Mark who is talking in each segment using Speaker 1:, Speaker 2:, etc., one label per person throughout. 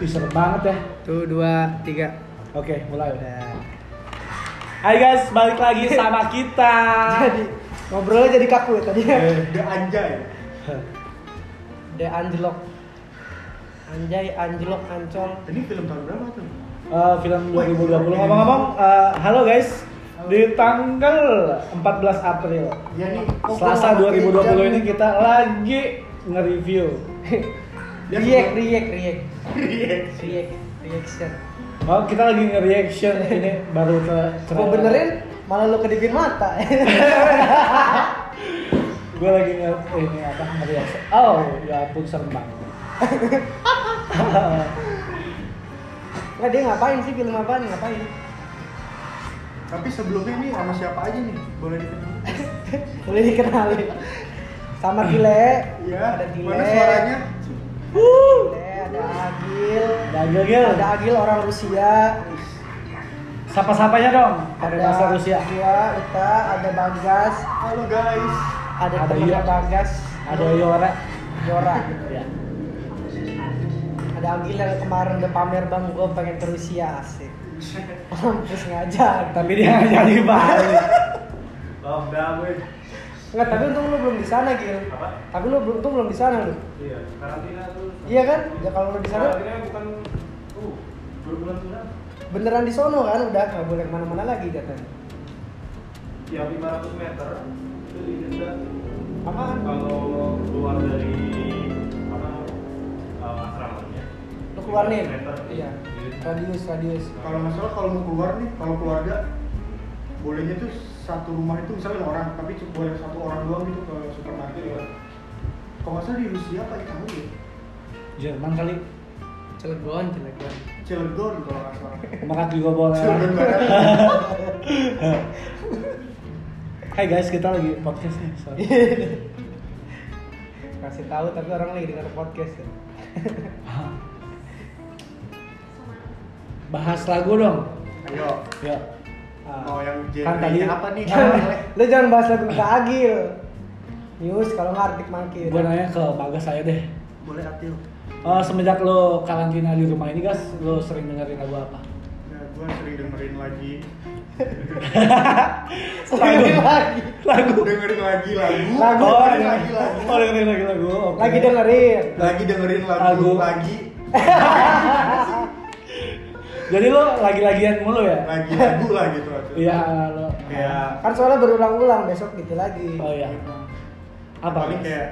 Speaker 1: Ih, serem banget ya.
Speaker 2: Tuh dua tiga.
Speaker 1: Oke, mulai.
Speaker 2: Udah.
Speaker 3: Hai guys, balik lagi sama kita.
Speaker 2: Jadi ngobrolnya jadi kaku ya tadi.
Speaker 4: Udah Eh, anjay.
Speaker 2: De anjlok. Anjay, anjlok, ancol.
Speaker 4: Ini film tahun berapa tuh?
Speaker 1: Eh, film 2020. Ngomong-ngomong, eh, halo guys. Di tanggal 14 April,
Speaker 4: Ya nih.
Speaker 2: Oh,
Speaker 4: kok
Speaker 1: Selasa
Speaker 4: gua nggak
Speaker 1: 2020
Speaker 4: pakai jam
Speaker 1: ini
Speaker 4: nih?
Speaker 1: kita lagi nge-review.
Speaker 4: Dia
Speaker 2: Riek,
Speaker 4: sebelum-
Speaker 2: riek, riek.
Speaker 4: Iya.
Speaker 2: Riek, reaction.
Speaker 1: Oh, kita lagi nge-reaction ini baru ke
Speaker 2: Gua benerin malah lu kedipin mata.
Speaker 1: Gue lagi nge ini apa nge-reaction. Oh, ya ampun serem banget.
Speaker 2: Nah, dia ngapain sih film apaan? Ngapain?
Speaker 4: Tapi sebelumnya nih sama siapa aja nih? Boleh dikenal?
Speaker 2: Boleh dikenalin. Sama Gile.
Speaker 4: Iya.
Speaker 2: Ada Gile.
Speaker 4: Mana suaranya?
Speaker 2: Gile, ada Agil.
Speaker 1: Dagel Gil,
Speaker 2: Ada Agil orang Rusia.
Speaker 1: sapa-sapanya dong. Ada bahasa Rusia.
Speaker 2: Gua, Iya, Uta, ada Bagas,
Speaker 4: Halo guys.
Speaker 2: ada,
Speaker 1: Ada
Speaker 2: temennya
Speaker 1: Yo.
Speaker 2: Bagas,
Speaker 1: Ada Iya. Yora.
Speaker 2: Yora.
Speaker 1: Ya.
Speaker 2: Ada Agil yang kemarin udah pamer bang, gue pengen ke Rusia asik. Terus ngajak.
Speaker 1: Tapi dia nggak jadi balik.
Speaker 4: Oh, udah gue.
Speaker 2: Nggak, tapi untung lu belum di sana Gil.
Speaker 4: Apa?
Speaker 2: Tapi lu belum untung belum di sana lu.
Speaker 4: Iya, karantina tuh.
Speaker 2: Iya kan? Ya kalau lu di sana
Speaker 4: bukan uh, berbulan bulan
Speaker 2: beneran di sono kan udah nggak boleh kemana-mana lagi katanya.
Speaker 4: ya 500 meter itu didenda
Speaker 2: Apaan?
Speaker 4: kalau keluar dari apa uh, asramanya
Speaker 2: Lu keluar nih.
Speaker 4: 500 meter.
Speaker 2: Iya. Radius, radius.
Speaker 4: kalau nggak salah kalau mau keluar nih kalau keluarga bolehnya tuh satu rumah itu misalnya lima orang tapi cuma boleh satu orang doang gitu ke supermarket ya kalau nggak salah di Rusia apa Italia ya
Speaker 1: Jerman kali.
Speaker 2: Cilegon, Cilegon.
Speaker 4: Cilegon kalau nggak salah
Speaker 1: Makan juga boleh.
Speaker 4: Cilegon barat
Speaker 1: Hai guys, kita lagi podcast nih. Sorry.
Speaker 2: Kasih tahu tapi orang lagi dengar podcast ya.
Speaker 1: Bahas lagu dong.
Speaker 4: ayo
Speaker 1: Ya.
Speaker 4: mau Oh, yang
Speaker 1: Kan tadi-
Speaker 4: genre apa nih
Speaker 2: Lo jangan bahas lagu ke Agil. News kalau nggak Arctic Monkey.
Speaker 1: Gue nanya ke Bagas aja deh.
Speaker 4: boleh atil
Speaker 1: Eh, semenjak lo karantina di rumah ini, guys, lo sering dengerin lagu apa?
Speaker 4: ya gue sering dengerin lagi
Speaker 2: Sekali lagi.
Speaker 1: Lagu.
Speaker 4: dengerin lagi lagu
Speaker 2: Lagu.
Speaker 1: Oh,
Speaker 4: dengerin
Speaker 1: dengerin.
Speaker 4: lagi lagu
Speaker 1: Oh, dengerin lagi lagu. oke.
Speaker 2: Lagi dengerin.
Speaker 4: lagi dengerin lagu,
Speaker 1: Lagu.
Speaker 4: lagi
Speaker 1: Jadi lo lagi-lagian mulu ya?
Speaker 4: lagi lagu lah gitu aja
Speaker 1: Iya, lo.
Speaker 4: kayak
Speaker 2: Kan soalnya berulang-ulang besok gitu lagi.
Speaker 1: Oh iya. Apa?
Speaker 4: paling
Speaker 1: Guys?
Speaker 4: kayak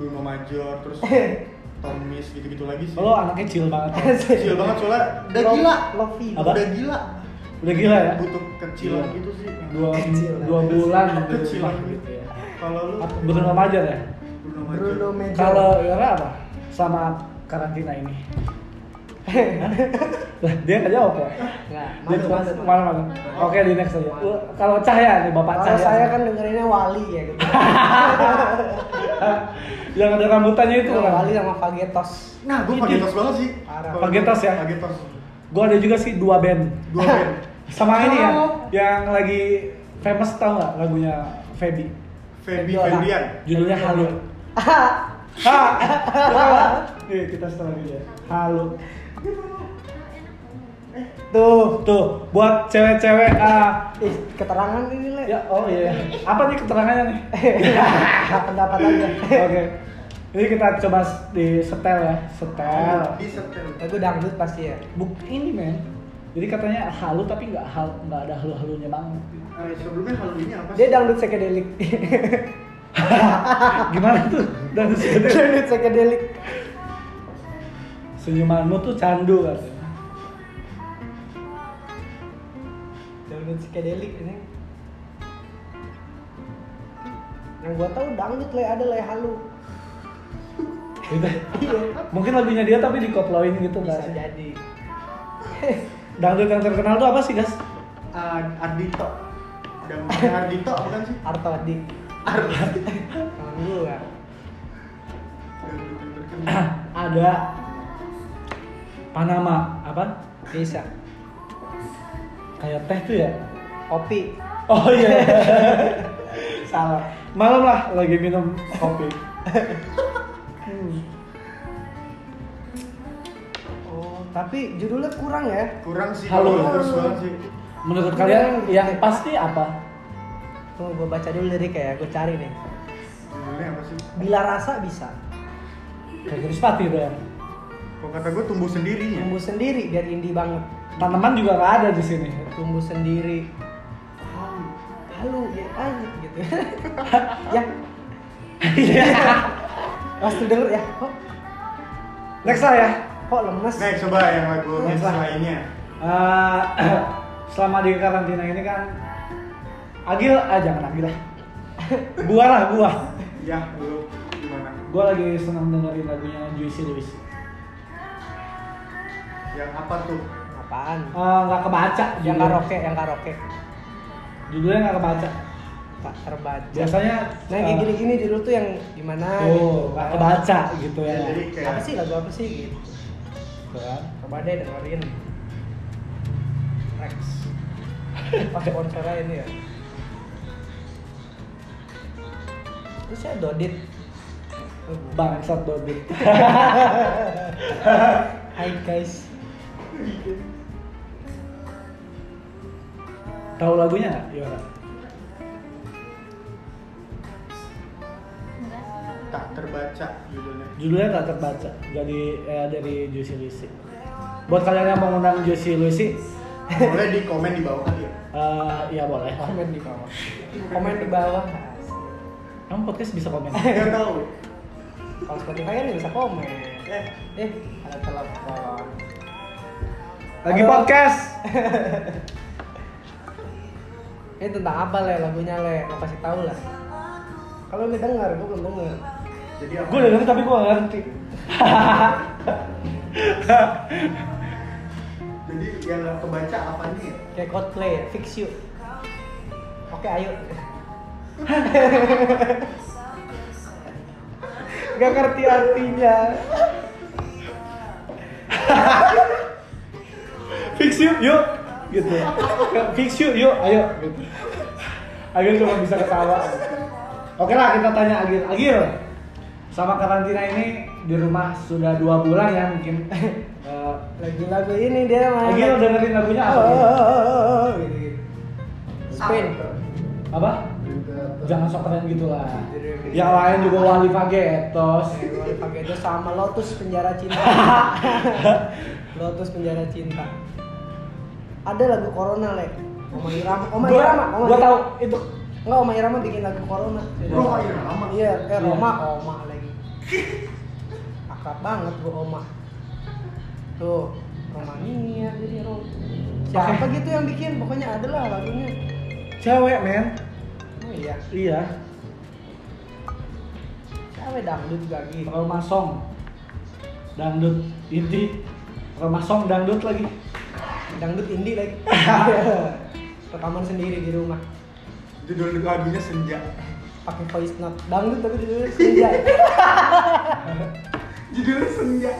Speaker 4: Bruno Major terus Tomis gitu-gitu lagi sih
Speaker 1: Lo anaknya chill banget.
Speaker 4: kecil banget soalnya udah
Speaker 2: Love-
Speaker 4: gila
Speaker 2: Love you.
Speaker 1: Apa?
Speaker 4: udah gila
Speaker 1: Udah gila ya?
Speaker 4: butuh kecilan
Speaker 1: Gila.
Speaker 4: gitu sih
Speaker 1: Dua,
Speaker 2: Kecil.
Speaker 1: dua bulan di
Speaker 4: Kecil.
Speaker 1: rumah gitu ya.
Speaker 4: kalau lu
Speaker 1: Bruno Major ya?
Speaker 4: Bruno Major
Speaker 2: Bruno Major.
Speaker 1: Kalau Yora apa? Sama karantina ini. Lah, dia nggak jawab ya?
Speaker 2: Nggak,
Speaker 1: Dia
Speaker 2: masuk,
Speaker 1: cuma
Speaker 2: masuk.
Speaker 1: mana mana. Oke, di next aja. Uh, Kalau Cahya nih Bapak
Speaker 2: Kalau
Speaker 1: Cahya.
Speaker 2: saya kan dengerinnya Wali ya gitu.
Speaker 1: yang ada rambutannya itu
Speaker 2: Kalau
Speaker 1: kan.
Speaker 2: Wali sama Pagetos.
Speaker 4: nah gue pakai tas banget sih
Speaker 2: Parah.
Speaker 4: Kalau
Speaker 1: Pakai
Speaker 4: gua-
Speaker 1: tas ya?
Speaker 4: pakai tas
Speaker 1: Gue ada juga sih dua band.
Speaker 4: dua band
Speaker 1: Sama ini ya,
Speaker 2: Oh.
Speaker 1: yang lagi famous tau nggak lagunya Feby?
Speaker 4: Feby
Speaker 2: Febiola.
Speaker 4: Febrian
Speaker 1: Judulnya Halo. Ha. Nih, kita setelah dulu ya. Halo. Eh,
Speaker 2: Tuh.
Speaker 1: Tuh, buat cewek-cewek ah,
Speaker 2: Ih, keterangan ini lah.
Speaker 1: ya oh iya. Apa nih keterangannya nih?
Speaker 2: Nah, pendapat aja.
Speaker 1: Oke. Ini kita coba s- di setel ya, setel.
Speaker 4: di setel
Speaker 2: Lagu dangdut pasti ya.
Speaker 1: Buk ini men. Jadi katanya halu tapi nggak hal nggak ada halu-halunya banget.
Speaker 4: Eh, sebelumnya hal ini apa sih
Speaker 2: Dia dangdut psychedelic.
Speaker 1: Ah, Gimana tuh? Dan setel.
Speaker 2: dangdut psychedelic.
Speaker 1: senyumanmu tuh candu katanya.
Speaker 2: Dangdut psychedelic ini. Yang gua tahu dangdut le ada le halu.
Speaker 1: Gitu.
Speaker 2: Iya.
Speaker 1: Mungkin lagunya dia tapi dikoploin gitu nggak
Speaker 2: Bisa
Speaker 1: sih?
Speaker 2: jadi.
Speaker 1: Dangdut yang terkenal tuh apa sih, Gas?
Speaker 4: Ah, Ardito dan Ardito bukan kan sih
Speaker 2: Arto di. Kalau gua.
Speaker 4: Dangdut yang terkenal.
Speaker 1: Ada Panama, apa?
Speaker 2: Bisa.
Speaker 1: Kayak teh tuh ya?
Speaker 2: Kopi.
Speaker 1: Oh iya. Salah. Malam lah lagi minum kopi. Hmm.
Speaker 2: Oh. Tapi judulnya kurang ya.
Speaker 4: kurang sih
Speaker 1: Halo.
Speaker 4: kalau terus banget sih
Speaker 1: Menurut kalian yang pasti apa?
Speaker 2: Tunggu gue baca dulu liriknya ya, gue cari nih.
Speaker 4: judulnya apa sih
Speaker 2: Bila rasa bisa.
Speaker 1: Kayak Krispati bro ya.
Speaker 4: kalau kata gue tumbuh sendiri ya
Speaker 2: Tumbuh sendiri biar indie banget.
Speaker 1: Tanaman juga nggak ada di sini.
Speaker 2: Tumbuh sendiri. Halo, ya aja gitu. ya. Mas tuh denger ya. Kok
Speaker 1: Next lah ya.
Speaker 2: kok lemes?
Speaker 4: Nah, coba yang lagu hits lainnya.
Speaker 1: Eh, selama di karantina ini kan Agil, ah jangan Agil lah Gua lah, gua
Speaker 4: Ya, lu gimana?
Speaker 1: Gua lagi senang dengerin lagunya Juicy Lewis Eh,
Speaker 4: Yang apa tuh?
Speaker 2: Apaan?
Speaker 1: Eh, Nggak kebaca
Speaker 2: Yang
Speaker 1: judulnya.
Speaker 2: karaoke, yang karaoke.
Speaker 1: Judulnya nggak kebaca
Speaker 2: Tak terbaca.
Speaker 1: Biasanya
Speaker 2: Nah, kayak
Speaker 1: eh,
Speaker 2: gini-gini judul tuh yang gimana gitu.
Speaker 1: Tuh, nggak kebaca gitu ya
Speaker 4: Ya, jadi kayak
Speaker 2: Iya. Apa sih lagu apa sih gitu.
Speaker 1: Tuh kan.
Speaker 2: Coba deh dengerin. Rex. Pas konsernya ini ya. Terus ya Dodit.
Speaker 1: Bangsat Bobby
Speaker 2: Hai guys.
Speaker 1: Tahu lagunya nggak? Iya. Yora?
Speaker 4: tak terbaca judulnya.
Speaker 1: Judulnya tak terbaca Jadi eh, dari Juicy Lewis Buat kalian yang mau ngundang Juicy Lewis
Speaker 4: Boleh di komen di bawah kali ya.
Speaker 1: eh ya boleh
Speaker 2: Komen di bawah. Komen di bawah.
Speaker 1: Kamu podcast bisa komen
Speaker 4: Enggak tahu.
Speaker 2: Kalau Spotify kan nggak bisa komen.
Speaker 4: Eh,
Speaker 2: Eh, ada telepon.
Speaker 1: Lagi
Speaker 2: Halo.
Speaker 1: podcast
Speaker 2: Ini tentang apa le lagunya le? Lo kasih tahu lah. Kalau lu denger, gue belum denger.
Speaker 4: jadi apa?
Speaker 1: Gue udah ngerti tapi gue gak ngerti
Speaker 4: Jadi yang nggak kebaca apa nih? ya?
Speaker 2: Kayak Coldplay ya, Fix You. Oke, ayo. Gak ngerti artinya.
Speaker 1: Fix you, yuk Gitu Fix you, yuk, ayo gitu. Agil cuma bisa ketawa Oke lah kita tanya Agil Agil Sama karantina ini di rumah sudah dua bulan ya mungkin Eh,
Speaker 2: Lagi lagu ini dia main.
Speaker 1: Agil dengerin lagunya
Speaker 2: Oh,
Speaker 1: apa?
Speaker 2: oh,
Speaker 1: Gil?
Speaker 2: oh, oh, oh, gitu. Spin.
Speaker 1: Apa? Jangan sok keren gitu lah Yang lain juga wali fagetos
Speaker 2: Gue pakai itu sama Lotus penjara cinta. Lotus penjara cinta. Ada lagu Corona, Le. Oma Irama, Oma
Speaker 1: Gua-
Speaker 2: Irama, Oma
Speaker 1: gua
Speaker 2: Irama.
Speaker 1: tahu itu
Speaker 2: Enggak, Oma Irama bikin lagu Corona.
Speaker 4: Bro, ayo lama.
Speaker 2: Iya, eh Roma, Oma lagi. Akrab banget gua Oma. Tuh, Romania jadi Rom. Siapa gitu yang bikin? Pokoknya ada lah lagunya.
Speaker 1: cewek men
Speaker 2: Oh iya,
Speaker 1: Iya
Speaker 2: cewek ya? dangdut gitu. lagi.
Speaker 1: Roma Song dangdut inti Roma Song dangdut lagi
Speaker 2: Dangdut indie lagi. Rekaman sendiri di rumah.
Speaker 4: Judul lagunya senja.
Speaker 2: pakai voice note dangdut tapi judulnya senja
Speaker 4: Judulnya senja.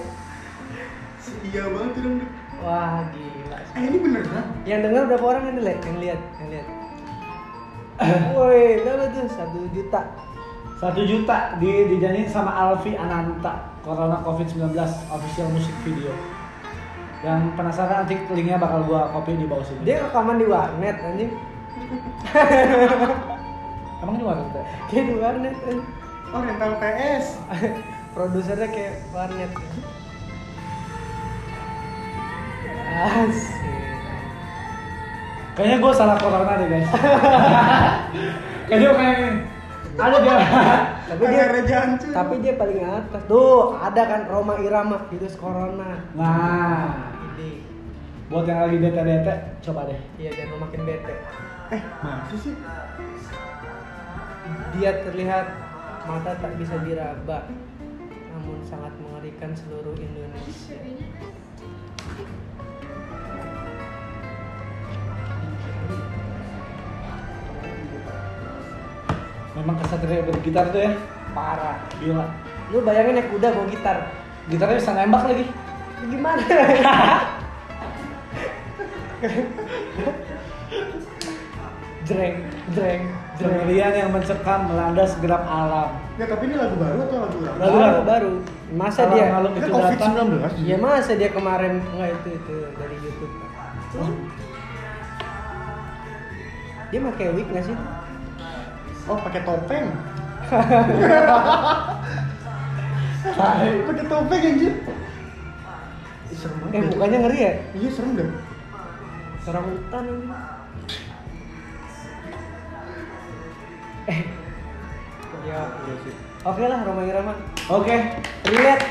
Speaker 4: Iya banget itu dong.
Speaker 2: wah gila
Speaker 4: Eh ini bener kan?
Speaker 2: yang dengar berapa orang yang lihat yang lihat yang lihat woi berapa tuh satu juta
Speaker 1: satu juta di dijanjiin sama Alfi Ananta Corona Covid 19 official musik video yang penasaran nanti linknya bakal gua copy di bawah sini
Speaker 2: dia rekaman di warnet anjing
Speaker 1: emang di warnet ya?
Speaker 2: kayak di warnet anjing.
Speaker 4: Oh rental PS.
Speaker 2: produsernya kayak warnet asik
Speaker 1: kayaknya gua salah Corona deh guys kayaknya pengen ini. ada dia
Speaker 2: tapi dia
Speaker 4: Ada jancur.
Speaker 2: tapi dia paling atas tuh ada kan Roma Irama virus corona
Speaker 1: nah
Speaker 2: ini
Speaker 1: buat yang lagi bete-bete coba deh
Speaker 2: iya jangan lu makin bete
Speaker 4: Eh masih sih?
Speaker 2: Dia terlihat mata tak bisa diraba, namun sangat mengerikan seluruh Indonesia.
Speaker 1: memang kesatria bergitar tuh ya
Speaker 2: Parah.
Speaker 1: gila
Speaker 2: Lu bayangin naik kuda bawa gitar.
Speaker 1: gitarnya bisa nembak lagi
Speaker 2: Lu Gimana? Jreng, jreng,
Speaker 1: Pemberian yang mencekam melanda segenap alam.
Speaker 4: Ya tapi ini lagu baru atau lagu lama?
Speaker 1: Baru,
Speaker 2: baru
Speaker 1: baru.
Speaker 2: baru masa
Speaker 1: Alam
Speaker 2: dia
Speaker 1: makhluk
Speaker 4: Ini
Speaker 1: itu
Speaker 4: COVID
Speaker 1: datang.
Speaker 4: 19
Speaker 2: ya masa dia kemarin enggak itu itu dari YouTube dia pakai wig nggak sih
Speaker 4: Oh pakai topeng.
Speaker 1: Tai.
Speaker 4: pakai topeng anjir. Ih, Serem banget.
Speaker 2: eh
Speaker 4: ya.
Speaker 2: mukanya ngeri ya
Speaker 4: Iya serem deh.
Speaker 2: orang hutan ini eh ya iya sih oke lah Roma Irama
Speaker 1: Oke.
Speaker 2: relate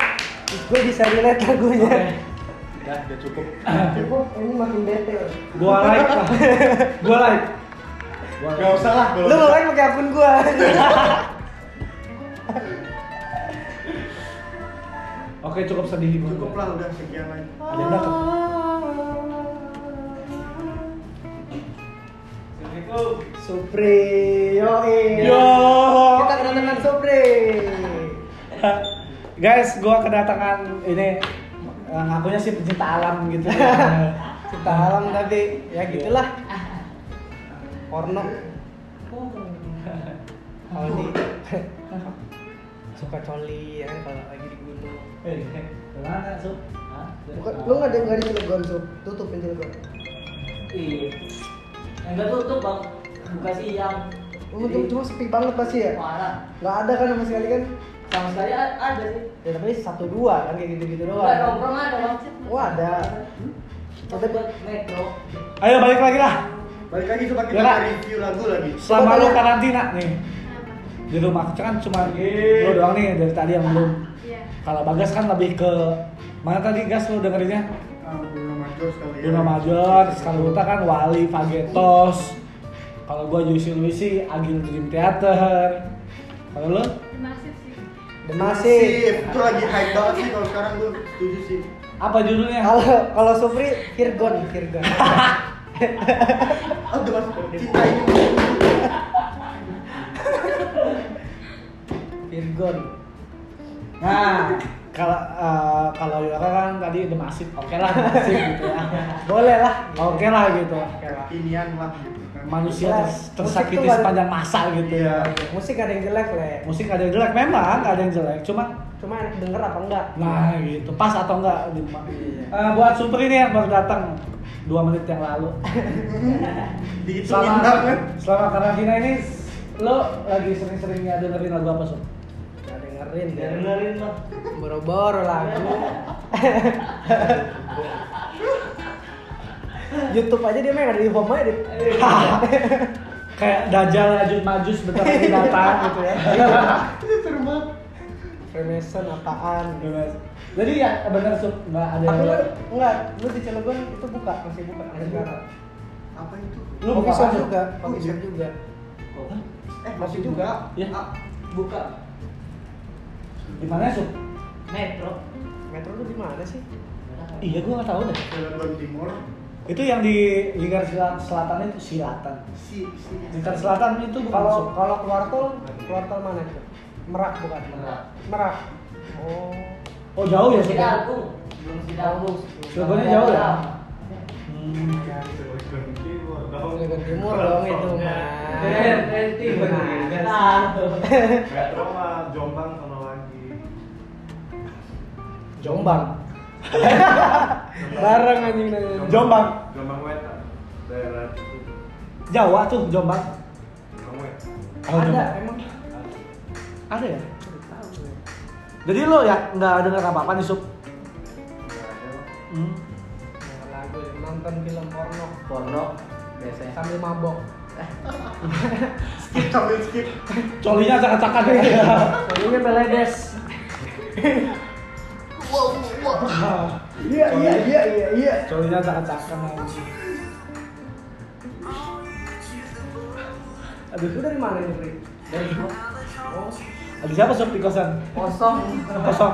Speaker 2: gue bisa relate lagunya
Speaker 1: Oke.
Speaker 4: Ya, udah cukup.
Speaker 2: Cukup, ini makin bete
Speaker 1: Gua like. Gua like. Gua
Speaker 4: Gak usah lah.
Speaker 2: Lu ngelain pakai akun gua
Speaker 1: Oke, cukup sedih gua.
Speaker 4: Cukup lah udah sekian lagi.
Speaker 1: Ada yang datang.
Speaker 2: Supri,
Speaker 1: Yo.
Speaker 2: yoi iya. Kita kedatangan Supri
Speaker 1: Guys, gua kedatangan ini eh, ngakunya sih pencinta alam gitu.
Speaker 2: Cinta alam tadi, ya gitulah Porno Kalau di Suka coli ya kan kalau lagi di gunung
Speaker 1: Eh, Kemana, Sup? Hah?
Speaker 2: Bukan, lu nggak ada nggak ada cilegon sup, tutupin cilegon.
Speaker 5: Iya. Enggak tutup bang, buka siang.
Speaker 2: Lu cuma, cuma sepi banget pasti ya.
Speaker 5: Parah.
Speaker 2: Nggak ada kan sama sekali kan?
Speaker 5: Sama sekali a- ada sih.
Speaker 2: Ya tapi satu dua kan kayak gitu gitu
Speaker 5: Enggak
Speaker 2: doang.
Speaker 5: nongkrong ada bang.
Speaker 2: Wah ada.
Speaker 5: Kita buat metro.
Speaker 1: Ayo balik lagi lah.
Speaker 4: Balik lagi coba kita
Speaker 1: Ya, Kak.
Speaker 4: review lagu lagi.
Speaker 1: Selama
Speaker 2: Coba
Speaker 1: lu
Speaker 2: tanya.
Speaker 1: karantina nih. Di rumah kan cuma lu doang nih dari tadi yang belum.
Speaker 6: Iya.
Speaker 1: Kalau Bagas kan lebih ke mana tadi gas lu dengerinnya?
Speaker 4: Ah, Bruno Major sekali ya.
Speaker 1: Bruno Major, sekarang Uta kan Wali, Fagetos. Kalau gua Juicy Luisi, Agil Dream Theater. Kalau lu?
Speaker 6: Masif sih.
Speaker 2: Masih.
Speaker 4: Masif. Itu lagi hype banget sih kalau sekarang gue setuju sih.
Speaker 1: Apa judulnya?
Speaker 2: Kalau kalau Supri Kirgon Kirgon.
Speaker 4: Ah, udah masuk cinta ini.
Speaker 2: Kirgon.
Speaker 1: Nah, kalau eh, kalau Yura kan tadi The Massive, oke lah masif gitu ya.
Speaker 2: Boleh lah.
Speaker 1: Oke lah gitu.
Speaker 4: Kekinian lah gitu kan.
Speaker 1: Manusia ters- tersakiti
Speaker 2: Musik tuh
Speaker 1: sepanjang masa gitu ya.
Speaker 4: Iya.
Speaker 2: Musik ada yang jelek le.
Speaker 1: Musik ada yang jelek memang, ada yang jelek. Cuma
Speaker 2: Cuma enak denger apa enggak?
Speaker 1: Nah gitu, pas atau enggak di
Speaker 2: Iya.
Speaker 1: Eh, buat super ini yang baru datang dua menit yang lalu.
Speaker 4: Dihitungin
Speaker 1: Selama
Speaker 4: banget.
Speaker 1: selama karantina ini lo lagi sering-seringnya dengerin lagu apa sih?
Speaker 2: Nggak dengerin ya.
Speaker 5: Dengerin lah.
Speaker 2: Boro-boro lagu. YouTube aja dia main ada di home aja di
Speaker 1: Kayak Dajjal lanjut maju sebentar lagi datang gitu ya.
Speaker 4: Seru banget.
Speaker 2: Freemason apaan?
Speaker 1: Jadi ya benar sih nggak ada.
Speaker 2: Tapi lu
Speaker 1: yang-
Speaker 2: enggak, lu di Cilegon itu buka, Iya. masih buka sampai sekarang.
Speaker 4: Apa itu?
Speaker 1: Lu
Speaker 2: Coffee
Speaker 1: buka
Speaker 2: shop
Speaker 1: apa?
Speaker 2: juga,
Speaker 4: Oh,
Speaker 2: coffee shop
Speaker 4: iya.
Speaker 2: juga.
Speaker 4: Eh, masih juga.
Speaker 1: Ya.
Speaker 4: Ah,
Speaker 5: Buka.
Speaker 1: Di mana sih?
Speaker 5: Metro.
Speaker 2: Metro lu di mana sih?
Speaker 1: Iya gua nggak tahu deh.
Speaker 4: Cilegon Timur.
Speaker 1: Itu yang di lingkar sel- selatan itu silatan.
Speaker 4: Si si.
Speaker 1: Lingkar selatan itu bukan Sup.
Speaker 2: Kalau kalau keluar tol, keluar tol mana itu? Merak bukan?
Speaker 5: Merak.
Speaker 2: Merak. Oh.
Speaker 1: Oh jauh ya sih.
Speaker 5: Sidagung. Belum Sidagung.
Speaker 1: Cilegonnya jauh ya? Hmm,
Speaker 4: Cilegon Timur.
Speaker 2: Cilegon Timur dong itu mah.
Speaker 4: Eh, Metro mah Jombang sama lagi.
Speaker 2: Jombang. Bareng anjing nanya.
Speaker 1: Jombang.
Speaker 7: Jombang Wetan. Daerah itu.
Speaker 1: Jawa tuh Jombang.
Speaker 7: Jombang Wetan.
Speaker 2: Ada emang.
Speaker 1: Ada ya?
Speaker 2: Nah,
Speaker 1: Jadi lo ya nggak denger apa-apa nih Sup? Hmm.
Speaker 2: Nah, Lagu nonton film porno
Speaker 5: Porno biasanya.
Speaker 2: sambil mabok.
Speaker 4: Skip sambil skip.
Speaker 1: Colinya acak-acakan ya.
Speaker 2: Soalnya beledes.
Speaker 4: Iya iya iya iya iya.
Speaker 1: Colinya acak-acakan anjing.
Speaker 2: Aduh, lu dari mana ini, Pri?
Speaker 5: Dari gua.
Speaker 1: Ada siapa Sup di kosan?
Speaker 2: Kosong.
Speaker 1: Kosong.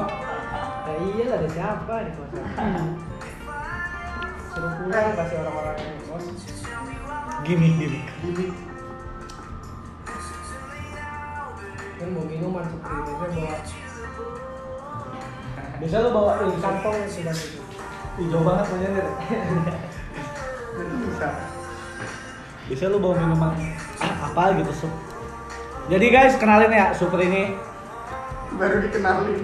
Speaker 2: Ya iya lah, ada siapa di kosan? Seru kurang pasti orang-orang yang kos.
Speaker 1: Gini gini.
Speaker 4: Gini.
Speaker 2: Kan mau minuman seperti itu, saya bawa
Speaker 1: Biasa lo bawa ini kan
Speaker 2: kantong sudah gitu.
Speaker 1: hijau banget namanya deh.
Speaker 4: Itu bisa.
Speaker 1: Biasa lo bawa minuman apa gitu Sup? Jadi guys, kenalin ya Super ini.
Speaker 4: baru dikenalin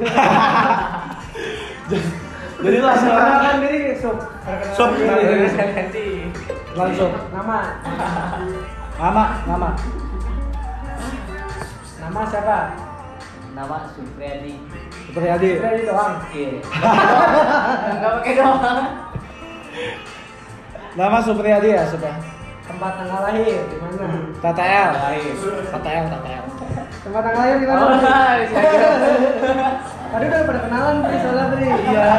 Speaker 1: Jadi langsung kan diri Sup. Sup kenalin kan, diri. Langsung.
Speaker 2: Nama,
Speaker 1: Nama, nama.
Speaker 2: nama siapa?
Speaker 5: Nama Supriyadi.
Speaker 1: Super Yadi.
Speaker 2: Freddy doang.
Speaker 5: Iya. Enggak pakai doang.
Speaker 1: Nama Super Yadi ya, Super.
Speaker 2: Tempat tanggal Nah, lahir di mana?
Speaker 1: TTL.
Speaker 5: Baik.
Speaker 1: TTL, TTL.
Speaker 2: Tempat tanggal lahir di mana?
Speaker 5: Oh,
Speaker 2: iya. Tadi udah pada kenalan Pri, soalnya Pri
Speaker 1: Iya.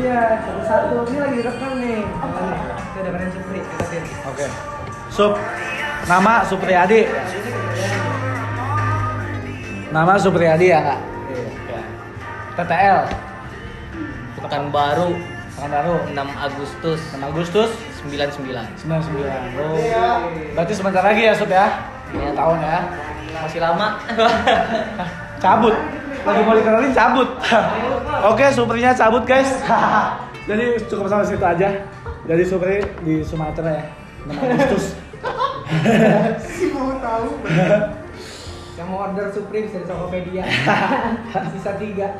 Speaker 2: Iya, satu satu Ini lagi direkam nih Itu udah keren sih Pri, ikutin
Speaker 1: Oke. Sup. Nama Supriyadi. Nama Supriyadi ya, Kak. TTL.
Speaker 5: Pekan baru
Speaker 1: Pekanbaru.
Speaker 5: 6 Agustus
Speaker 1: 6 Agustus
Speaker 5: 99.
Speaker 1: 99. Oh. Berarti sebentar lagi ya, Sup ya. Dua tahun ya.
Speaker 5: Masih lama.
Speaker 1: Cabut. Lagi mau dikenalin cabut. Oke, Suprinya cabut, guys. Jadi cukup sampai situ aja. Jadi Supri di Sumatera ya. 6 Agustus.
Speaker 4: sih mau tahu
Speaker 2: Yang mau order Supreme bisa di Tokopedia Sisa tiga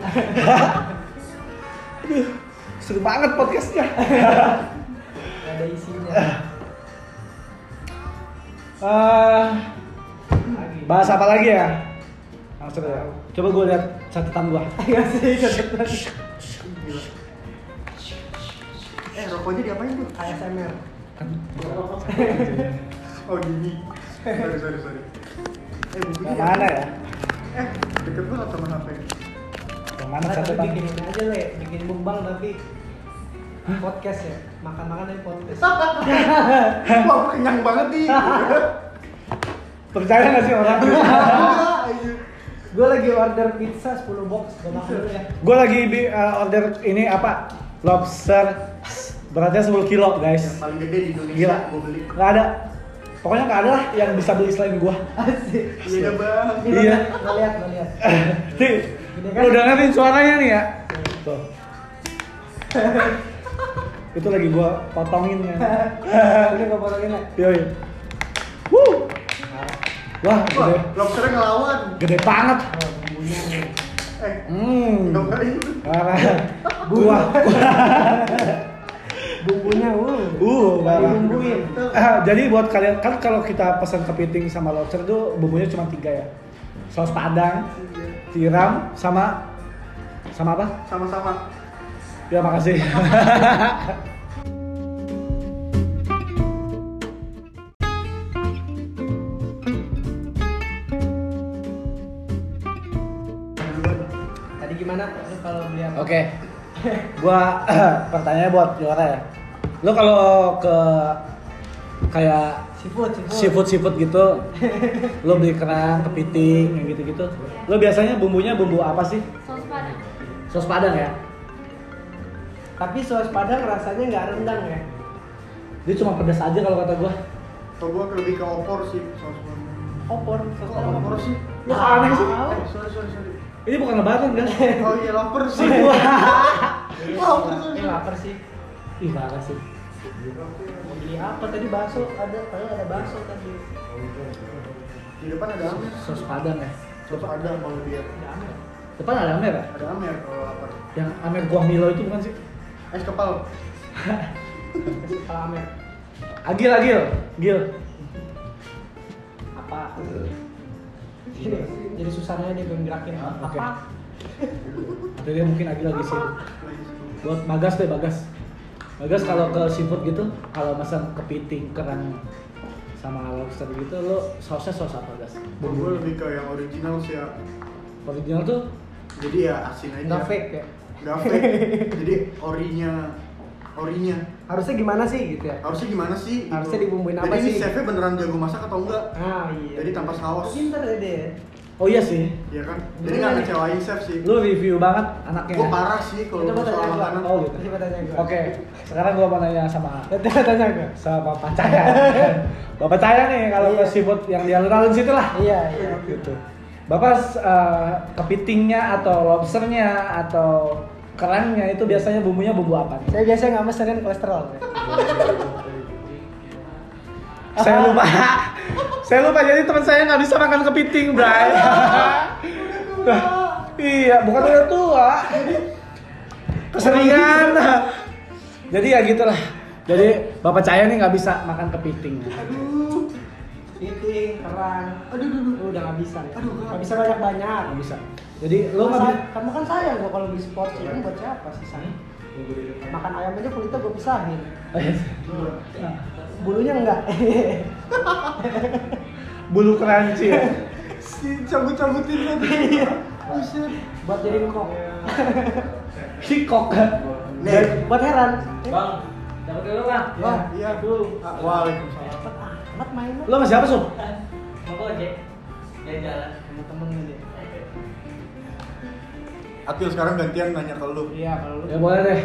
Speaker 1: Seru banget podcastnya.
Speaker 2: Gak ada isinya
Speaker 1: Eh,
Speaker 2: Lagi
Speaker 1: bahas apa lagi ya? Langsung ya. Coba gue lihat catatan gua.
Speaker 2: Iya sih, kebetulan
Speaker 4: Gila. eh rokoknya diapain tuh
Speaker 2: ASMR
Speaker 4: oh gini sorry sorry sorry eh bukunya
Speaker 1: Yang mana ya?
Speaker 4: eh deket banget sama HP
Speaker 1: Yang mana
Speaker 2: Nah, tapi
Speaker 1: catatan?
Speaker 2: bikin ini aja le, bikin bumbang tapi podcast ya makan-makan dari podcast
Speaker 4: wah aku kenyang banget nih
Speaker 1: Percaya nggak sih orang?
Speaker 4: Ah, iya.
Speaker 2: gue lagi order pizza 10 box gue makan dulu ya
Speaker 1: gue lagi bi- eh, order ini apa? Lobster beratnya 10 kilo
Speaker 4: yang
Speaker 1: guys.
Speaker 4: Iya, paling gede di Indonesia
Speaker 1: Gila.
Speaker 4: gue beli
Speaker 1: Nggak ada. Pokoknya nggak ada lah yang bisa beli selain gua.
Speaker 2: asik
Speaker 4: iya bang
Speaker 1: Iya.
Speaker 2: ngeliat ngeliat
Speaker 1: Nih, lu dengerin suaranya nih ya. Tuh. Itu lagi gua potongin ya.
Speaker 2: ini gue potongin lah
Speaker 1: Yoi. Wuh. Wah,
Speaker 4: wah
Speaker 1: gede,
Speaker 4: lobsternya ngelawan
Speaker 1: gede banget.
Speaker 2: oh, bumbunya nih
Speaker 4: eh
Speaker 1: Hmm.
Speaker 4: dokternya
Speaker 1: Parah. Buah.
Speaker 2: bumbunya uh
Speaker 1: Uh, parah.
Speaker 2: Bumbuin.
Speaker 1: Eh, jadi buat kalian kan kalau kita pesan kepiting sama lobster tuh bumbunya cuma tiga ya. Saus padang, tiram sama sama apa?
Speaker 4: sama-sama
Speaker 1: Ya makasih.
Speaker 2: tadi gimana lu kalau beli apa
Speaker 1: Oke. Gua pertanyaannya buat Yora ya. Lo kalau ke kayak
Speaker 2: seafood seafood,
Speaker 1: seafood seafood gitu lo beli kerang kepiting yang gitu gitu lo biasanya bumbunya bumbu apa sih
Speaker 8: saus padang
Speaker 1: saus padang ya
Speaker 2: tapi saus padang rasanya nggak rendang ya
Speaker 1: dia cuma pedas aja kalau kata gua
Speaker 4: kalau gua lebih ke opor sih saus padang.
Speaker 2: opor saus
Speaker 4: kok
Speaker 2: padang
Speaker 4: opor sih
Speaker 1: lo aneh sih
Speaker 4: Eh, sorry sorry sorry
Speaker 1: ini bukan lebaran kan
Speaker 4: oh iya lapar
Speaker 1: sih
Speaker 4: sih
Speaker 1: gua
Speaker 4: Wah, opor
Speaker 2: ini
Speaker 4: sih
Speaker 2: lapar sih
Speaker 1: ih parah sih
Speaker 2: mau beli apa tadi bakso ada padahal ada bakso tadi
Speaker 4: di depan ada amer
Speaker 1: saus padang ya
Speaker 4: saus padang kalau dia
Speaker 2: ada apa
Speaker 1: depan ada amer ya
Speaker 4: ada amer kalau lapar
Speaker 1: yang amer gua milo itu bukan sih
Speaker 4: es kepal
Speaker 2: kasih kepala amer
Speaker 1: agil agil gil
Speaker 2: apa jadi, jadi susahnya dia belum gerakin
Speaker 1: oke.
Speaker 2: apa
Speaker 1: atau dia mungkin agil lagi sih buat bagas deh bagas bagas kalau ke seafood gitu kalau pesan kepiting kerang sama lobster gitu lo sausnya saus apa gas
Speaker 4: Kalau gua lebih ke yang original sih ya
Speaker 1: original tuh
Speaker 4: jadi ya asin aja
Speaker 2: nggak fake ya
Speaker 4: Nggak fake. jadi orinya orinya
Speaker 2: harusnya gimana sih gitu ya
Speaker 4: harusnya gimana sih gitu.
Speaker 2: Harusnya dibumbuin apa
Speaker 4: jadi ini
Speaker 2: sih?
Speaker 4: chefnya beneran jago masak atau enggak
Speaker 2: ah iya
Speaker 4: jadi tanpa saus
Speaker 2: pinter ya dia
Speaker 1: oh iya sih
Speaker 4: ya kan jadi nggak ngecewain chef sih
Speaker 1: lo review banget anaknya
Speaker 4: gua parah sih kalau
Speaker 2: coba
Speaker 4: soal
Speaker 2: tanya
Speaker 4: makanan
Speaker 2: gua
Speaker 1: Oh, gitu.
Speaker 2: coba tanya gua
Speaker 1: oke sekarang gua mau nanya sama
Speaker 2: coba tanya gua
Speaker 1: sama bapak cahaya bapak cahaya nih kalau ke seafood yang di alun-alun situ lah
Speaker 2: iya iya
Speaker 1: gitu bapak eh, kepitingnya atau lobsternya atau kerangnya itu biasanya bumbunya bumbu apa nih?
Speaker 2: saya biasanya nggak mesenin kolesterol ya.
Speaker 1: saya lupa Saya lupa jadi teman saya nggak bisa makan kepiting, Bray. iya, bukan udah tua. Keseringan. jadi ya gitulah. Jadi bapak saya nih nggak bisa makan kepiting.
Speaker 2: Aduh. Piting, kerang. Aduh, aduh, aduh. Udah nggak bisa. nih.
Speaker 4: Aduh,
Speaker 2: nggak bisa banyak-banyak.
Speaker 1: Nggak bisa. Jadi lo
Speaker 2: Lo
Speaker 1: nggak bisa.
Speaker 2: kamu kan sayang gua kalau beli sport chicken buat siapa sih sayang? Makan ayam aja kulitnya gua pisahin. Bulunya enggak.
Speaker 1: Bulu keranci. Ya?
Speaker 4: Si cabut-cabutin lagi.
Speaker 2: Iya.
Speaker 4: Buset.
Speaker 2: buat jadi kok.
Speaker 1: Hikok.
Speaker 4: Nih.
Speaker 2: Buat heran.
Speaker 5: Bang, dapat dulu bang.
Speaker 4: Wah, iya. Ah, Waalaikumsalam.
Speaker 2: Cepet amat mainnya.
Speaker 1: Lo sama siapa, Sob?
Speaker 5: Mau gojek? Jalan-jalan.
Speaker 2: Sama temennya dia.
Speaker 4: Akil sekarang gantian nanya ke lu.
Speaker 2: Iya, kalau lu.
Speaker 1: Ya boleh deh.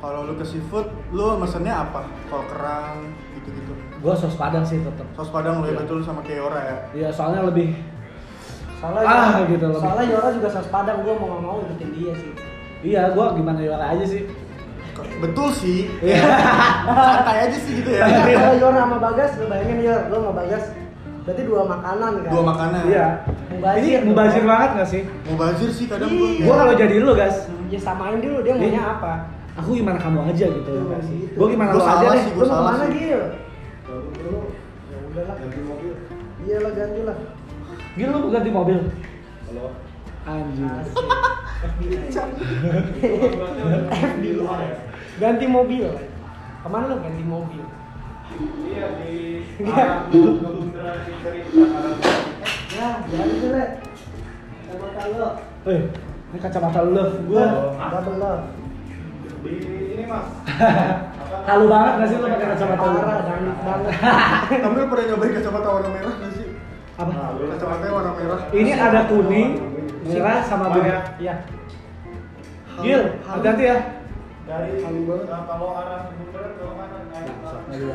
Speaker 4: Kalau lu ke seafood, lu mesennya apa? Kalau kerang, gitu-gitu.
Speaker 1: Gue sos padang sih tetap.
Speaker 4: Saus padang lu ya betul sama keora ya.
Speaker 1: Iya, soalnya lebih
Speaker 2: Soalnya
Speaker 1: Ah,
Speaker 2: Yora-
Speaker 1: gitu loh.
Speaker 2: Soalnya Yora juga saus padang gua mau nggak mau ikutin dia sih.
Speaker 1: Iya, gue gimana gimana aja sih.
Speaker 4: Ke- Betul sih.
Speaker 1: Iya.
Speaker 4: Santai aja sih gitu ya.
Speaker 2: Kalau Yora sama Bagas, lu bayangin Yor, lu sama Bagas berarti dua makanan kan?
Speaker 4: Dua makanan.
Speaker 1: Iya.
Speaker 2: Mubazir
Speaker 1: Ini
Speaker 2: dong.
Speaker 1: mubazir banget gak sih?
Speaker 4: Mau bazir sih kadang gua.
Speaker 2: Iya.
Speaker 1: Gue kalau jadi lu, guys,
Speaker 2: Ya samain dulu dia maunya
Speaker 1: Ih.
Speaker 2: apa?
Speaker 1: aku gimana kamu aja gitu ya nggak sih?
Speaker 2: Gitu.
Speaker 1: Gue gimana
Speaker 4: Gua
Speaker 1: lu aja
Speaker 4: salah
Speaker 1: deh.
Speaker 4: sih.
Speaker 2: Lu
Speaker 4: gua
Speaker 2: mau
Speaker 4: salah
Speaker 2: kemana
Speaker 4: sih.
Speaker 2: Gil?
Speaker 9: Baru dulu.
Speaker 2: Ya udahlah,
Speaker 9: Ganti mobil.
Speaker 2: iya lah ganti lah.
Speaker 1: Gil lu ganti mobil.
Speaker 9: Halo.
Speaker 1: Anjing.
Speaker 2: Asik.
Speaker 9: Di luar ya.
Speaker 2: ganti mobil. Kemana lu ganti mobil?
Speaker 9: Iya Ah, di.
Speaker 2: Iya.
Speaker 9: arah Kebun dari belakang.
Speaker 2: Ya, jadi dulu. Kacamata lo,
Speaker 1: Eh, ini kacamata lu love gue.
Speaker 2: Oh. double love.
Speaker 9: Ah. Di ini mas.
Speaker 1: Halu banget gak sih lu pakai kacamata lu?
Speaker 2: Parah, dangdut banget.
Speaker 4: Kamu pernah nyobain kacamata warna merah nggak sih?
Speaker 1: Apa?
Speaker 2: Nah,
Speaker 4: Kacamata warna merah.
Speaker 1: Ini ada kuning, merah sama biru.
Speaker 9: Mana?
Speaker 2: Iya.
Speaker 1: Gil, hati-hati ya.
Speaker 9: Dari
Speaker 4: Halu banget.
Speaker 9: nah, kalau arah kebun Barat, kalau mana? Nah,
Speaker 1: Iya.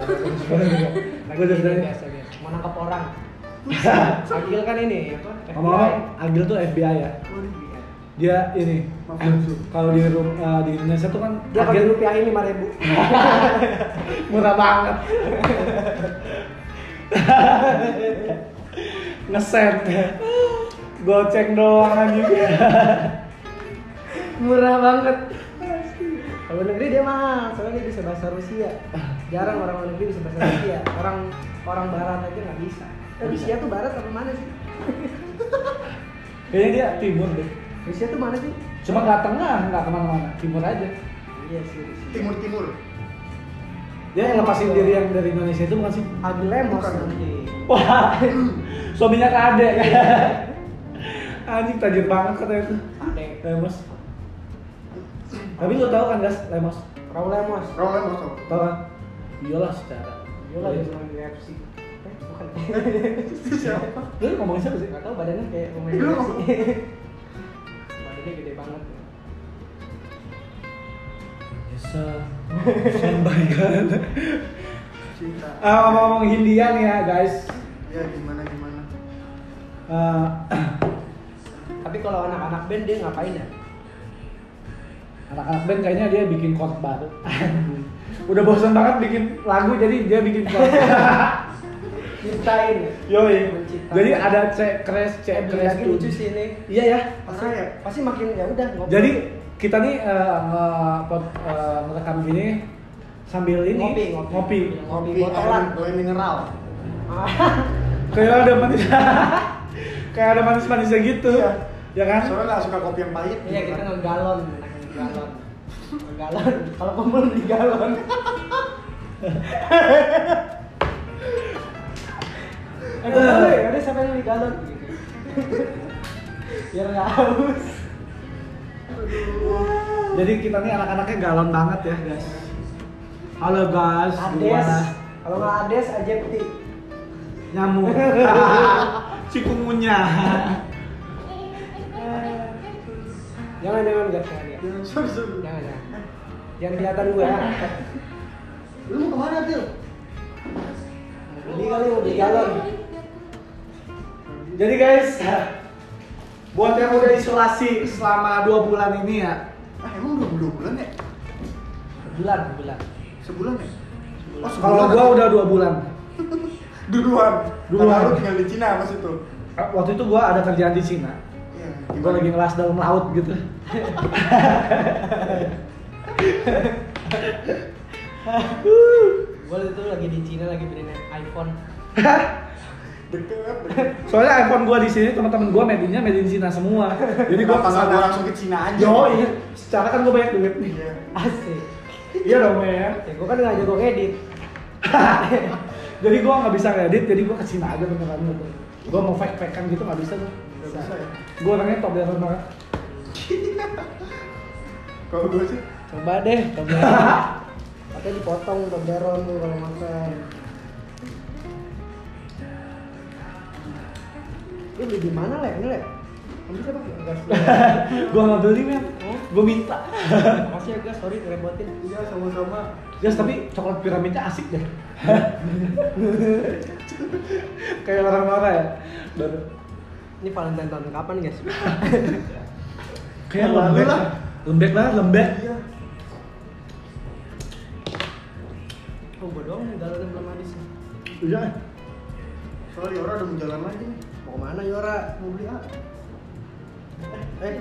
Speaker 1: Gue
Speaker 2: Lagi
Speaker 1: dari
Speaker 2: biasa biasa. Mau nangkap orang. Agil kan ini apa?
Speaker 1: Ngomong-ngomong, Agil Eh, tuh FBI ya.
Speaker 2: Oh,
Speaker 1: Dia ini
Speaker 4: Mafioso.
Speaker 1: kalau di rum- eh, di Indonesia tuh kan
Speaker 2: Dia kalau
Speaker 1: Agil
Speaker 2: dirupiahin lima ribu.
Speaker 1: murah banget ngesen goceng doang anjing
Speaker 2: Murah banget. Kalau negeri dia mahal, soalnya dia bisa bahasa Rusia. Jarang orang luar negeri bisa bahasa Rusia. Orang orang barat aja nggak bisa. Eh, Rusia tuh barat apa mana sih?
Speaker 1: kayaknya dia timur deh
Speaker 2: Rusia tuh mana sih?
Speaker 1: cuma nggak tengah nggak kemana-mana timur aja
Speaker 2: Iya sih Rusia.
Speaker 4: Timur timur.
Speaker 1: dia yang lepasin diri yang dari Indonesia itu bukan sih
Speaker 2: Agil lemos
Speaker 4: Bukan.
Speaker 2: nanti.
Speaker 1: wah suaminya kade anjing tajir banget katanya itu
Speaker 2: Ade.
Speaker 1: lemos tapi lo tau kan gas lemos
Speaker 2: Raul lemos.
Speaker 4: Rawan masuk.
Speaker 1: tau kan iyalah secara Iya.
Speaker 2: Yola dia cuma di FC. Eh, bukan.
Speaker 4: Siapa?
Speaker 1: lu ngomongin siapa sih
Speaker 2: Gak tau badannya kayak pemain
Speaker 4: Lu.
Speaker 2: FC. badannya gede banget.
Speaker 1: Bisa sampaikan.
Speaker 4: Cinta.
Speaker 1: kan. Ah, ngomong-ngomong Hindia nih ya guys.
Speaker 4: Ya gimana gimana.
Speaker 1: Eh,
Speaker 2: Tapi kalau anak-anak band dia ngapain ya?
Speaker 1: anak-anak band kayaknya dia bikin chord baru. Udah bosan banget bikin lagu jadi dia bikin chord.
Speaker 2: Ciptain ya?
Speaker 1: Yoi. Jadi ada C crash, C
Speaker 2: Eh,
Speaker 1: crash
Speaker 2: lagi
Speaker 1: tuh.
Speaker 2: lucu sih ini.
Speaker 1: Iya ya.
Speaker 4: Parah ya.
Speaker 2: Pasti makin ya udah ngobrol.
Speaker 1: Jadi kita nih eh, nge- pod- eh, ngerekam gini sambil ini
Speaker 2: ngopi, ngopi, ngopi,
Speaker 4: Kopi
Speaker 2: botolan. Ah,
Speaker 4: air, boleh mineral.
Speaker 1: Kayak ada manis. Kayak ada manis-manisnya gitu.
Speaker 4: Iya.
Speaker 1: Ya kan?
Speaker 4: Soalnya nggak suka kopi yang pahit.
Speaker 2: Iya
Speaker 4: gitu
Speaker 2: kita
Speaker 4: kan.
Speaker 2: ngegalon, ngegalon, ngegalon. Kalau kumpul di galon. Eh, kumpul ya, ada siapa yang beli galon? Gitu. Biar nggak haus.
Speaker 1: Jadi kita nih anak-anaknya galon banget ya guys. Halo guys,
Speaker 2: Ades,
Speaker 1: gimana?
Speaker 2: kalau nggak Ades aja peti.
Speaker 1: Nyamuk. Cikungunya.
Speaker 2: Jangan jangan nggak jangan ya.
Speaker 4: Ya, sorry, sorry.
Speaker 2: Jangan jangan. Jangan kelihatan gue ya.
Speaker 4: Lu mau kemana Til?
Speaker 2: Beli kali mau beli galon.
Speaker 1: Jadi guys, buat yang udah isolasi selama dua bulan ini ya,
Speaker 4: Ah emang udah dua bulan ya?
Speaker 2: Bulan bulan.
Speaker 4: Sebulan ya? Oh, sebulan
Speaker 1: kalau gua
Speaker 4: atau-
Speaker 1: udah dua bulan.
Speaker 4: duluan
Speaker 1: Duluan.
Speaker 4: karena lu tinggal di Cina pas itu
Speaker 1: Eh, Waktu itu gua ada kerjaan di Cina.
Speaker 4: iya
Speaker 1: Gua lagi ngelas dalam laut gitu.
Speaker 2: Gue itu lagi di Cina lagi beliin iPhone.
Speaker 4: deket
Speaker 1: Soalnya iPhone gua di sini teman-teman gua made in-nya made in Cina semua. Jadi
Speaker 4: jadi
Speaker 1: gua
Speaker 4: gua pasang gua
Speaker 1: kesana.
Speaker 4: langsung ke Cina aja
Speaker 1: Yo, iya. Secara kan gua banyak duit nih.
Speaker 4: Iya.
Speaker 2: Asik.
Speaker 1: Iya dong, men.
Speaker 2: Ya gue kan nggak jago edit.
Speaker 1: Jadi gua nggak bisa ngedit, jadi gua ke Cina aja beneran gitu. Gua mau fake-fakean gitu nggak bisa tuh.
Speaker 4: Nggak bisa ya
Speaker 1: Gua orangnya toleran banget.
Speaker 4: kalau gua sih
Speaker 2: Coba deh, coba. Katanya dipotong Toblerone tuh kalau makan. Ini beli di mana le? Ini le? Kamu siapa? Gas.
Speaker 1: gua nggak beli, men. Gua minta.
Speaker 2: Makasih ya gas, sorry ngerepotin.
Speaker 4: iya sama-sama
Speaker 1: Guys, tapi coklat piramidnya asik deh. Kayak orang marah ya. Baru.
Speaker 2: Ini Valentine tahun kapan guys?
Speaker 1: Kayak
Speaker 4: Oh,
Speaker 1: lembek lah.
Speaker 4: lembek lah.
Speaker 1: Lembek lah, lembek.
Speaker 4: iya
Speaker 2: Oh gue doang nih galau belum habis. ya.
Speaker 1: Iya.
Speaker 4: soalnya orang udah mau jalan lagi nih
Speaker 2: Mau kemana Yora?
Speaker 4: mau beli apa
Speaker 2: Eh.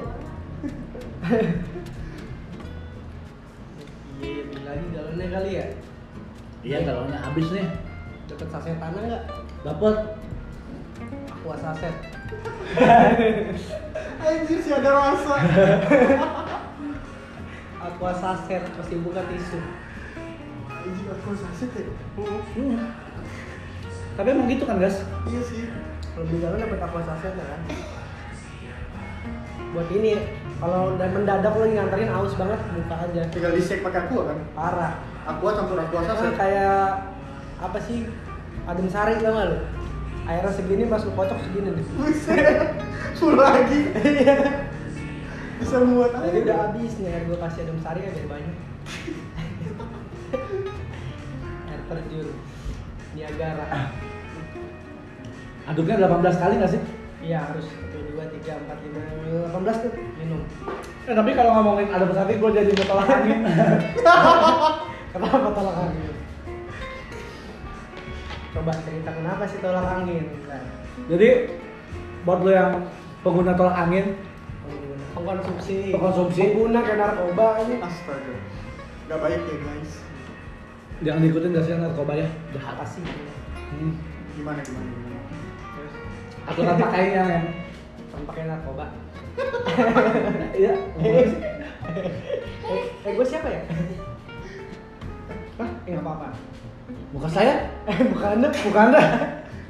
Speaker 2: Iya, beli lagi galonnya kali ya.
Speaker 10: Iya, kalau nggak habis nih.
Speaker 2: Deket saset tanah nggak?
Speaker 10: Dapat.
Speaker 2: Aqua saset.
Speaker 4: anjir sih ada rasa
Speaker 2: Aqua saset pasti buka tisu.
Speaker 4: anjir aku sakit ya
Speaker 1: Tapi emang gitu kan, guys?
Speaker 4: iya sih
Speaker 2: Kalau beli galon dapat aqua saset ya kan? Buat ini kalau udah mendadak lo nganterin aus banget buka aja.
Speaker 4: tinggal di shake pakai aqua kan
Speaker 2: Parah.
Speaker 4: aqua campur aqua
Speaker 2: Kan
Speaker 4: saset
Speaker 2: kayak apa sih? Adem sari tau nggak lo? Airnya segini pas lu kocok segini deh.
Speaker 4: buset full lagi bisa muat
Speaker 2: Tadi
Speaker 4: aja
Speaker 2: udah habis nih air gue kasih adem sari agak banyak. air terjun Niagara.
Speaker 1: Aduknya 18 kali nggak sih?
Speaker 2: Iya harus satu dua tiga empat lima delapan belas tuh minum.
Speaker 1: Eh, tapi kalau ngomongin ada pesantren, gue jadi ketolak angin.
Speaker 2: Kenapa tolak angin? Coba cerita kenapa sih tolak angin? Nah,
Speaker 1: jadi, buat lo yang pengguna tolak angin,
Speaker 2: pengguna- Pengkonsumsi.
Speaker 1: Pengkonsumsi.
Speaker 2: Pengguna kayak narkoba ini.
Speaker 4: astaga nggak baik ya guys
Speaker 1: jangan diikutin dasarnya narkoba ya. Jahat.
Speaker 2: Apa sih?
Speaker 1: Hmm.
Speaker 4: gimana gimana gimana
Speaker 2: Terus
Speaker 1: Aturan pakainya, men.
Speaker 2: tampaknya narkoba.
Speaker 1: Iya. ngomongin sih.
Speaker 2: Eh, eh gue siapa ya? Hah? Eh, Nggak apa-apa.
Speaker 1: Bukan saya,
Speaker 2: Eh bukan anda.
Speaker 1: bukan anda.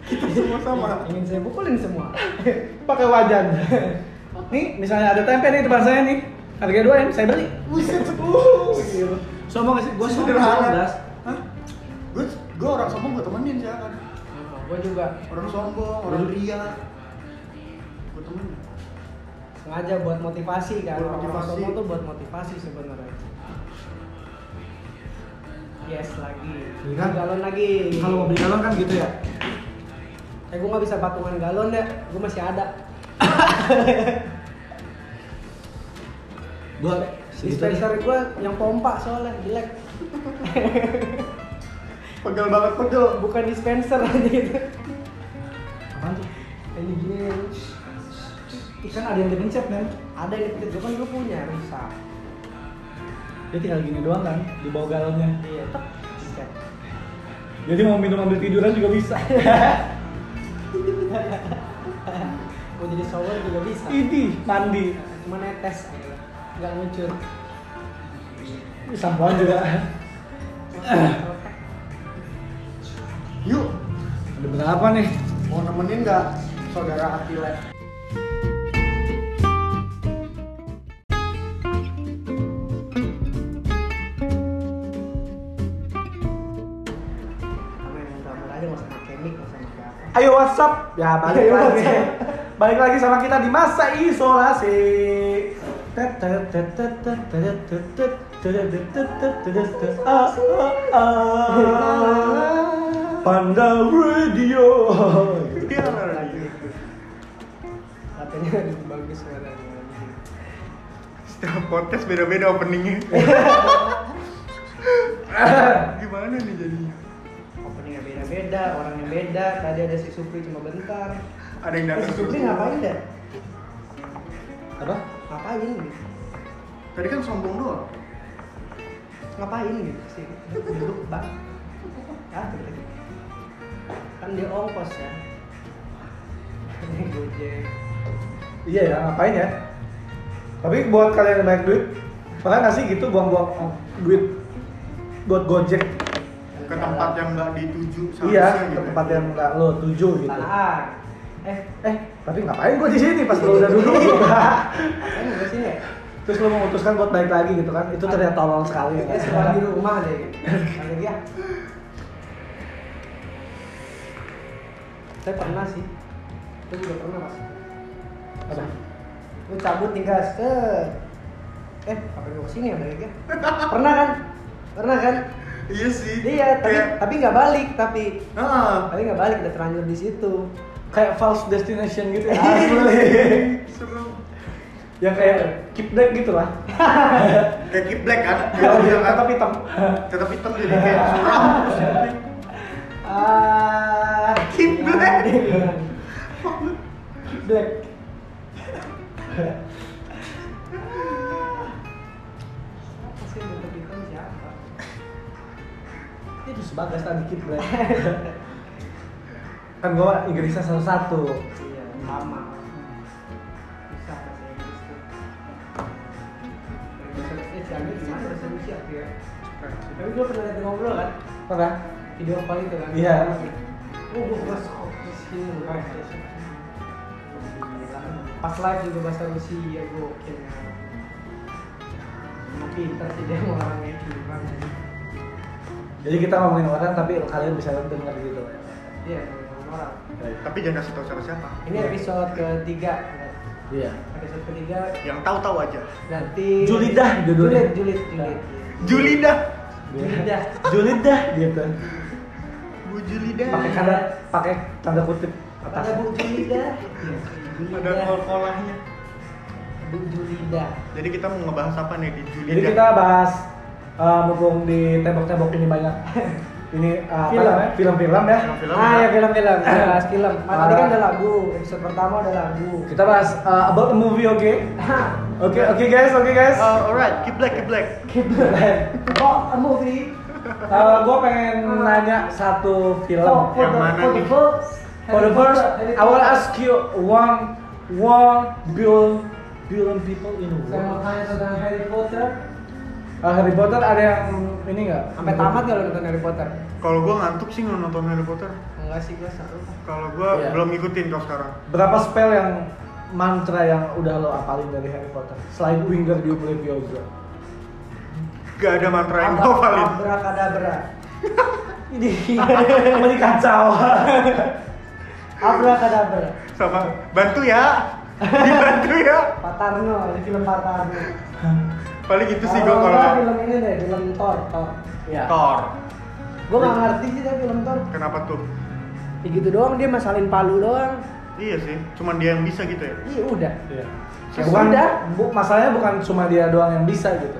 Speaker 4: kita semua sama
Speaker 2: Ingin saya pukulin semua.
Speaker 1: Pakai wajan. Nih, misalnya ada tempe nih depan saya nih. Harganya dua ya, saya beli.
Speaker 4: buset uh. sepuluh
Speaker 1: Sombong gak sih? Gue
Speaker 4: Sederhana.
Speaker 1: sombong, Das.
Speaker 4: Hah? Gue gue orang sombong gue temenin sih kan.
Speaker 2: gue juga
Speaker 4: Orang sombong, orang ria. Gue temenin.
Speaker 2: sengaja buat motivasi kan
Speaker 4: Buat
Speaker 2: orang
Speaker 4: motivasi.
Speaker 2: sombong tuh buat motivasi sebenarnya yes lagi
Speaker 1: Iya kan?
Speaker 2: galon lagi
Speaker 1: Kalau mau beli galon kan gitu ya.
Speaker 2: eh gue nggak bisa patungan galon deh gue masih ada
Speaker 1: Gue
Speaker 2: Iya, dispenser gue yang pompa soalnya jelek
Speaker 4: Pegel banget pegel.
Speaker 2: bukan dispenser aja gitu
Speaker 1: Apaan tuh?
Speaker 2: yang gini
Speaker 1: Ikan ada yang dipencet, men.
Speaker 2: ada yang dipikir gue kan gue punya rusak
Speaker 1: Dia tinggal gini doang kan, di bawah galonnya.
Speaker 2: iya tek Dicet.
Speaker 1: Jadi mau minum ambil tiduran juga bisa.
Speaker 2: mau jadi shower juga bisa
Speaker 1: Ini mandi,
Speaker 2: cuma netes aja nggak ngucur
Speaker 1: sampoan juga.
Speaker 4: Yuk,
Speaker 1: Ada berapa nih?
Speaker 4: mau nemenin nggak saudara Atila?
Speaker 2: sama yang gambar aja nggak usah pakai mic nggak usah pakai apa
Speaker 1: Ayo WhatsApp. Ya balik
Speaker 2: Ayo,
Speaker 1: lagi.
Speaker 2: WhatsApp.
Speaker 1: balik lagi sama kita di masa isolasi. Tet, tet, tet, tet, tet, tet, tet, tet, tet, tet, tet, tet, tet, tet. Ah, ah, ah. Panda Radio.
Speaker 4: Iya, lagi.
Speaker 2: katanya bagus suaranya
Speaker 4: Setiap podcast beda-beda openingnya. Gimana nih jadinya?
Speaker 2: openingnya beda beda, orangnya beda. Tadi ada si Supri cuma bentar.
Speaker 4: ada yang
Speaker 2: Eh,
Speaker 4: datang
Speaker 2: si Supri ngapain dah?
Speaker 1: Apa?
Speaker 2: Ngapain gitu?
Speaker 4: tadi kan sombong doang
Speaker 2: Ngapain gitu sih? Duduk bang. Ah, gitu. Kan dia ongkos ya. Gojek.
Speaker 1: Iya ya, ngapain ya? Tapi buat kalian yang banyak duit, pernah nggak sih gitu buang-buang duit buat gojek?
Speaker 4: ke tempat yang nggak dituju
Speaker 1: iya,
Speaker 4: seharusnya
Speaker 1: ke
Speaker 4: gitu.
Speaker 1: tempat yang nggak lo tuju gitu.
Speaker 2: Tanah. Eh,
Speaker 1: Eh, tapi ngapain gue di sini pas lo udah duduk?
Speaker 2: kan gue sini ya.
Speaker 1: Terus lo memutuskan buat naik lagi gitu kan? Itu ternyata tolol sekali.
Speaker 2: Dia
Speaker 1: Ya.
Speaker 2: sekolah di rumah deh. gitu. Kata dia. Saya pernah sih. Itu juga pernah mas.
Speaker 1: Apa?
Speaker 2: Lu cabut tinggal set. Eh, apa gue kesini ya mereka? Pernah kan? Pernah kan?
Speaker 4: iya sih
Speaker 2: Iya, tapi
Speaker 4: Kayak,
Speaker 2: tapi nggak balik, tapi
Speaker 4: ah
Speaker 2: tapi nggak balik udah terlanjur di situ.
Speaker 1: Kayak false destination gitu ya.
Speaker 4: Iya.
Speaker 1: Asli.
Speaker 4: seru
Speaker 1: yang kayak keep back gitu lah.
Speaker 4: kayak Kid black kan
Speaker 1: Kalau
Speaker 2: Iya,
Speaker 4: Dia
Speaker 1: dia
Speaker 4: bilang kan,
Speaker 1: tetap hitam.
Speaker 4: tetap hitam jadi kayak suram
Speaker 2: Ah,
Speaker 4: Kid black.
Speaker 1: Black.
Speaker 2: Apa sih yang bentuk hitam siapa?
Speaker 1: Itu sebagas tadi keep black. kan gua Inggrisnya satu-satu.
Speaker 2: Iya, sama. Bisa bahasa Inggris tuh. Bahasa eh, si Anggi gimana bahasa Rusia tuh ya? Tapi gue pernah liat dia ngobrol kan,
Speaker 1: Pernah?
Speaker 2: video call itu kan?
Speaker 1: Iya.
Speaker 2: Oh, gue bahasa Rusia. Pas live juga bahasa Rusia, gue oke. ya. Emang pinter sih dia mau orangnya gimana?
Speaker 1: Jadi kita ngomongin orang tapi kalian bisa denger gitu.
Speaker 2: Iya, ngomong orang.
Speaker 4: tapi jangan kasih tahu siapa siapa
Speaker 2: Ini episode ketiga.
Speaker 1: Iya.
Speaker 2: Episode ketiga
Speaker 4: yang tahu-tahu aja
Speaker 2: Nanti
Speaker 1: Julidah judulnya.
Speaker 2: Julid, Julid, Julid.
Speaker 4: Julida
Speaker 2: Julidah.
Speaker 1: Julid dah gitu.
Speaker 4: Bu Julida
Speaker 1: Pakai kan. tanda pakai tanda kutip
Speaker 2: Ada
Speaker 1: atas.
Speaker 2: Bu Julidah.
Speaker 4: ada kol-kolahnya
Speaker 2: Bu Julidah.
Speaker 4: jadi kita mau ngebahas apa nih di Julida
Speaker 1: Jadi
Speaker 2: Iya.
Speaker 1: kita bahas eh, mumpung di tembok-tembok ini banyak ini eh, apa
Speaker 2: Film.
Speaker 1: namanya? film-film ya.
Speaker 4: Film-film.
Speaker 2: Ah ya film-film, Kita bahas film. Ah, Tadi kan
Speaker 1: Ah.
Speaker 2: ada lagu, episode pertama ada lagu.
Speaker 1: Kita bahas eh, about a movie oke.
Speaker 2: Hah,
Speaker 1: Oke
Speaker 2: Iya.
Speaker 1: oke guys, oke guys.
Speaker 2: Oh.
Speaker 4: Uh, alright keep black keep black
Speaker 2: Kok a movie?
Speaker 1: Eh, gua pengen nanya satu film.
Speaker 2: Oh, for
Speaker 4: Yang
Speaker 2: the,
Speaker 4: mana
Speaker 2: for the
Speaker 4: nih?
Speaker 2: first.
Speaker 1: For the first, I will ask you one one billion billion people in the
Speaker 2: Saya mau
Speaker 1: world.
Speaker 2: tanya tentang Harry Potter.
Speaker 1: Eh, Harry Potter ada yang ini nggak?
Speaker 2: Sampai tamat nggak lo nonton Harry Potter?
Speaker 4: kalau gua ngantuk sih nonton Harry Potter
Speaker 2: Enggak sih, gue seru.
Speaker 4: kalau gua
Speaker 1: Iya.
Speaker 4: belum ngikutin kalau sekarang
Speaker 1: Berapa spell yang mantra yang udah lo apalin dari Harry Potter? Selain Winger Dium Leviosa.
Speaker 4: gak ada mantra yang gua paling
Speaker 2: Abrakadabra.
Speaker 1: Apa ini kacau?
Speaker 2: Abrakadabra.
Speaker 4: sama bantu ya dibantu ya
Speaker 2: Pak Tarno, ini film Pak Tarno.
Speaker 4: paling itu sih gua
Speaker 2: Kalau
Speaker 4: kalau ya?
Speaker 2: enggak film ini deh, film Thor, Thor.
Speaker 1: Ya.
Speaker 4: Thor
Speaker 2: Gue gak Iya. ngerti sih tapi film Thor.
Speaker 4: kenapa tuh
Speaker 2: Ya gitu doang dia masalin palu doang.
Speaker 4: iya sih cuman dia yang bisa gitu ya
Speaker 2: Iya udah.
Speaker 1: Iya.
Speaker 2: Ya
Speaker 1: bukan,
Speaker 2: sudah.
Speaker 1: bu, masalahnya bukan cuma dia doang yang bisa gitu.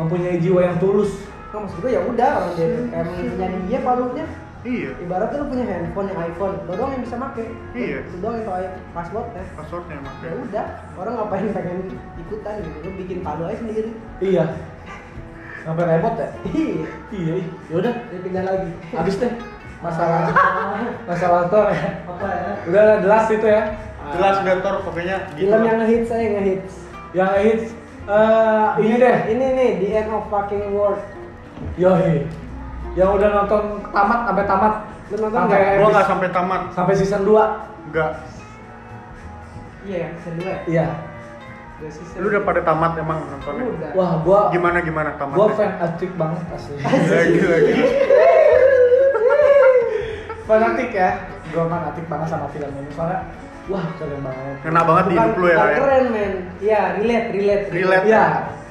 Speaker 1: Mempunyai jiwa yang tulus.
Speaker 2: Nggak, maksud gue ya udah orang dia emang punya dia palunya.
Speaker 4: iya
Speaker 2: Ibaratnya lu punya handphone yang iPhone, lu doang yang bisa make.
Speaker 4: Iya.
Speaker 2: Lu doang yang tau passwordnya.
Speaker 4: passwordnya yang pakai
Speaker 2: Ya udah, orang ngapain pengen ikutan gitu, lu bikin palu aja sendiri.
Speaker 1: Iya. Sampai repot ya?
Speaker 2: Iya,
Speaker 1: Iya. Yaudah,
Speaker 2: dia pindah lagi.
Speaker 1: habis deh masalah masalah Thor ya.
Speaker 2: Apa ya?
Speaker 1: Udah jelas itu ya.
Speaker 4: jelas udah Thor pokoknya gitu
Speaker 2: Film yang ngehits saya ngehits.
Speaker 1: Yang hits eh ini deh.
Speaker 2: Ini nih, The End of Fucking World.
Speaker 1: Yoi. Yang udah nonton tamat sampai tamat.
Speaker 2: Lu nonton
Speaker 1: sampai
Speaker 2: nggak?
Speaker 4: gua
Speaker 1: habis-
Speaker 4: nggak sampai tamat
Speaker 1: sampai season 2.
Speaker 4: nggak
Speaker 2: Iya, season dua ya?
Speaker 1: Iya.
Speaker 2: Udah season
Speaker 4: lu udah pada ya? tamat emang
Speaker 2: Lu
Speaker 4: nontonnya
Speaker 2: udah.
Speaker 1: Wah, gua
Speaker 4: gimana gimana tamatnya
Speaker 1: gua fan fanatik banget asli.
Speaker 4: lagi lagi
Speaker 1: fanatik ya. Gua fanatik banget sama film ini soalnya wah keren banget.
Speaker 4: kena banget di
Speaker 2: Bukan-
Speaker 4: hidup lu ya
Speaker 2: bukan
Speaker 4: Ryan.
Speaker 2: Keren, men. Iya, relate, relate.
Speaker 4: Relate.
Speaker 1: Iya.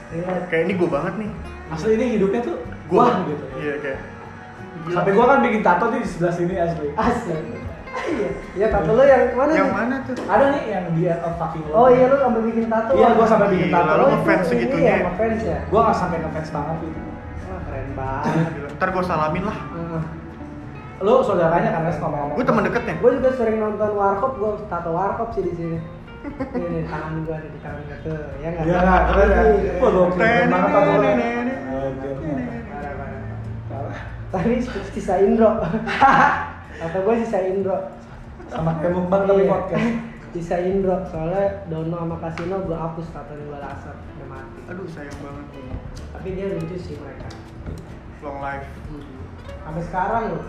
Speaker 2: Relate.
Speaker 4: kayak ini gua banget nih
Speaker 1: Asli ini hidupnya tuh
Speaker 4: gua
Speaker 1: wah gitu.
Speaker 4: iya kayak
Speaker 1: Sampai gua kan bikin tato nih di sebelah sini asli.
Speaker 2: Asli. Iya, iya tato lu yang mana?
Speaker 4: yang
Speaker 2: nih?
Speaker 4: mana tuh
Speaker 1: Ada nih yang di End of Fucking Love.
Speaker 2: Oh iya, lu sampai bikin tato.
Speaker 1: Iya, gua sampai bikin Iya,
Speaker 4: Gila,
Speaker 1: tato.
Speaker 4: lu
Speaker 2: Oh, itu
Speaker 4: ngefans
Speaker 2: ini
Speaker 4: segitunya.
Speaker 2: Ya, ngefans ya.
Speaker 1: Gua nggak sampai ngefans banget gitu.
Speaker 2: Wah, keren banget.
Speaker 4: Gila, ntar gua salamin lah
Speaker 2: Ah,
Speaker 1: Lu saudaranya kan Resto kan?
Speaker 4: Gue teman deketnya.
Speaker 2: Gue juga sering nonton warkop, gue tato warkop sih di sini. Ini nih, tangan gue di tangan gue tuh, ya nggak?
Speaker 1: Iya nggak keren ya. Wah gokil keren banget tato lu. ya.
Speaker 4: Nenek.
Speaker 2: Parah, parah. Tapi sisa Indro. Atau gue sisa Indro.
Speaker 1: Sama kayak mukbang tapi
Speaker 2: Iya.
Speaker 1: podcast.
Speaker 2: Sisa Indro, soalnya Dono sama Kasino gue hapus tato gue laser, udah mati.
Speaker 4: Aduh sayang banget.
Speaker 2: Tapi dia lucu sih mereka.
Speaker 4: Long life.
Speaker 2: Hmm. Sampai sekarang loh,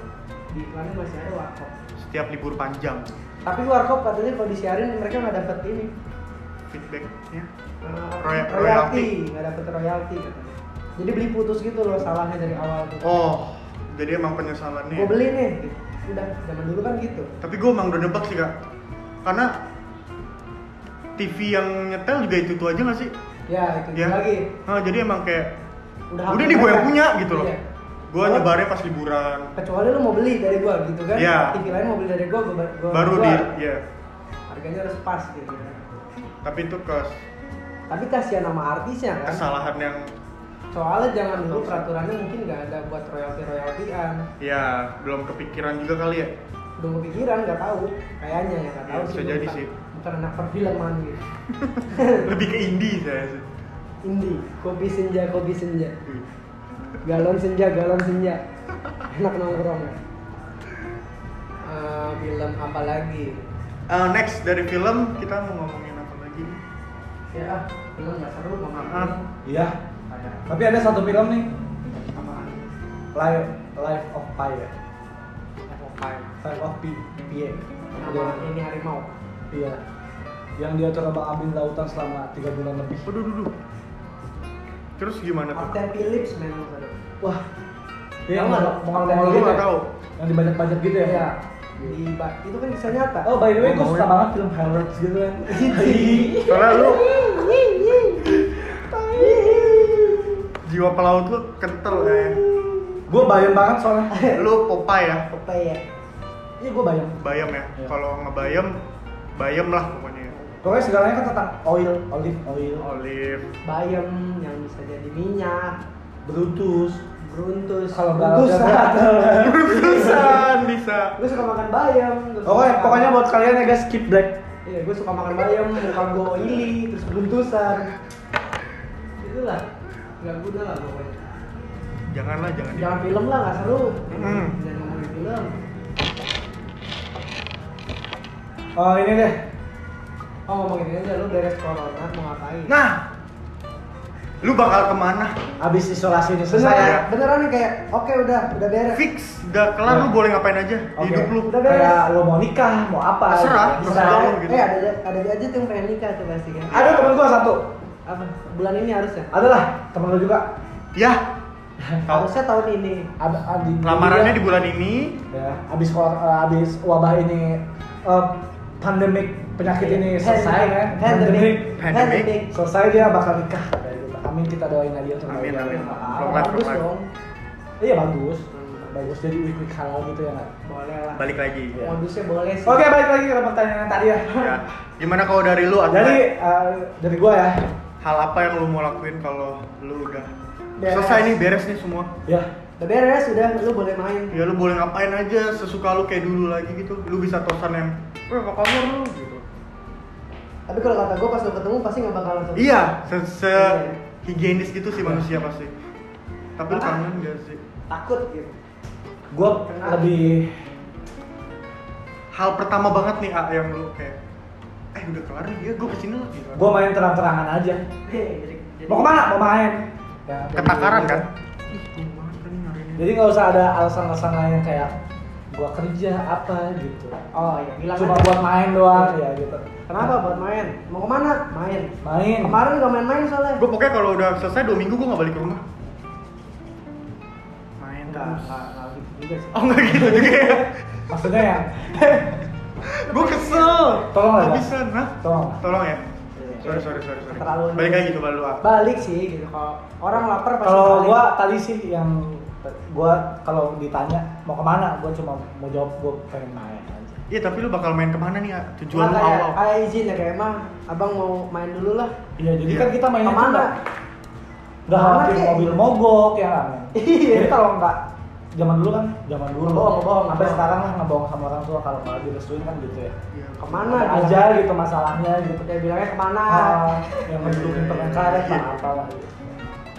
Speaker 2: di iklannya masih ada warkop.
Speaker 4: Setiap libur panjang.
Speaker 2: Tapi warkop katanya kalau disiarin mereka nggak dapet ini.
Speaker 4: Feedbacknya.
Speaker 2: eh,
Speaker 4: Roy- royalti.
Speaker 2: royalti, nggak dapet royalti katanya. Jadi beli putus gitu loh salahnya dari awal tuh.
Speaker 4: Oh. iya. Jadi emang penyesalannya.
Speaker 2: Gue beli nih, udah zaman dulu kan gitu.
Speaker 4: Tapi gue emang udah nebak sih kak. Karena TV yang nyetel juga itu tuh aja gak sih?
Speaker 2: Ya itu
Speaker 4: Ya.
Speaker 2: lagi.
Speaker 4: Nah, jadi emang kayak
Speaker 2: hak
Speaker 4: udah nih gue yang
Speaker 2: mereka.
Speaker 4: punya gitu loh.
Speaker 2: Iya.
Speaker 4: Gue
Speaker 2: Kalau-
Speaker 4: nyebarnya pas liburan.
Speaker 2: Kecuali lu mau beli dari gue gitu kan.
Speaker 4: Iya.
Speaker 2: TV lain mau beli dari gue, gue
Speaker 4: Baru di ya.
Speaker 2: harganya harus pas gitu.
Speaker 4: Tapi itu ke
Speaker 2: Tapi kasihan sama artisnya kan.
Speaker 4: kesalahan yang
Speaker 2: Soalnya jangan dulu peraturannya mungkin nggak ada buat royalti royaltian.
Speaker 4: ya belum kepikiran juga kali ya.
Speaker 2: Belum kepikiran nggak tahu. Kayaknya ya nggak
Speaker 4: Iya,
Speaker 2: tahu.
Speaker 4: bisa
Speaker 2: gua
Speaker 4: jadi
Speaker 2: bukan-
Speaker 4: sih.
Speaker 2: Bukan anak perfilman gitu.
Speaker 4: Lebih ke indie saya sih.
Speaker 2: Indi, kopi senja, kopi senja. galon senja galon senja enak nongkrong Eh, film apa lagi
Speaker 4: Eh, next dari film kita mau ngomongin apa lagi? nih?
Speaker 2: ya ah, film nggak seru mau
Speaker 4: Ah.
Speaker 2: ngapain
Speaker 1: Iya.
Speaker 2: ada
Speaker 1: Tapi ada satu film nih,
Speaker 2: apaan
Speaker 1: Life, Life of Pi ya.
Speaker 2: Apaan?
Speaker 1: Life of Pi, Pi.
Speaker 2: Sama ini harimau
Speaker 1: Iya. Yang dia coba ambil lautan selama 3 bulan lebih.
Speaker 4: Waduh, duh, duh. Terus gimana tuh?
Speaker 2: Martin Phillips memang seru
Speaker 1: Wah.
Speaker 2: Tahu
Speaker 1: Dia yang
Speaker 2: nggak?
Speaker 1: mongol-mongol
Speaker 4: Gue
Speaker 1: gitu. ya?
Speaker 4: nggak tahu.
Speaker 1: Yang dibajak-bajak gitu ya.
Speaker 2: Iya. di ba- itu kan bisa nyata
Speaker 1: Oh by the way, gue
Speaker 4: Ngomongin.
Speaker 1: suka banget film Harrods gitu kan.
Speaker 2: Iya.
Speaker 4: Soalnya lu jiwa pelaut lu kental kayak.
Speaker 1: gue bayang banget soalnya.
Speaker 4: Lu Popeye ya,
Speaker 2: apa ya
Speaker 1: Iya gue bayang.
Speaker 4: bayam ya.
Speaker 1: Iya.
Speaker 4: Kalau ngebayam, bayam lah pokoknya. ya.
Speaker 1: Pokoknya segalanya kan tentang oil, olive oil,
Speaker 4: Olive,
Speaker 2: bayam yang bisa jadi minyak
Speaker 1: brutus.
Speaker 2: gruntus
Speaker 1: Kalau nggak
Speaker 2: Gruntus.
Speaker 1: ada-
Speaker 4: perusahaan bisa.
Speaker 2: gue suka makan bayam terus
Speaker 1: Pokoknya,
Speaker 2: makan-
Speaker 1: pokoknya buat kalian ya guys, skip black.
Speaker 2: Iya, gue suka makan bayam, muka gue oily, terus buntusan. Itulah, nggak guna lah pokoknya.
Speaker 4: Janganlah, jangan. di-
Speaker 2: Jangan film lah, nggak seru.
Speaker 4: Hmm.
Speaker 2: Jangan ngomongin film.
Speaker 1: Oh ini deh,
Speaker 2: Oh ngomongin ini aja, lu beres corona mau ngapain?
Speaker 4: Nah, lu bakal kemana?
Speaker 1: abis isolasi ini
Speaker 2: beneran,
Speaker 1: selesai ya.
Speaker 2: beneran nih kayak, oke udah, udah beres.
Speaker 4: Fix, udah kelar lu boleh ngapain aja di
Speaker 1: Oke.
Speaker 4: hidup lu.
Speaker 2: Udah beres.
Speaker 1: Kayak lo mau nikah, mau apa?
Speaker 4: Terserah,
Speaker 1: gitu. Bisa.
Speaker 4: terserah lo. gitu.
Speaker 2: Eh ada ada aja tuh yang pengen nikah tuh pasti kan.
Speaker 1: Ada temen gue satu,
Speaker 2: Apa? Bulan ini ya? harusnya.
Speaker 1: adalah temen lo juga.
Speaker 4: Ya, Tahu.
Speaker 2: Harusnya tahun ini.
Speaker 1: Ada, ada, di-
Speaker 4: lamarannya di
Speaker 1: dia-
Speaker 4: bulan ini.
Speaker 1: Ya, abis kor- eh, abis wabah ini eh, pandemik penyakit ini
Speaker 2: Iya.
Speaker 1: selesai kan?
Speaker 2: Pandemic.
Speaker 4: Pandemic.
Speaker 2: Pandemic.
Speaker 1: Selesai dia bakal nikah. Kayak gitu. Amin kita doain aja terbaik.
Speaker 4: Amin, amin. Long life,
Speaker 2: Bagus
Speaker 4: long life.
Speaker 2: dong.
Speaker 1: Iya bagus, bagus jadi week week halal gitu ya. nggak?
Speaker 2: Boleh lah.
Speaker 4: Balik lagi.
Speaker 1: Iya.
Speaker 2: Modusnya boleh sih.
Speaker 1: Oke balik lagi ke pertanyaan tadi ya.
Speaker 4: Ya. Gimana kalau dari lu? Adnan?
Speaker 1: Jadi eh, dari gua ya,
Speaker 4: hal apa yang lu mau lakuin kalau lu udah
Speaker 2: Beres.
Speaker 4: selesai nih beres nih semua?
Speaker 1: ya
Speaker 2: Udah beres, udah lu boleh main.
Speaker 4: Ya lu boleh ngapain aja sesuka lu kayak dulu lagi gitu. Lu bisa tosan yang, "Eh, apa kabar lu?" gitu.
Speaker 2: Tapi kalau kata gue pas lo ketemu pasti nggak bakal langsung.
Speaker 4: Iya, se, se
Speaker 2: Iya.
Speaker 4: higienis gitu sih manusia pasti. Tapi lu kangen gak sih?
Speaker 2: Takut gitu.
Speaker 1: gua
Speaker 2: Kenapa?
Speaker 1: lebih
Speaker 4: Hal pertama banget nih A yang lu kayak eh udah kelar nih ya gue kesini lagi gitu.
Speaker 1: gua main terang-terangan aja.
Speaker 2: Jadi, jadi-
Speaker 1: Mau kemana? Mau main. Ya, jadi-
Speaker 4: ketakaran kan? Ih, gimana nih nyari ini?
Speaker 1: Jadi nggak usah ada alasan-alasan lain yang kayak gua kerja apa gitu.
Speaker 2: Oh iya, bilang
Speaker 1: Cuma
Speaker 2: aja.
Speaker 1: buat main doang ya gitu.
Speaker 2: Iya, Kenapa buat main? Mau kemana? Main.
Speaker 1: Main.
Speaker 2: Kemarin gak main-main soalnya.
Speaker 4: Gue pokoknya kalau udah selesai dua minggu gue gak balik ke rumah. Main
Speaker 2: Enggak,
Speaker 4: terus.
Speaker 2: enggak, enggak gitu juga sih.
Speaker 4: Oh nggak gitu juga ya?
Speaker 1: Maksudnya ya,
Speaker 4: Gue kesel.
Speaker 1: Tolong ya, Bang.
Speaker 4: Habisan, hah?
Speaker 1: tolong.
Speaker 4: Tolong ya. Sorry sorry sorry sorry.
Speaker 2: Terlalu
Speaker 4: Balik lagi coba lu A.
Speaker 2: Balik sih gitu. Kalau orang lapar pasti
Speaker 1: Kalau
Speaker 2: balik.
Speaker 1: gua tadi sih yang gua kalau ditanya mau kemana, gua cuma mau jawab gua pengen main aja.
Speaker 4: Iya tapi lu bakal main kemana nih A? Tujuan
Speaker 2: Nggak,
Speaker 4: lu
Speaker 2: kayak,
Speaker 4: awal.
Speaker 2: kayak izin ya kayak emang abang mau main dulu lah.
Speaker 1: Iya, jadi
Speaker 4: Iya.
Speaker 1: kan kita mainnya
Speaker 2: Kemana?
Speaker 1: tuh nggak- nggak
Speaker 2: Kemana,
Speaker 1: hampir
Speaker 2: Ki?
Speaker 1: mobil mogok ya kan.
Speaker 2: Iya.
Speaker 1: Jadi kalau nggak zaman dulu kan zaman dulu
Speaker 2: Ngebohong, ngebohong.
Speaker 1: sampai sekarang lah ngebohong sama orang tua kalau kalau direstuin kan gitu ya
Speaker 4: Iya.
Speaker 2: Kemana?
Speaker 1: aja gitu masalahnya gitu
Speaker 2: Dia bilangnya kemana?
Speaker 1: Ah, yang mendukung pertengkaran pak apa lah gitu.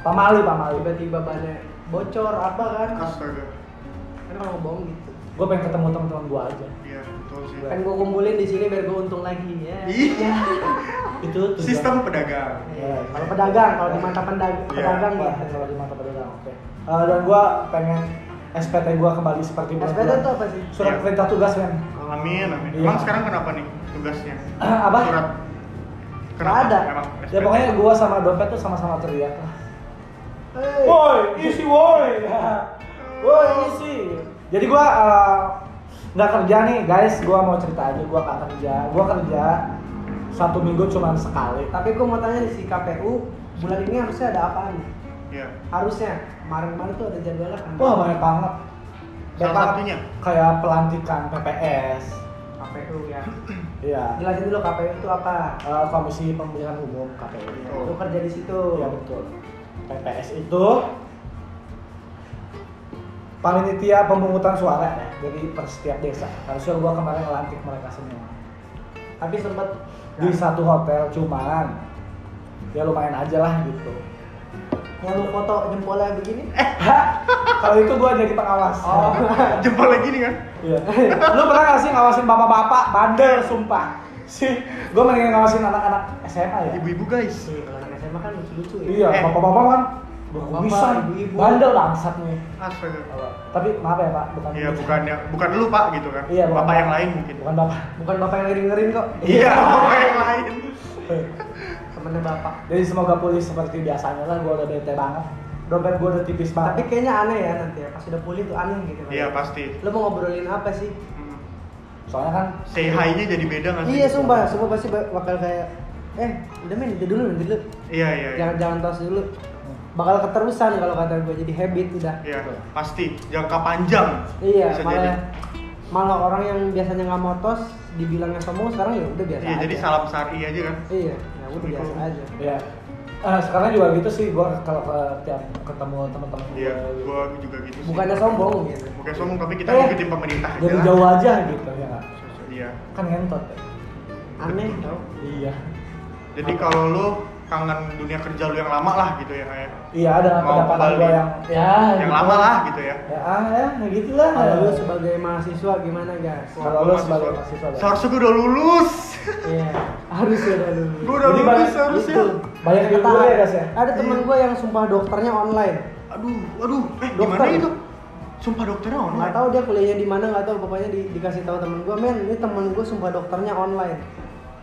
Speaker 1: pamali pamali
Speaker 2: Tiba-tiba bannya bocor apa kan?
Speaker 4: Astaga.
Speaker 2: Kan kalau bohong gitu.
Speaker 1: gue pengen ketemu teman-teman gue aja
Speaker 4: Iya, betul sih. Iya.
Speaker 2: Kan gue kumpulin di sini biar gue untung lagi ya.
Speaker 4: Ih,
Speaker 1: itu tujuan.
Speaker 4: sistem pedagang.
Speaker 2: Iya. Kalau pedagang, kalau di mata pendag-
Speaker 4: Iya.
Speaker 2: pedagang ya.
Speaker 1: Wah, kalau di mata pedagang oke Eh, dan gue pengen SPT gue kembali seperti bulan
Speaker 2: SPT itu apa sih?
Speaker 1: surat
Speaker 4: Iya.
Speaker 1: perintah tugas men
Speaker 4: Amin, amin.
Speaker 1: Iya.
Speaker 4: Emang sekarang kenapa nih tugasnya?
Speaker 1: apa
Speaker 4: Surat.
Speaker 2: Nggak ada.
Speaker 4: Emang
Speaker 1: ya
Speaker 4: SPT?
Speaker 1: pokoknya gue sama dompet tuh sama-sama teriak lah
Speaker 2: Hei.
Speaker 4: Oh.
Speaker 1: Woi, isi woi. Woi, isi. Jadi gua eh, nggak kerja nih, guys. Gua mau cerita aja gua nggak kerja. Gua kerja satu minggu cuman sekali.
Speaker 2: Tapi gue mau tanya nih, si KPU bulan ini harusnya ada apaan? nih?
Speaker 4: Iya.
Speaker 2: Harusnya kemarin-kemarin tuh ada jadwalnya kan?
Speaker 1: Wah, banyak banget.
Speaker 4: Salah
Speaker 1: Kayak-
Speaker 4: satunya?
Speaker 1: kayak pelantikan PPS.
Speaker 2: KPU ya.
Speaker 1: Iya.
Speaker 2: Jelasin dulu KPU itu apa?
Speaker 1: Eh, Komisi Pemilihan Umum KPU.
Speaker 2: Lu
Speaker 4: Oh.
Speaker 2: kerja di situ.
Speaker 1: Iya betul. PPS itu panitia pemungutan suara ya. Jadi per setiap desa. Harusnya gua kemarin ngelantik mereka semua.
Speaker 2: Tapi sempet
Speaker 1: di
Speaker 2: Nah.
Speaker 1: satu hotel cuman ya lumayan aja lah gitu
Speaker 2: yang lu foto jempolnya begini.
Speaker 4: Eh.
Speaker 1: kalau itu gua jadi pengawas
Speaker 2: Oh.
Speaker 4: Jempol lagi nih kan?
Speaker 1: Iya. lu pernah gak sih ngawasin bapak-bapak bandel sumpah sih gua mendingan ngawasin anak-anak SMA ya
Speaker 4: Ibu-ibu guys.
Speaker 2: Iya, kalau anak SMA kan lucu-lucu ya.
Speaker 1: iya
Speaker 4: Eh.
Speaker 1: bapak-bapak kan
Speaker 2: Bapak-bapak,
Speaker 1: bisa
Speaker 2: ibu-ibu.
Speaker 1: bandel bangsat nih
Speaker 4: Astaga.
Speaker 1: tapi maaf ya pak bukan
Speaker 4: Iya, bukannya bukan lu Pak gitu kan.
Speaker 1: Iya, bukan
Speaker 4: Bapak
Speaker 1: Pak.
Speaker 4: yang lain mungkin.
Speaker 1: bukan bapak
Speaker 2: Bukan bapak yang ngerin-ngerin kok.
Speaker 4: Iya, bapak yang lain.
Speaker 2: Temennya bapak.
Speaker 1: jadi semoga pulih seperti biasanya lah gua udah bete banget dompet gua udah tipis banget
Speaker 2: Tapi kayaknya aneh ya nanti ya. Pas udah pulih tuh aneh gitu. kan.
Speaker 4: Iya, pasti.
Speaker 2: Lu mau ngobrolin apa sih?
Speaker 4: Hmm.
Speaker 1: soalnya kan
Speaker 4: Say hi-nya jadi beda nggak sih?
Speaker 2: Iya sumpah, sumpah pasti ba- bakal kayak eh udah main itu dulu, nanti dulu.
Speaker 4: Iya, iya. iya.
Speaker 2: Jangan jangan tos dulu. Bakal keterusan kalau kata gue jadi habit udah.
Speaker 4: Iya, pasti jangka panjang.
Speaker 2: Iya,
Speaker 4: Bisa
Speaker 2: malah
Speaker 4: jadi.
Speaker 2: malah orang yang biasanya nggak mau tos dibilangnya sombong sekarang ya udah biasa
Speaker 4: Iya,
Speaker 2: aja.
Speaker 4: jadi salam sari aja kan.
Speaker 2: Iya, ya udah biasa aja.
Speaker 1: ya Eh, sekarang juga gitu sih gua kalau ke- tiap ketemu teman-teman gua
Speaker 4: Iya,
Speaker 1: gitu.
Speaker 4: gua juga gitu sih.
Speaker 2: Bukannya sombong gitu.
Speaker 4: Bukan sombong, tapi kita
Speaker 1: Eh,
Speaker 4: ngikutin pemerintah aja
Speaker 1: dari
Speaker 4: lah.
Speaker 1: jauh aja gitu ya nggak?
Speaker 4: Iya.
Speaker 1: kan ngentot ya.
Speaker 2: Aneh.
Speaker 4: Betul.
Speaker 1: iya
Speaker 4: Jadi kalau lu kangen dunia kerja lu yang lama lah gitu ya kayak
Speaker 1: iya ada
Speaker 4: Mau
Speaker 1: pendapatan
Speaker 4: kembali.
Speaker 1: gua yang ya
Speaker 4: yang
Speaker 1: gitu.
Speaker 4: lama lah gitu ya.
Speaker 1: ya ah ya gitu
Speaker 4: Iya.
Speaker 1: lah
Speaker 2: Kalau lu sebagai mahasiswa gimana guys?
Speaker 1: Kalau
Speaker 4: Wah,
Speaker 1: lu
Speaker 4: gua
Speaker 1: sebagai mahasiswa ya.
Speaker 4: seharusnya gua udah lulus.
Speaker 2: Iya, harus ya dulu.
Speaker 4: Gua udah
Speaker 1: Jadi
Speaker 4: lulus
Speaker 1: banyak-
Speaker 4: seharusnya.
Speaker 1: gitu. banyak yang
Speaker 2: Kata-
Speaker 1: gue ya guys ya
Speaker 2: Ada teman gue yang sumpah dokternya online.
Speaker 4: Aduh, aduh, eh
Speaker 2: Dokter. ya?
Speaker 4: gimana itu? Sumpah dokternya
Speaker 2: nggak
Speaker 4: online.
Speaker 2: tahu dia kuliahnya di mana nggak tahu pokoknya di- dikasih tahu temen gue men ini temen gue sumpah dokternya online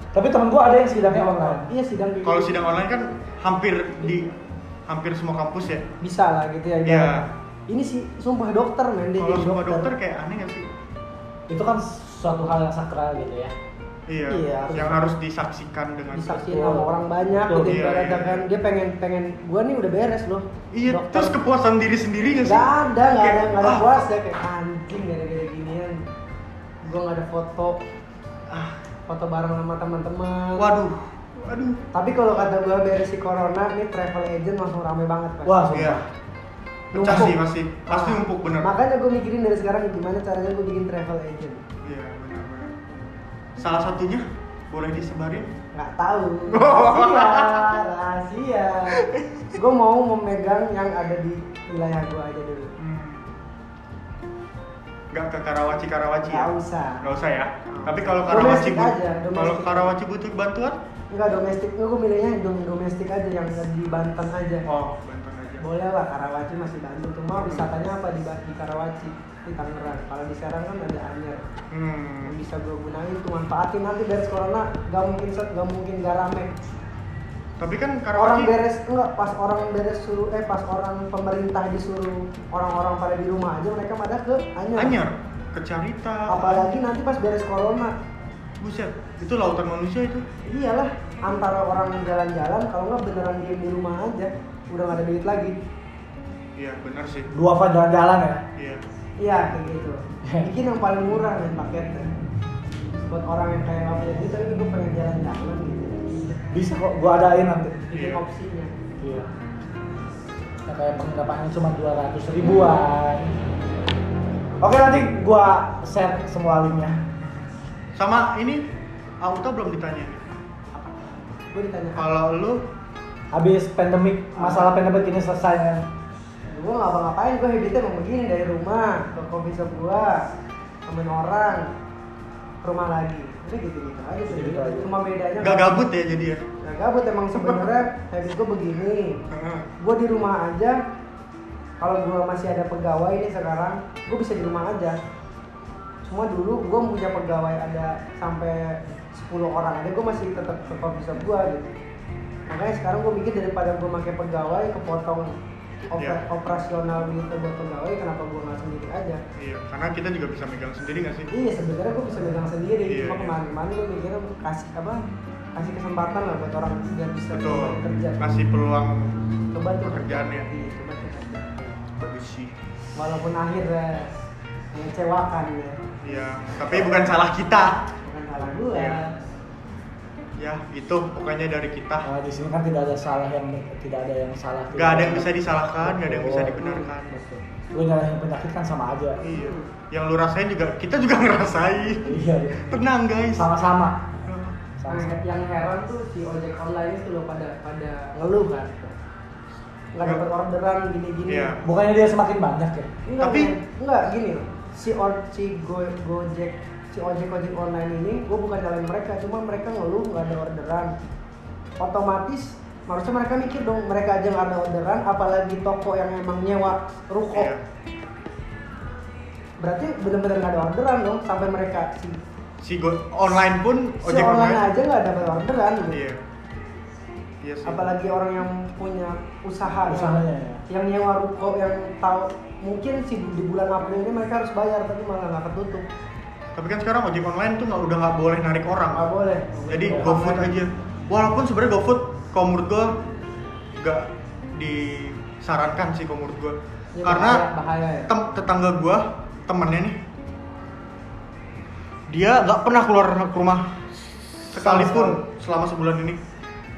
Speaker 1: tapi temen gua ada yang sidangnya online
Speaker 2: iya sidang di-
Speaker 4: Kalau sidang online kan hampir di hampir semua kampus ya.
Speaker 2: bisa lah gitu ya
Speaker 4: Iya.
Speaker 2: ini sih sumpah dokter men dia
Speaker 4: Kalau
Speaker 2: jadi
Speaker 4: semua dokter kayak aneh gak sih?
Speaker 1: itu kan suatu hal yang sakral gitu ya
Speaker 4: Iya.
Speaker 2: Iya, harus-
Speaker 4: yang harus disaksikan dengan
Speaker 2: disaksiin sama orang banyak
Speaker 1: Betul,
Speaker 2: gitu
Speaker 4: iya,
Speaker 2: ibaratnya
Speaker 4: iya.
Speaker 2: kan dia pengen pengen gue nih udah beres loh
Speaker 4: Iya, terus kepuasan diri sendiri gak sih?
Speaker 2: nggak ada nggak ada
Speaker 4: Kayak,
Speaker 2: nggak ada
Speaker 4: ah,
Speaker 2: puas deh kayak anjing gara-gara ginian gue nggak ada foto
Speaker 4: Ah.
Speaker 2: foto bareng sama teman-teman
Speaker 4: Waduh, waduh.
Speaker 2: tapi kalau kata gue beres si corona nih travel agent langsung rame banget Mas.
Speaker 1: wah
Speaker 4: Iya.
Speaker 1: sumpah
Speaker 4: Pecah
Speaker 2: Numpuk.
Speaker 4: sih pasti, pasti
Speaker 2: Ah,
Speaker 4: numpuk bener.
Speaker 2: Makanya gue mikirin dari sekarang gimana caranya gue bikin travel agent.
Speaker 4: Iya, bener bener. Salah satunya boleh disebarin?
Speaker 2: Nggak tahu. Rahasia, rahasia. gue mau memegang yang ada di wilayah gue aja dulu.
Speaker 4: Nggak ke Karawaci Karawaci ya?
Speaker 2: Nggak usah.
Speaker 4: Nggak usah ya. Tapi kalau Karawaci
Speaker 2: Domestik
Speaker 4: but-
Speaker 2: Hmm. aja, domestik.
Speaker 4: kalau Karawaci butuh bantuan?
Speaker 2: Enggak domestik, gue milihnya dom- domestik aja yang ada di Banten aja.
Speaker 4: Oh, bantuan aja.
Speaker 2: Boleh lah Karawaci masih Banten, cuma wisatanya apa di, Ba- di Karawaci di Tangerang. Kalau di Serang kan ada Anyer. yang
Speaker 4: Hmm.
Speaker 2: bisa gue gunain tuh manfaatin nanti beres corona gak mungkin set gak mungkin gak rame
Speaker 4: Tapi kan
Speaker 2: orang
Speaker 4: Karawaci
Speaker 2: beres enggak pas orang beres suruh eh pas orang pemerintah disuruh orang-orang pada di rumah aja mereka pada ke Anyer.
Speaker 4: anyar ke Carita.
Speaker 2: Apalagi nanti pas beres corona.
Speaker 4: Buset, itu lautan manusia itu.
Speaker 2: Iyalah, antara orang jalan-jalan kalau nggak beneran diem di rumah aja, udah nggak ada duit lagi.
Speaker 4: Iya, benar sih.
Speaker 1: dua fan jalan-jalan ya
Speaker 4: Iya.
Speaker 2: Iya, kayak gitu. Bikin yang paling murah nih paketnya. Buat orang yang kayak nggak punya duit tapi gue pengen jalan-jalan gitu.
Speaker 1: bisa kok gua adain nanti
Speaker 2: Bikin
Speaker 4: Iya.
Speaker 2: opsinya.
Speaker 1: iya Nah, kayak penginapannya cuma 200 ribuan Oke nanti gua share semua linknya.
Speaker 4: Sama ini Auto belum ditanya.
Speaker 2: Gue ditanya, "Ah,
Speaker 4: Kalau lu
Speaker 1: Habis pandemik, masalah pandemik ini selesai kan.
Speaker 2: gue ngapa ngapain gue habitnya emang begini dari rumah ke coffee shop gue temen orang ke rumah lagi udah gitu gitu aja sih
Speaker 1: Gitu-gitu aja.
Speaker 2: cuma bedanya
Speaker 4: gak gabut ya jadi ya?
Speaker 2: gak gabut emang sebenarnya habis gue begini
Speaker 4: Heeh.
Speaker 2: gue di rumah aja kalau gue masih ada pegawai nih sekarang gue bisa di rumah aja cuma dulu gue punya pegawai ada sampai 10 orang aja gue masih tetap ke coffee shop gue gitu makanya sekarang gue mikir daripada gue pakai pegawai kepotong oper-
Speaker 4: Iya.
Speaker 2: operasional gitu buat pegawai kenapa gue nggak sendiri aja
Speaker 4: Iya, karena kita juga bisa megang sendiri gak sih?
Speaker 2: iya sebenarnya gue bisa megang sendiri
Speaker 4: Iya,
Speaker 2: cuma
Speaker 4: iya.
Speaker 2: kemarin-kemarin gue mikirnya kasih apa kasih kesempatan lah buat orang biar bisa
Speaker 4: Betul,
Speaker 2: kerja
Speaker 4: kasih peluang
Speaker 2: coba tuh
Speaker 4: pekerjaannya.
Speaker 2: Iya, coba tuh
Speaker 4: bagus sih.
Speaker 2: walaupun akhirnya mengecewakan ya
Speaker 4: Iya, tapi bukan salah kita.
Speaker 2: bukan salah gue
Speaker 4: Iya. Ya, itu pokoknya dari kita.
Speaker 1: Nah, di sini kan tidak ada salah yang tidak ada yang salah.
Speaker 4: Gak ada yang bisa disalahkan, gak ada yang bisa dibenarkan.
Speaker 1: Lu nyalahin penyakit kan sama aja.
Speaker 4: Iya, yang lu rasain juga kita juga ngerasain.
Speaker 1: Iya, iya.
Speaker 4: Tenang guys.
Speaker 1: sama-sama.
Speaker 2: Nah,
Speaker 1: Sama-sama.
Speaker 2: yang heran tuh si ojek online itu loh pada pada ngeluh kan nggak dapat orderan gini gini
Speaker 4: Iya.
Speaker 1: Bukannya dia semakin banyak ya?
Speaker 2: enggak,
Speaker 4: Tapi-
Speaker 2: enggak gini loh si or si go, gojek si ojek ojek online ini gue bukan nyalain mereka cuma mereka ngeluh nggak ada orderan otomatis harusnya mereka mikir dong mereka aja nggak ada orderan apalagi toko yang emang nyewa ruko
Speaker 4: Iya.
Speaker 2: berarti benar-benar nggak ada orderan dong sampai mereka si,
Speaker 4: Si go- online pun
Speaker 2: si
Speaker 4: ojek
Speaker 2: online
Speaker 4: online.
Speaker 2: aja nggak dapat orderan gitu.
Speaker 4: Oh, Iya. Iya sih.
Speaker 2: apalagi orang yang punya usaha
Speaker 1: Usahanya,
Speaker 2: yang, yang nyewa ruko yang tahu mungkin sih di bulan April ini mereka harus bayar tapi malah nggak ketutup
Speaker 4: Tapi kan sekarang ojek online tuh nggak udah nggak boleh narik orang.
Speaker 2: nggak boleh
Speaker 4: Jadi
Speaker 1: Iya.
Speaker 4: GoFood aja. Walaupun sebenarnya GoFood kalau menurut gua nggak disarankan sih kalau menurut gua.
Speaker 2: Ini
Speaker 4: Karena
Speaker 2: Iya, bahaya, bahaya ya
Speaker 4: tem- tetangga gua temennya nih dia nggak pernah keluar ke rumah sekalipun selama sebulan ini.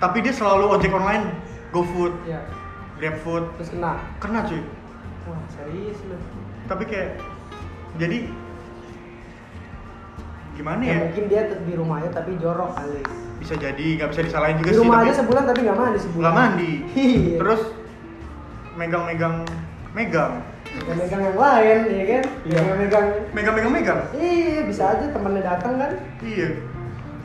Speaker 4: Tapi dia selalu ojek online, GoFood,
Speaker 2: Iya,
Speaker 4: GrabFood,
Speaker 2: terus kena
Speaker 4: kena cuy.
Speaker 2: wah serius lu
Speaker 4: Tapi kayak jadi gimana
Speaker 2: ya
Speaker 4: ya?
Speaker 2: mungkin dia tetap di rumah aja tapi jorok kali
Speaker 4: Bisa jadi nggak bisa disalahin juga
Speaker 2: di
Speaker 4: sih.
Speaker 2: rumah
Speaker 4: tapi-
Speaker 2: aja sebulan tapi nggak mandi sebulan
Speaker 4: nggak mandi
Speaker 2: Iya.
Speaker 4: terus megang-megang megang
Speaker 2: yang megang yang lain ya kan
Speaker 1: Iya.
Speaker 2: yang megang
Speaker 4: megang-megang megang
Speaker 2: iya bisa aja temennya datang kan
Speaker 4: iya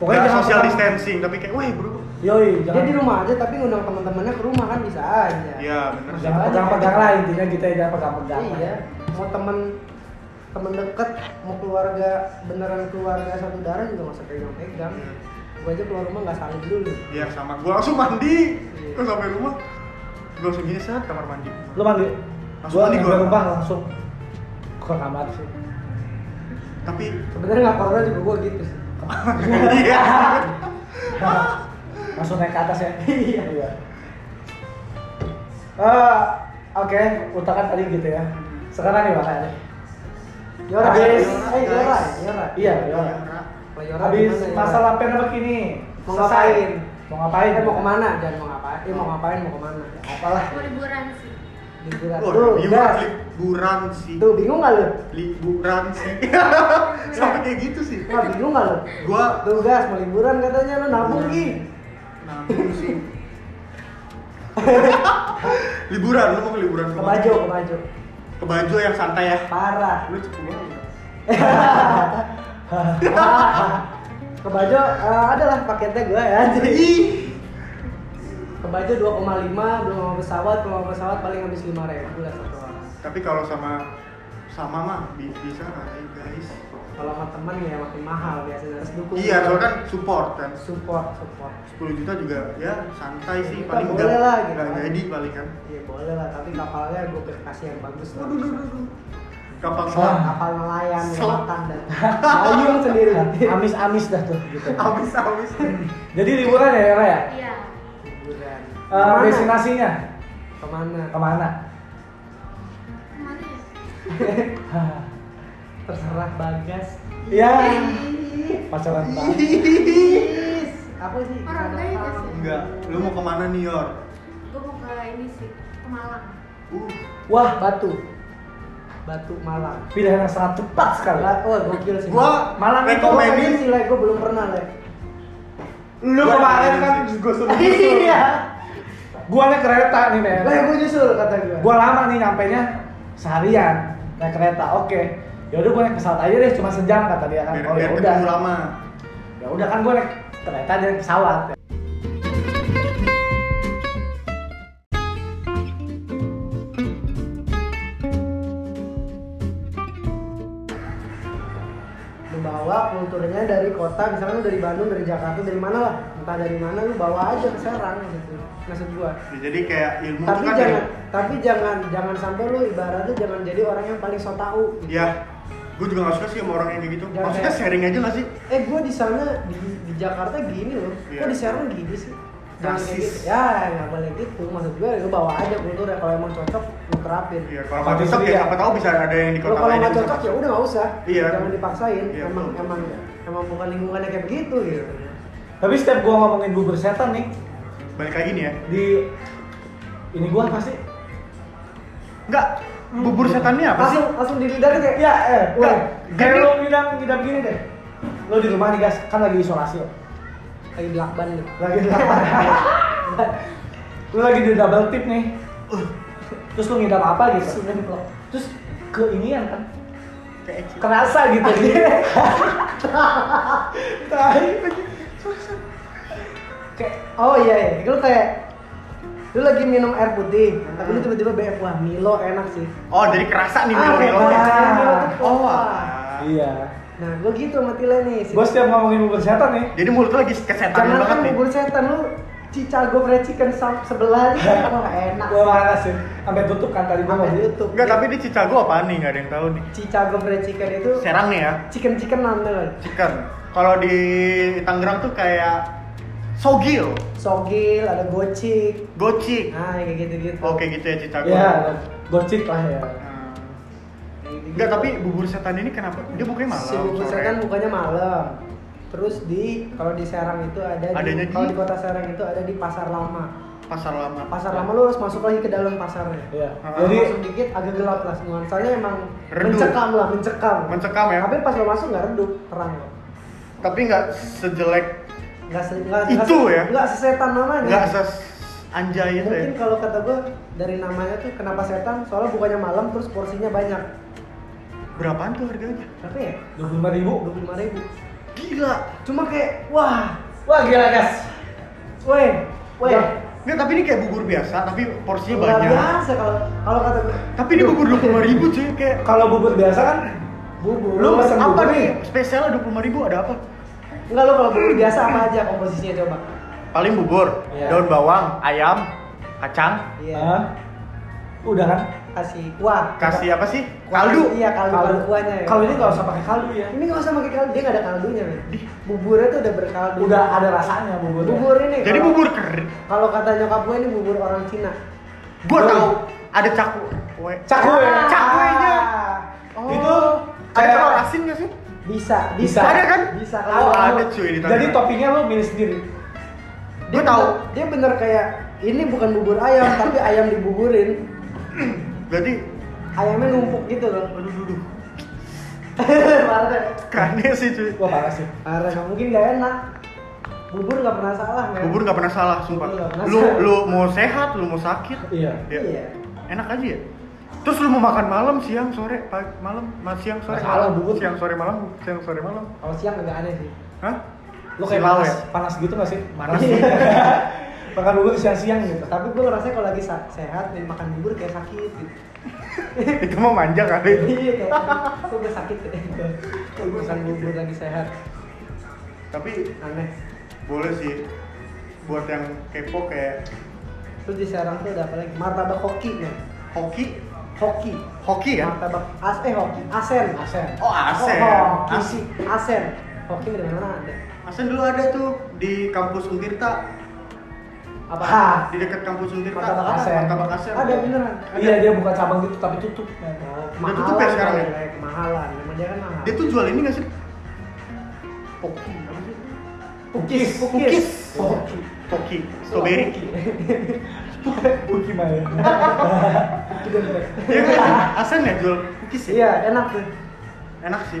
Speaker 1: Pokoknya
Speaker 4: pokoknya
Speaker 1: jangan
Speaker 4: social
Speaker 1: pernah-
Speaker 4: distancing tapi kayak weh bro
Speaker 1: Yoi,
Speaker 2: dia di
Speaker 1: jangan
Speaker 2: rumah aja tapi ngundang teman-temannya ke rumah kan bisa aja
Speaker 4: iya bener sih
Speaker 1: jangan pegang-pegang lah intinya kita jangan pegang-pegang.
Speaker 2: iya mau temen temen deket mau keluarga beneran keluarga satu darah juga nggak usah pegang pegang
Speaker 4: Iya.
Speaker 2: gua aja keluar rumah nggak salim dulu
Speaker 4: iya sama gua langsung mandi
Speaker 2: Iya.
Speaker 4: terus sampai rumah gua langsung gini set kamar mandi
Speaker 1: Lu mandi.
Speaker 4: Langsung
Speaker 1: Gua
Speaker 4: mandi
Speaker 1: mandi
Speaker 4: gua.
Speaker 1: rumah langsung ke kamar sih.
Speaker 4: tapi
Speaker 2: sebenarnya nggak corona juga gua gitu sih
Speaker 4: iya
Speaker 1: langsung naik ke atas ya
Speaker 2: Iya.
Speaker 1: iya Eh, oke Uta kan tadi gitu ya sekarang nih makanya
Speaker 2: Yora,
Speaker 1: Habis.
Speaker 2: eh Yora, Yora.
Speaker 1: iya iya
Speaker 2: Kalau Yora
Speaker 1: habis
Speaker 2: gimana, Yora?
Speaker 1: masalah pandemik ini
Speaker 2: Mau
Speaker 1: selesai.
Speaker 2: ngapain?
Speaker 1: mau ngapain
Speaker 2: Eh, mau kemana? Jangan mau ngapain? Eh
Speaker 1: Hmm.
Speaker 2: mau ngapain? Mau kemana?
Speaker 1: apalah
Speaker 11: Mau liburan sih.
Speaker 2: Liburan.
Speaker 1: Oh,
Speaker 4: Wah,
Speaker 2: Tuh,
Speaker 4: liburan,
Speaker 2: gas.
Speaker 4: iya, liburan sih
Speaker 2: Tuh bingung nggak lu?
Speaker 4: liburan sih sampai kayak gitu sih
Speaker 2: Wah bingung nggak lu?
Speaker 4: gua
Speaker 2: Tuh gas mau liburan katanya lu nabung ki.
Speaker 4: nabung sih liburan lu mau ke liburan
Speaker 2: Ke
Speaker 4: kemana?
Speaker 2: Bajo, ke Bajo.
Speaker 4: ke baju yang santai ya
Speaker 2: Parah.
Speaker 4: lu cepu banget
Speaker 2: ke Bajo eh, adalah paketnya gue ya. Jadi ke Bajo 2,5 belum sama pesawat, belum sama pesawat paling habis 5 ribu lah satu orang.
Speaker 4: tapi kalau sama sama mah bi- bisa kali guys
Speaker 2: Kalau sama temen ya makin mahal biasanya harus dukung.
Speaker 4: iya soalnya kan support kan
Speaker 2: support, support.
Speaker 4: 10 juta juga ya santai sih
Speaker 2: Kita
Speaker 4: paling
Speaker 2: boleh
Speaker 4: enggak
Speaker 2: lah, gitu.
Speaker 4: enggak jadi paling kan
Speaker 2: Iya boleh lah, tapi kapalnya gue kasih yang bagus lah.
Speaker 4: waduh duh, duh, duh. kapal selam
Speaker 1: Selam.
Speaker 2: Kapal nelayan yang
Speaker 4: Selam.
Speaker 2: makan dan dayung sendiri.
Speaker 1: amis-amis dah tuh gitu
Speaker 4: habis habis
Speaker 1: jadi liburan ya Yara ya
Speaker 11: Iya.
Speaker 2: Liburan.
Speaker 1: Eh, destinasinya
Speaker 2: Kemana?
Speaker 1: kemana
Speaker 11: Kemana ya?
Speaker 1: Hah.
Speaker 2: Ah, Terserah Bagas.
Speaker 1: Iya pacaran banget
Speaker 2: Is, apa sih?
Speaker 11: Orang
Speaker 2: Ada
Speaker 11: kaya
Speaker 2: apa?
Speaker 11: gak sih?
Speaker 4: enggak lu mau kemana New York
Speaker 11: Gue mau ke ini sih, ke Malang.
Speaker 4: uh
Speaker 2: Wah, batu. Batu Malang.
Speaker 1: Pilihan yang sangat cepat sekali.
Speaker 2: Lah, oh gokil sih.
Speaker 4: Gua
Speaker 1: Malang itu
Speaker 4: rekomenin
Speaker 2: sih Le, gua belum pernah Le.
Speaker 4: lu kemarin kan juga sudah
Speaker 2: Iya.
Speaker 1: Gua naik kereta nih, men.
Speaker 2: Lah, gua nyusul kata gua.
Speaker 1: Gua lama nih nyampe nya seharian naik kereta. Oke. Yaudah gua naik pesawat aja deh, cuma sejam kata dia kan.
Speaker 4: biar,
Speaker 1: Oh,
Speaker 4: biar
Speaker 1: ya udah.
Speaker 4: ketemu lama
Speaker 1: Ya udah kan gua naik kereta dia naik pesawat.
Speaker 2: lu bawa kulturnya dari kota misalnya lu dari Bandung dari Jakarta dari mana lah entah dari mana lu bawa aja ke Serang gitu maksud gua
Speaker 4: Ya, jadi kayak ilmu
Speaker 2: tapi
Speaker 4: itu kan
Speaker 2: jangan tapi jangan jangan sampai lu ibaratnya jangan jadi orang yang paling so tau
Speaker 4: ya, ya gue juga gak suka sih sama orang yang kayak gitu
Speaker 2: Jangan ya.
Speaker 4: maksudnya
Speaker 2: kayak-
Speaker 4: sharing aja lah sih
Speaker 2: eh gua di sana di, di Jakarta gini loh
Speaker 4: Iya.
Speaker 2: kok di Serang gini sih jangan kayak
Speaker 4: Rasis.
Speaker 2: gitu ya nggak boleh gitu maksud gua lu bawa aja kulturnya kalau emang cocok lu terapin
Speaker 4: Iya, kalau nggak
Speaker 1: Tapi
Speaker 4: cocok
Speaker 1: sendiri
Speaker 4: ya
Speaker 1: ya.
Speaker 4: siapa tahu bisa ada yang di
Speaker 2: Lu
Speaker 4: kota
Speaker 2: kalau
Speaker 4: lain
Speaker 2: nggak
Speaker 4: yang bisa
Speaker 2: cocok ya udah nggak usah
Speaker 4: Iya.
Speaker 2: jangan dipaksain
Speaker 4: Iya,
Speaker 2: emang
Speaker 4: betul. Iya.
Speaker 2: emang emang bukan lingkungannya kayak begitu gitu
Speaker 1: Tapi setiap gua ngomongin bubur setan nih
Speaker 4: balik lagi nih ya
Speaker 1: di ini gua pasti
Speaker 4: enggak bubur setannya apa sih
Speaker 2: langsung langsung di lidah tuh kayak
Speaker 1: ya eh
Speaker 2: Kan
Speaker 4: Enggak.
Speaker 1: udah kayak lo ngidam ngidam gini deh lo di rumah nih guys kan lagi isolasi lo
Speaker 2: lagi belakban gitu
Speaker 1: lagi di lo lagi di double tip nih terus lo ngidam apa gitu terus keinian kan
Speaker 4: Kayak eci.
Speaker 1: kerasa gitu Tai.
Speaker 2: kayak oh iya iya lu kayak lu lagi minum air putih tapi lu tiba-tiba BF wah Milo enak sih
Speaker 4: oh jadi kerasa nih
Speaker 2: Ah,
Speaker 4: minum
Speaker 2: kayak
Speaker 4: minumnya.
Speaker 2: kerasa, Milo tuh
Speaker 4: oh
Speaker 2: kerasa.
Speaker 4: alah.
Speaker 1: iya
Speaker 2: nah gue gitu sama Tila nih si-
Speaker 1: gue setiap ngomongin bubur setan nih
Speaker 4: jadi mulut lu lagi kesetanin
Speaker 2: jangan
Speaker 4: banget
Speaker 2: kan
Speaker 4: nih
Speaker 2: bubur setan lu Chicago fried chicken sam- sebelah aja kayak, wah enak
Speaker 1: gue marah sih sampai tutup kan tadi gue
Speaker 2: sampai
Speaker 1: ngomong
Speaker 2: YouTube ya.
Speaker 4: enggak tapi di Chicago apaan nih nggak ada yang tahu nih
Speaker 2: Chicago fried chicken itu
Speaker 4: Serang nih ya
Speaker 2: chicken chicken nanti kan
Speaker 4: chicken kalau di Tangerang tuh kayak sogil
Speaker 2: sogil ada gocik
Speaker 4: gocik
Speaker 2: nah kayak gitu gitu
Speaker 4: oke gitu ya Chicago
Speaker 2: Iya.
Speaker 1: ya gocik lah ya
Speaker 4: Enggak, tapi bubur setan ini kenapa? Dia bukanya malam,
Speaker 2: Si bubur
Speaker 4: sore.
Speaker 2: setan bukanya malam. Terus di kalau di Serang itu ada di,
Speaker 4: Adanya di-
Speaker 2: kalau di kota Serang itu ada di pasar lama.
Speaker 4: Pasar lama.
Speaker 2: Pasar lama lu harus masuk lagi ke dalam pasarnya.
Speaker 1: Iya.
Speaker 4: Ah,
Speaker 1: jadi
Speaker 2: masuk dikit agak gelap lah nuansanya emang
Speaker 4: Redup.
Speaker 2: mencekam lah, mencekam.
Speaker 4: Mencekam ya?
Speaker 2: Tapi pas lo masuk nggak redup, terang kok.
Speaker 4: Tapi nggak sejelek,
Speaker 2: Nggak se nggak
Speaker 4: Itu ya?
Speaker 2: Nggak sesetan namanya.
Speaker 4: nggak ses anjay itu ya.
Speaker 2: Mungkin kalau kata gue dari namanya tuh kenapa setan? Soalnya bukannya malam terus porsinya banyak.
Speaker 4: Berapaan tuh harganya?
Speaker 2: Berapa ya?
Speaker 1: dua puluh ribu
Speaker 2: Dua puluh ribu.
Speaker 4: Gila.
Speaker 2: Cuma kayak wah,
Speaker 1: wah gila guys
Speaker 2: weh, weh.
Speaker 1: Nggak.
Speaker 4: Nggak, tapi ini kayak bubur biasa, tapi porsinya
Speaker 2: Luar
Speaker 4: banyak.
Speaker 2: biasa kalau kalau kata gue
Speaker 4: Tapi ini bubur dua puluh ribu cuy, kayak
Speaker 1: kalau bubur biasa kan
Speaker 2: bubur
Speaker 1: Lu pesen
Speaker 4: apa
Speaker 1: bubur
Speaker 4: nih? Spesialnya dua puluh ribu ada apa?
Speaker 2: enggak lo kalau bubur biasa apa aja komposisinya coba
Speaker 4: Paling bubur,
Speaker 1: Iya.
Speaker 4: daun bawang, ayam, kacang,
Speaker 2: iya
Speaker 1: Hah? udah kan
Speaker 2: kasih kuah
Speaker 4: kasih apa sih? Kaldu.
Speaker 2: iya kaldu kaldu kuahnya ya
Speaker 1: kalau ini nggak usah pakai kaldu ya
Speaker 2: ini nggak usah pakai kaldu dia nggak ada kaldunya men buburnya tuh udah berkaldu
Speaker 1: udah ada rasanya buburnya
Speaker 2: bubur ini
Speaker 4: Jadi
Speaker 2: kalau-
Speaker 4: bubur kering.
Speaker 2: kalau kata nyokap gue ini bubur orang Cina
Speaker 4: Gua
Speaker 1: Bubur.
Speaker 4: tahu ada caku. Kue.
Speaker 1: cakwe
Speaker 2: Ah.
Speaker 4: Cakwenya.
Speaker 2: Oh.
Speaker 1: itu
Speaker 4: Ada
Speaker 1: kayak
Speaker 4: telur asin nggak sih?
Speaker 2: bisa bisa
Speaker 1: Bisa. Ada
Speaker 4: kan?
Speaker 2: bisa
Speaker 4: Oh, ada
Speaker 2: Kalau-
Speaker 4: cuy di
Speaker 1: jadi
Speaker 4: Tangerang.
Speaker 1: toppingnya lo milih sendiri
Speaker 2: dia
Speaker 4: Gua tahu.
Speaker 2: bener- dia bener kayak ini bukan bubur ayam tapi ayam dibuburin
Speaker 4: Berarti
Speaker 2: ayamnya numpuk gitu loh
Speaker 4: aduh aduh, aduh.
Speaker 2: Parah deh.
Speaker 4: Kerennya sih cuy.
Speaker 1: wah parah sih
Speaker 2: Parah, nggak mungkin gak enak. Bubur gak pernah salah, kan? men.
Speaker 4: Bubur nggak pernah salah, sumpah.
Speaker 2: Bubur nggak pernah
Speaker 4: Lu
Speaker 2: salah.
Speaker 4: lu mau sehat, lu mau sakit,
Speaker 1: iya
Speaker 4: ya.
Speaker 2: Iya.
Speaker 4: enak aja ya. Terus lu mau makan malam, siang, sore, pagi, malam, ma- siang, sore,
Speaker 1: Nggak salah,
Speaker 4: malam,
Speaker 1: bubur.
Speaker 4: siang, sore, malam, siang, sore, malam.
Speaker 2: Kalau siang agak aneh sih.
Speaker 4: Hah?
Speaker 1: lo kayak
Speaker 4: Silau
Speaker 1: panas,
Speaker 4: ya?
Speaker 1: panas gitu nggak sih panas makan bubur siang-siang gitu
Speaker 2: Tapi gue ngerasa kalau lagi sa- sehat dan makan bubur kayak sakit gitu.
Speaker 4: Itu mau manja kali.
Speaker 2: Iya, kayak gue udah sakit kayak gitu. Kalau Makan bubur lagi sehat,
Speaker 4: Tapi
Speaker 2: aneh.
Speaker 4: boleh sih buat yang kepo kayak
Speaker 2: Terus di Serang tuh ada apa lagi? Martabak hoki, men.
Speaker 4: hoki,
Speaker 2: Hoki.
Speaker 4: hoki ya?
Speaker 2: Martabak as eh hoki, asen.
Speaker 1: asen
Speaker 4: Oh, asen.
Speaker 2: Oh,
Speaker 4: As-
Speaker 2: hoki. Asen. Hoki dari mana ada?
Speaker 4: asen dulu ada tuh di kampus Untirta,
Speaker 2: Apa?
Speaker 1: Hah.
Speaker 4: di dekat kampus Untirta.
Speaker 2: Martabak
Speaker 1: Asen.
Speaker 4: Martabak asen.
Speaker 2: Ada beneran.
Speaker 1: iya dia buka cabang gitu tapi tutup
Speaker 2: Oh,
Speaker 4: Udah tutup ya sekarang ya?
Speaker 2: kali, Le. Kemahalan. Emang dia kan mahal.
Speaker 4: Dia tuh jual ini nggak sih? Poki, apa sih?
Speaker 2: Pukis,
Speaker 4: Pukis.
Speaker 1: Oh,
Speaker 2: Pukis.
Speaker 4: Poki. Strawberry.
Speaker 1: Buki Maya.
Speaker 4: Iya kan? Asen ya jual cookies ya?
Speaker 2: iya enak tuh
Speaker 4: Enak sih.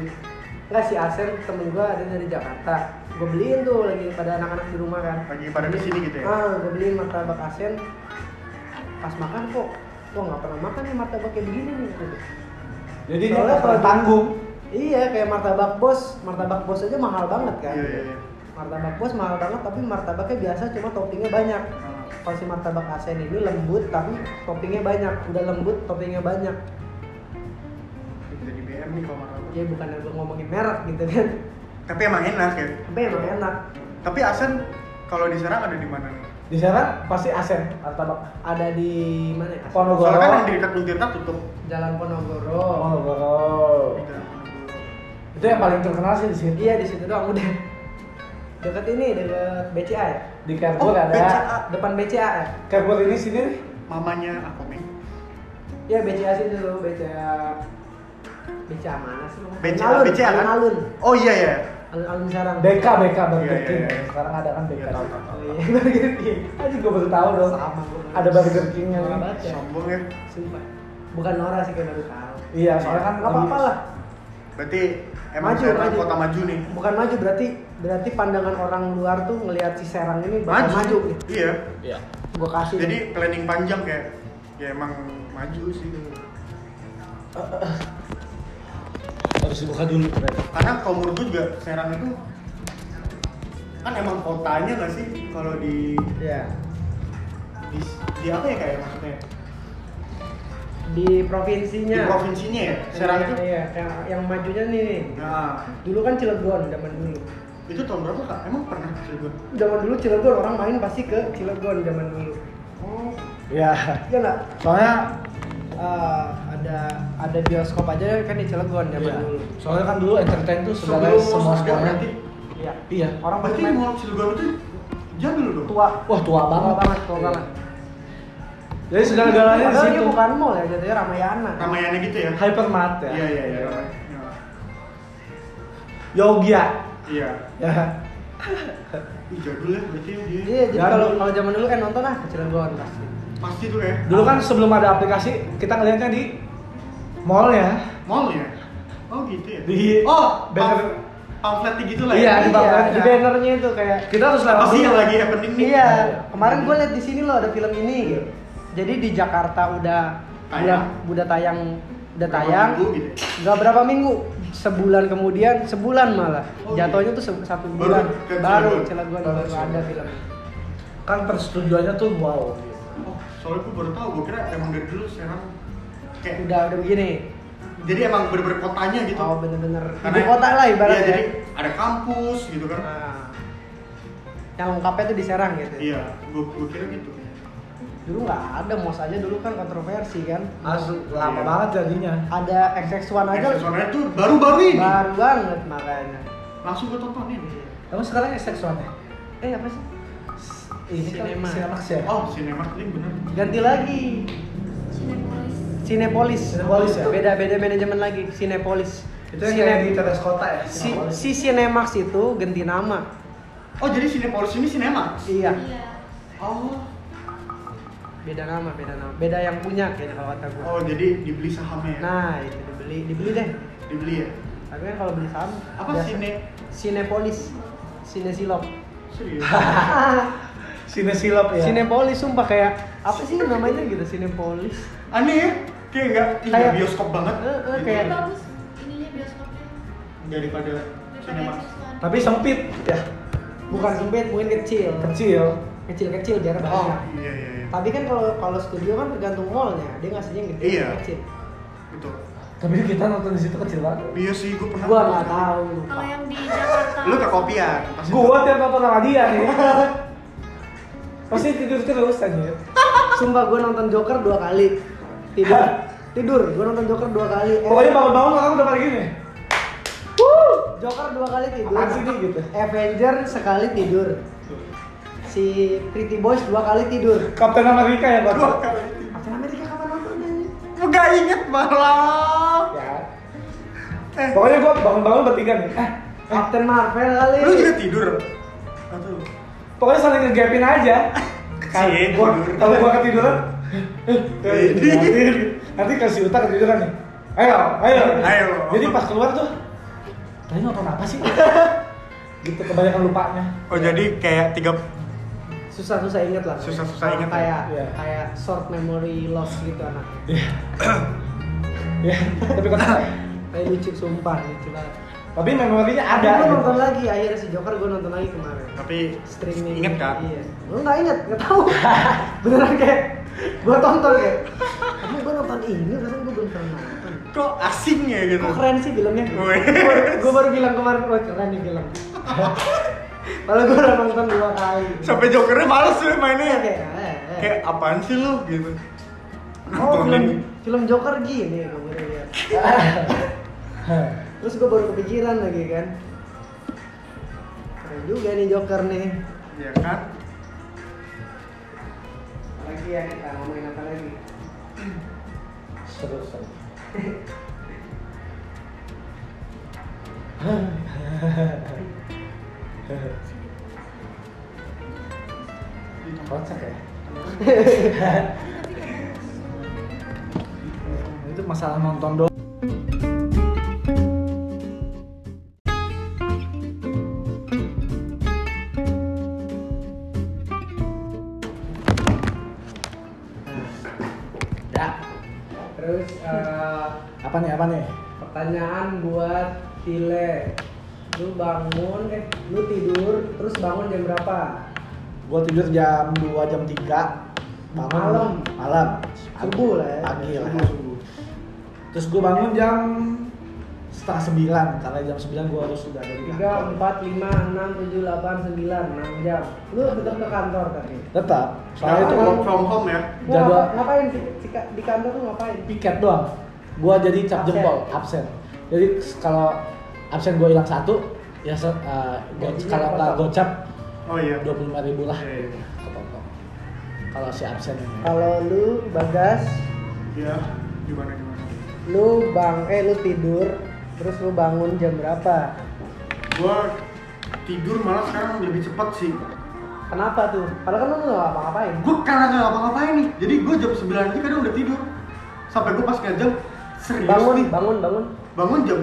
Speaker 2: Enggak si Asen temen gue ada dari Jakarta gue beliin tuh lagi pada anak-anak di rumah kan
Speaker 4: Lagi pada kesini gitu ya.
Speaker 2: ah gue beliin martabak Asen pas makan kok wah nggak pernah makan nih martabak kayak begini nih gitu.
Speaker 1: Jadi dia
Speaker 2: Soalnya
Speaker 1: nggak pernah
Speaker 2: kalau-
Speaker 1: tanggung.
Speaker 2: iya kayak martabak bos martabak bos aja mahal banget kan
Speaker 4: Iya iya iya.
Speaker 2: martabak bos mahal banget tapi martabaknya biasa cuma toppingnya banyak
Speaker 4: Nah,
Speaker 2: kalau si martabak asen ini lembut tapi toppingnya banyak udah lembut toppingnya banyak
Speaker 4: Bisa di BM nih kalau martabak.
Speaker 2: ya bukan gue ngomongin merek gitu kan
Speaker 4: Tapi emang enak ya.
Speaker 2: tapi emang enak
Speaker 4: Tapi Asen kalau di Serang ada di mana nih?
Speaker 1: Di sana pasti asen martabak
Speaker 2: ada di mana ya Asen?
Speaker 1: Ponogoro.
Speaker 4: Soalnya kan yang di dekat Luntirta tutup. Iya.
Speaker 2: jalan Ponorogo
Speaker 1: Ponogoro. Itu yang paling terkenal sih di sini.
Speaker 2: iya di situ doang udah deket ini deket BCA ya
Speaker 1: Di Kerbul
Speaker 4: Oh,
Speaker 1: ada.
Speaker 4: becak.
Speaker 2: depan BCA ya
Speaker 1: Kerbul ini sini nih.
Speaker 4: Mamanya Akome.
Speaker 2: Iya BCA sih dulu BCA BCA mana sih?
Speaker 4: BCA, BCA kan?
Speaker 2: alun
Speaker 4: Oh iya iya.
Speaker 2: alun alun sarang
Speaker 1: BK BK Burger
Speaker 4: Iya, iya,
Speaker 1: King.
Speaker 4: iya.
Speaker 1: Sekarang ada kan BK.
Speaker 4: Iya tahu tahu.
Speaker 2: Oh
Speaker 4: tahu.
Speaker 2: iya Burger King.
Speaker 1: Aja gue baru tahu dong.
Speaker 2: sama gua.
Speaker 1: Ada
Speaker 4: gitu.
Speaker 1: Burger King-nya.
Speaker 2: Sama banget
Speaker 5: Iya.
Speaker 2: ya
Speaker 4: Sombong ya.
Speaker 2: sumpah bukan Nora sih kayak baru tahu
Speaker 1: Iya, soalnya kan
Speaker 2: nggak apa-apa lah
Speaker 4: Berarti emang
Speaker 2: Maju,
Speaker 4: Serang
Speaker 2: maju.
Speaker 4: kota maju nih.
Speaker 2: bukan maju berarti berarti pandangan orang luar tuh ngelihat si Serang ini bakal maju, nih
Speaker 4: Iya.
Speaker 2: gue kasih
Speaker 4: Jadi planning panjang kayak ya emang maju sih.
Speaker 1: Harus dibuka dulu ternyata.
Speaker 4: Karena kalau menurut gue juga Serang itu kan emang kotanya nggak sih kalau di,
Speaker 2: ya
Speaker 4: di di apa ya kayak maksudnya
Speaker 2: di provinsinya
Speaker 4: di provinsinya ya Serang
Speaker 2: Iya,
Speaker 4: itu
Speaker 2: iya, yang, yang majunya nih nih.
Speaker 4: nah
Speaker 2: dulu kan Cilegon zaman dulu
Speaker 4: itu tahun berapa kak emang pernah Cilegon
Speaker 2: zaman dulu Cilegon orang main pasti ke Cilegon zaman dulu
Speaker 4: oh
Speaker 1: Iya.
Speaker 2: ya nggak
Speaker 1: Soalnya
Speaker 2: Eh, ada ada bioskop aja kan di Cilegon zaman
Speaker 1: Iya.
Speaker 2: dulu
Speaker 1: Soalnya kan dulu entertain tuh sebenarnya
Speaker 4: sebelum
Speaker 1: semua
Speaker 4: Mos ada
Speaker 1: semuanya.
Speaker 4: berarti
Speaker 2: iya
Speaker 1: Iya.
Speaker 2: orang
Speaker 4: berarti
Speaker 2: pasti main
Speaker 4: mau Cilegon itu jadul dong
Speaker 2: tua
Speaker 1: Wah tua banget.
Speaker 2: tua banget tua banget
Speaker 1: Jadi segala-galanya Iya, di
Speaker 2: Padahal
Speaker 1: situ.
Speaker 2: dia bukan mall ya jadinya Ramayana
Speaker 4: Ramayana gitu ya
Speaker 1: Hypermart ya.
Speaker 4: iya iya iya
Speaker 1: Yogya.
Speaker 4: iya
Speaker 1: Ya.
Speaker 4: Ih, jadul ya berarti dia
Speaker 2: iya jadi
Speaker 1: Dan-
Speaker 2: kalau kalau zaman dulu kan nonton lah ke Cilegon pasti
Speaker 4: pasti tuh ya
Speaker 1: Dulu kan sebelum ada aplikasi, kita ngelihatnya di mall ya.
Speaker 4: mall ya oh gitu ya
Speaker 1: Di-
Speaker 4: oh
Speaker 1: banner-
Speaker 4: banner pamfletnya gitu lah
Speaker 1: Iya,
Speaker 4: ya
Speaker 1: di bannernya.
Speaker 2: di bannernya itu kayak
Speaker 1: Kita harus lewat
Speaker 4: pasti
Speaker 1: dulu.
Speaker 4: yang lagi happening nih
Speaker 2: iya kemarin gue liat di sini loh ada film ini
Speaker 1: Iya.
Speaker 2: jadi di Jakarta udah udah
Speaker 4: Tayang.
Speaker 2: udah tayang udah
Speaker 4: Berapa
Speaker 2: tayang
Speaker 4: minggu gitu ya.
Speaker 2: nggak berapa minggu sebulan kemudian sebulan malah
Speaker 4: Oh,
Speaker 2: jatuhnya tuh se- satu
Speaker 4: Baru
Speaker 2: bulan
Speaker 4: ke
Speaker 2: baru
Speaker 4: Cilegon.
Speaker 2: Cilegon
Speaker 1: Baru
Speaker 2: baru ada
Speaker 1: Cilegon.
Speaker 2: film
Speaker 1: Kan persetujuannya tuh wow.
Speaker 4: oh soalnya gue baru tahu gue kira emang dari dulu Serang kayak
Speaker 2: udah udah begini
Speaker 4: jadi emang bener-bener kotanya gitu
Speaker 2: oh bener-bener
Speaker 4: Karena-
Speaker 2: ibu kota lah
Speaker 4: Iya,
Speaker 2: ibaratnya
Speaker 4: jadi ada kampus gitu kan
Speaker 2: Nah, yang lengkapnya tuh diserang gitu
Speaker 4: iya gue gue kira gitu
Speaker 2: dulu nggak ada mos aja dulu kan kontroversi kan
Speaker 1: Asli, lama
Speaker 4: Iya.
Speaker 1: banget jadinya.
Speaker 2: ada XX1 aja
Speaker 4: Nah, soalnya tuh baru-baru ini
Speaker 2: baru banget makanya
Speaker 4: langsung gue tontonin
Speaker 1: Kamu sekarang seks one ya?
Speaker 2: eh apa sih
Speaker 1: Ini kan
Speaker 2: Cinema.
Speaker 1: Cinemax ya?
Speaker 4: oh Cinemark ini bener
Speaker 2: ganti lagi
Speaker 11: Cinepolis.
Speaker 2: Cinepolis
Speaker 1: Cinepolis ya?
Speaker 2: beda beda manajemen lagi Cinepolis
Speaker 1: Itu yang
Speaker 2: Cine-
Speaker 1: kayak di teras kota ya?
Speaker 2: si,
Speaker 1: Cinemax.
Speaker 2: si Cinemax itu ganti nama
Speaker 4: oh jadi Cinepolis ini Cinemark
Speaker 2: iya
Speaker 11: Iya.
Speaker 4: oh
Speaker 2: beda nama beda nama beda yang punya kayaknya kalau kata gua
Speaker 4: oh jadi dibeli sahamnya ya
Speaker 2: nah itu dibeli dibeli deh
Speaker 4: dibeli ya
Speaker 2: tapi kan kalau beli saham
Speaker 4: apa
Speaker 2: biasa.
Speaker 4: Cine
Speaker 2: Cinepolis Cinesilop
Speaker 4: serius
Speaker 1: Cine silap ya?
Speaker 2: Cinepolis sumpah kayak apa sih namanya gitu Cinepolis
Speaker 4: aneh ya kayak nggak ih,
Speaker 2: Kayak-
Speaker 4: bioskop banget
Speaker 2: Eh, eh,
Speaker 4: gitu.
Speaker 11: Tapi
Speaker 2: kayak-
Speaker 11: bagus ininya bioskopnya.
Speaker 4: daripada
Speaker 11: Daripada
Speaker 4: Cinemark
Speaker 11: X-Men.
Speaker 1: Tapi sempit ya?
Speaker 2: bukan sempit mungkin kecil
Speaker 1: Kecil.
Speaker 2: kecil kecil jarak
Speaker 4: oh
Speaker 2: banyak
Speaker 4: iya iya iya
Speaker 2: tapi kan kalau kalau studio kan tergantung mallnya dia ngasihnya yang gede
Speaker 4: Iya.
Speaker 2: yang kecil
Speaker 4: betul
Speaker 1: Tapi kita nonton di situ kecil banget.
Speaker 4: Iya sih gue pernah
Speaker 2: gua nggak tahu
Speaker 11: Kalau yang di Jakarta.
Speaker 4: lu ke ya? kopian pasti
Speaker 1: Gua tiap nonton sama dia nih. Pasti tidur terus aja.
Speaker 2: sumpah gua nonton Joker dua kali tidur tidur gua nonton Joker dua kali Eh,
Speaker 1: Pokoknya bangun-bangun orang udah pada gini.
Speaker 2: Joker dua kali tidur
Speaker 1: Apaan sih ini gitu?
Speaker 2: Avenger sekali tidur si Pretty Boys dua kali tidur
Speaker 1: Kapten Amerika ya
Speaker 4: Gua
Speaker 1: baru.
Speaker 4: ke-
Speaker 2: Captain America kapan nontonnya
Speaker 4: Gua gak inget malam
Speaker 1: Ya.
Speaker 4: eh
Speaker 1: Pokoknya gua bangun-bangun bertiga nih. Eh,
Speaker 2: Captain Marvel kali
Speaker 4: lu juga tidur atau
Speaker 1: pokoknya saling ngegapin aja. Kalau gua, kalau gua ketiduran, eh, nanti, nanti kasih utang ketiduran nih. Ayo, ayo,
Speaker 4: Ayo.
Speaker 1: Jadi pas keluar tuh, tadi nonton apa sih? gitu kebanyakan lupanya.
Speaker 4: Oh jadi kayak tiga
Speaker 2: susah-susah inget lah
Speaker 4: Susah-susah inget ya?
Speaker 2: kayak
Speaker 1: Iya.
Speaker 2: kayak short memory loss gitu anaknya
Speaker 1: Ya, Iya. tapi kan
Speaker 2: kayak lucu sumpah lucu banget
Speaker 1: tapi memorinya ada.
Speaker 2: ada gue
Speaker 1: gitu.
Speaker 2: nonton lagi akhirnya si Joker gue nonton lagi kemarin
Speaker 4: tapi
Speaker 2: streaming
Speaker 4: inget kan?
Speaker 2: iya gue nggak inget nggak tahu beneran kayak gue tonton kayak tapi gue nonton ini rasanya gue belum pernah nonton
Speaker 4: Kok asing ya gitu?
Speaker 2: kok keren sih filmnya
Speaker 4: Wih.
Speaker 2: gue baru bilang kemarin wah keren nih film Padahal gue udah nonton dua kali
Speaker 4: Sampai jokernya males lu mainnya ya.
Speaker 2: kayak eh, eh.
Speaker 4: Kayak apaan sih lu gitu.
Speaker 2: Oh
Speaker 4: Nontonin.
Speaker 2: film, film Joker gini ya kamu lihat.
Speaker 1: Heh.
Speaker 2: Terus gue baru kepikiran lagi kan. Keren juga nih Joker nih.
Speaker 4: Ya kan?
Speaker 2: Lagi ya kita ngomongin apa lagi?
Speaker 1: Seru seru. Kocak ya. itu masalah nonton doang.
Speaker 2: Terus eh,
Speaker 1: Apa nih? Apa nih?
Speaker 2: pertanyaan buat Tile. Lu bangun, eh lu tidur, terus bangun jam berapa?
Speaker 1: Gua tidur jam 2 jam 3 bangun
Speaker 2: Malam.
Speaker 1: malam
Speaker 2: Subuh lah ya.
Speaker 1: pagi lah terus gua bangun jam setengah sembilan karena jam sembilan gua harus sudah ada di
Speaker 2: Tiga,
Speaker 1: kantor
Speaker 2: empat, lima, enam, tujuh, delapan, sembilan, enam jam. Lu tetap ke kantor tapi.
Speaker 1: tetap soalnya
Speaker 4: Nah,
Speaker 1: itu
Speaker 4: work from home ya.
Speaker 2: Lu
Speaker 1: Jadwal.
Speaker 2: ngapa- ngapain sih Sika- di kantor tuh ngapain?
Speaker 1: piket doang gua jadi cap
Speaker 2: Absen.
Speaker 1: jempol absen jadi s- kalau absen gua hilang satu ya se- eh, go-
Speaker 2: Gajinya
Speaker 1: kalau nggak
Speaker 2: potong.
Speaker 1: gocap
Speaker 4: Oh iya.
Speaker 1: dua puluh lima ribu lah
Speaker 4: Iya, iya.
Speaker 1: kepotong kalau si absen ini.
Speaker 2: Kalau lu Bagas,
Speaker 4: Iya. Gimana gimana?
Speaker 2: lu bang eh lu tidur terus lu bangun jam berapa?
Speaker 4: Gua tidur malah sekarang lebih cepat sih.
Speaker 2: Kenapa tuh? Padahal kan lu nggak ngapa-ngapain.
Speaker 4: Gua karena nggak ngapa-ngapain nih. Jadi gua jam 9 aja kadang udah tidur. Sampai gua pas ngajak serius
Speaker 2: Bangun,
Speaker 4: nih.
Speaker 2: bangun, bangun.
Speaker 4: Bangun jam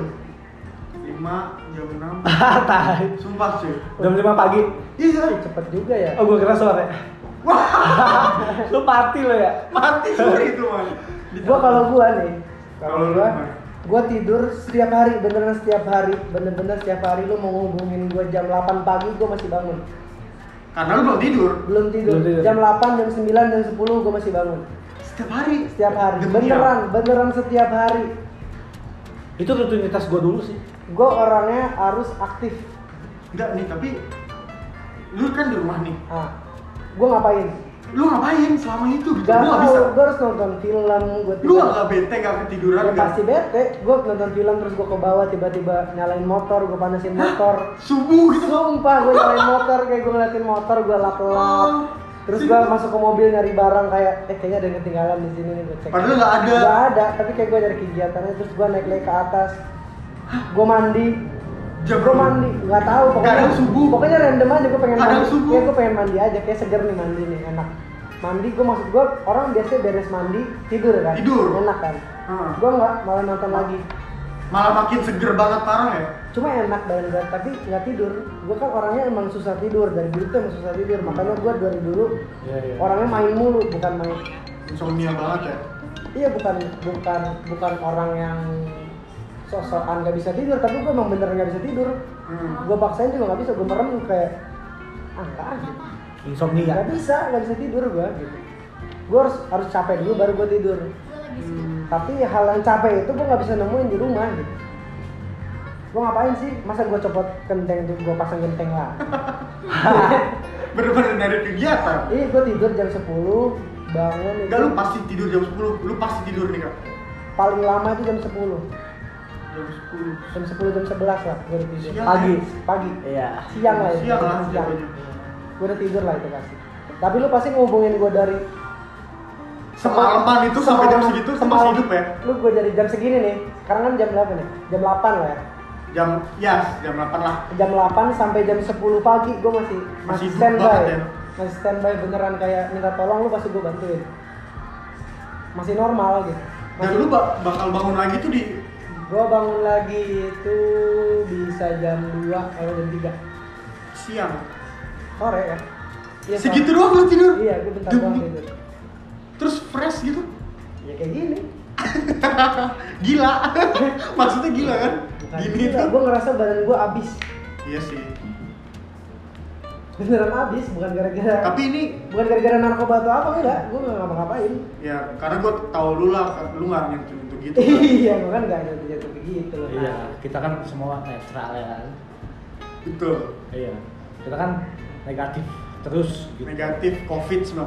Speaker 4: 5, jam 6. Sumpah cuy.
Speaker 1: jam lima pagi
Speaker 2: Ih,
Speaker 4: Iya.
Speaker 2: cepet juga ya.
Speaker 1: oh gua kira sore lu party lo ya
Speaker 4: Mati sore itu, Man.
Speaker 2: Gua kalau gua nih,
Speaker 4: Kalau
Speaker 2: kalau
Speaker 4: lu
Speaker 2: gua
Speaker 4: gimana?
Speaker 2: gua tidur setiap hari beneran setiap hari bener-bener setiap hari lu mau ngubungin gua jam 8 pagi gua masih bangun
Speaker 4: Karena lu belum tidur
Speaker 2: belum tidur,
Speaker 1: Belum tidur.
Speaker 2: jam 8 jam 9 jam 10 gua masih bangun
Speaker 4: setiap hari.
Speaker 2: setiap hari
Speaker 4: Demi
Speaker 2: beneran beneran setiap hari
Speaker 1: itu rutinitas gua dulu sih
Speaker 2: gua orangnya harus aktif
Speaker 4: apa? Enggak nih, tapi lu kan di rumah nih.
Speaker 2: ah gua ngapain
Speaker 4: Lu ngapain selama itu? Gitu.
Speaker 2: Gak
Speaker 4: Lu gak bisa.
Speaker 2: tau, gue harus nonton film, gue
Speaker 4: Lu gak bete, gak ketiduran, gak-
Speaker 2: pasti bete, gue nonton film terus gue ke bawah tiba-tiba nyalain motor, gue panasin motor
Speaker 4: Subuh gitu.
Speaker 2: Sumpah gue nyalain motor, kayak gue ngeliatin motor, gue lap-lap Terus gue masuk ke mobil nyari barang kayak, eh kayaknya ada yang ketinggalan di sini nih gue cek
Speaker 4: Padahal gak ada.
Speaker 2: Gak ada, tapi kayak gue nyari kegiatannya terus gue naik-naik ke atas Gue mandi,
Speaker 4: Jam
Speaker 2: gue mandi, gak tau pokoknya
Speaker 4: Kadang subuh.
Speaker 2: Pokoknya random aja, gue pengen
Speaker 4: Kadang
Speaker 2: mandi
Speaker 4: subuh.
Speaker 2: Kayak gue pengen mandi aja, kayak seger nih mandi nih, enak Mandi, gue maksud gue orang biasanya beres mandi, tidur kan
Speaker 4: Tidur.
Speaker 2: Enak kan
Speaker 4: Ah.
Speaker 2: Gue gak malah nonton lagi
Speaker 4: Malah makin seger banget parah ya.
Speaker 2: cuma enak badan gue tapi nggak tidur gue kan orangnya emang susah tidur dari dulu tuh emang susah tidur makanya gue dari dulu
Speaker 1: Iya, iya.
Speaker 2: orangnya main mulu bukan main
Speaker 4: Insomnia banget ya.
Speaker 2: iya bukan bukan bukan orang yang sosokan nggak bisa tidur tapi gue emang bener nggak bisa tidur
Speaker 4: Hmm.
Speaker 2: gue paksain juga nggak bisa gue merem kayak ah nggak ah, gitu.
Speaker 1: insomnia
Speaker 2: nggak bisa nggak bisa tidur gue gitu gue harus harus capek dulu baru gue tidur
Speaker 11: Gue lagi sibuk.
Speaker 2: tapi hal yang capek itu gue nggak bisa nemuin di rumah gitu gue ngapain sih masa gue copot genteng tuh gue pasang genteng lah
Speaker 4: Bener-bener dari kegiatan.
Speaker 2: Iya, gue tidur jam 10 bangun itu
Speaker 4: Enggak lu pasti tidur jam 10. Lu pasti tidur nih, Kak.
Speaker 2: paling lama itu jam 10
Speaker 4: Jam 10.
Speaker 2: jam 10 jam 11 lah gue udah tidur
Speaker 4: Siang, ya?
Speaker 1: pagi
Speaker 2: pagi
Speaker 1: iya
Speaker 2: siang lah itu
Speaker 4: Siang lah,
Speaker 2: siang
Speaker 4: jatuhnya.
Speaker 2: gue udah tidur lah itu pasti tapi lu pasti ngubungin gue dari
Speaker 4: Semalaman itu sampai jam
Speaker 2: semalaman-
Speaker 4: segitu itu masih
Speaker 2: semalam-
Speaker 4: hidup ya.
Speaker 2: lu gue dari jam segini nih sekarang kan jam berapa nih jam 8 lah ya
Speaker 4: Jam ya jam 8 lah.
Speaker 2: jam 8 sampai jam 10 pagi gue masih
Speaker 4: Masih hidup
Speaker 2: standby
Speaker 4: banget ya.
Speaker 2: masih standby beneran kayak minta tolong lu pasti gue bantuin masih normal gitu
Speaker 4: Dan
Speaker 2: masih
Speaker 4: lu ba- bakal bangun lagi tuh di
Speaker 2: gue bangun lagi itu bisa jam 2 atau jam
Speaker 4: siang.
Speaker 2: 3 sore ya Iya, sore.
Speaker 4: Segitu doang lu tidur.
Speaker 2: iya gue bentar
Speaker 4: Demi-
Speaker 2: doang tidur
Speaker 4: Terus fresh gitu.
Speaker 2: ya kayak gini
Speaker 4: Gila. Maksudnya gila kan?
Speaker 2: Bukan
Speaker 4: Gini
Speaker 2: Nah, gila,
Speaker 4: tuh.
Speaker 2: gue ngerasa badan gue abis
Speaker 4: Iya sih.
Speaker 2: beneran abis bukan gara-gara
Speaker 4: Tapi ini
Speaker 2: bukan gara-gara narkoba atau apa enggak gue nggak ngapa-ngapain
Speaker 4: ya karena gua tau lu lah, kan lu nggak nyentuh nyentuh gitu.
Speaker 2: iya gue kan nggak jatuh-jatuh begitu loh
Speaker 1: Iya, kita kan semua netral ya kan.
Speaker 4: Gitu.
Speaker 1: Iya. Kita kan negatif terus gitu.
Speaker 4: Negatif COVID-19.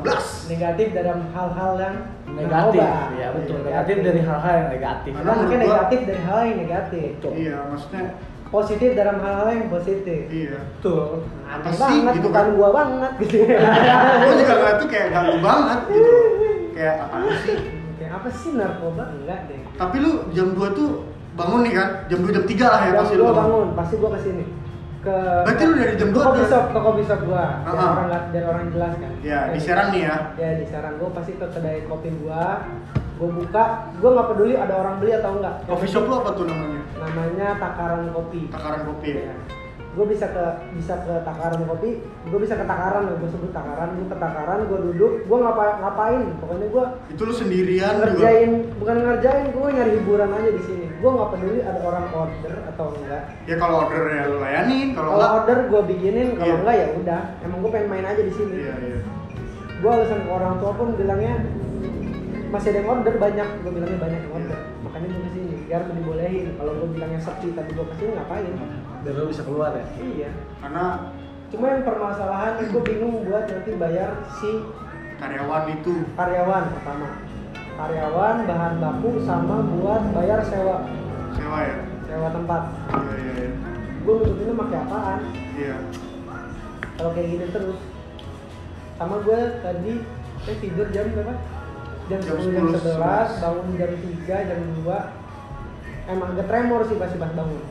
Speaker 2: negatif dalam hal-hal yang
Speaker 1: Negatif.
Speaker 2: narkoba.
Speaker 1: Iya, betul.
Speaker 2: Iya,
Speaker 1: Negatif dari hal-hal yang negatif.
Speaker 4: Karena
Speaker 2: Nah, mungkin
Speaker 4: menurut gua-
Speaker 2: negatif dari hal yang negatif Nah,
Speaker 4: Iya, maksudnya
Speaker 2: positif dalam hal-hal yang positif
Speaker 4: iya.
Speaker 1: Betul.
Speaker 4: Apa
Speaker 2: Aneh
Speaker 4: sih
Speaker 2: banget
Speaker 4: gitu
Speaker 2: bukan
Speaker 4: kan?
Speaker 2: gua banget gitu
Speaker 4: Gua juga nggak tuh kayak ganggu banget gitu. Kayak apa sih?
Speaker 2: Kayak apa sih narkoba enggak deh
Speaker 4: Tapi lu jam 2 tuh bangun nih kan? Jam 2 jam 3 lah ya
Speaker 2: jam
Speaker 4: pasti lu
Speaker 2: dua
Speaker 4: bangun.
Speaker 2: bangun pasti gua kesini ke
Speaker 4: Berarti lu dari jam
Speaker 2: ke
Speaker 4: dua
Speaker 2: kopi
Speaker 4: udah-
Speaker 2: shop ke kopi shop gua biar
Speaker 4: Ah, ah.
Speaker 2: orang nggak- biar orang jelas kan
Speaker 4: Ya,
Speaker 2: Kayak
Speaker 4: di Serang nih ya.
Speaker 2: ya di Serang gua pasti ke kedai kopi gua gua buka gua nggak peduli ada orang beli atau enggak
Speaker 4: Coffee shop lu apa tuh namanya?
Speaker 2: namanya takaran kopi
Speaker 4: Takaran kopi. ya?
Speaker 2: Iya. Gue bisa ke bisa ke takaran kopi, gue bisa ke takaran, gue sebut takaran, gue ke takaran, gue duduk, gue ngapa ngapain, pokoknya gue
Speaker 4: Itu lu sendirian juga.
Speaker 2: ngerjain, bukan ngerjain, gue nyari hiburan aja di sini. Gue nggak peduli ada orang order atau enggak.
Speaker 4: Ya kalau order ya lu layanin,
Speaker 2: Kalau
Speaker 4: kalau enggak
Speaker 2: order gue bikinin, kalau
Speaker 4: Iya.
Speaker 2: enggak ya udah. Emang gue pengen main aja di sini.
Speaker 4: Iya, iya.
Speaker 2: Gue alasan ke orang tua pun bilangnya masih ada yang order banyak, gue bilangnya banyak yang order.
Speaker 4: Iya.
Speaker 2: Makanya gue kesini biar gue dibolehin. Kalau gue bilangnya sepi tapi gue kesini ngapain?
Speaker 4: Iya.
Speaker 1: Dan lu bisa keluar ya.
Speaker 2: Iya.
Speaker 4: Karena
Speaker 2: Cuma yang permasalahan gue bingung buat nanti bayar si
Speaker 4: karyawan itu
Speaker 2: karyawan pertama. Karyawan, bahan baku sama buat bayar sewa
Speaker 4: sewa ya.
Speaker 2: sewa tempat.
Speaker 4: Iya, iya, iya.
Speaker 2: Gue nutupinnya pakai apaan?
Speaker 4: Iya.
Speaker 2: Kalau kayak gini terus. Sama gue tadi saya tidur jam berapa? Jam
Speaker 4: Jam
Speaker 2: 10, jam
Speaker 4: 10,
Speaker 2: 11, bangun jam 3, jam 2. Emang agak tremor sih pas pas bangun.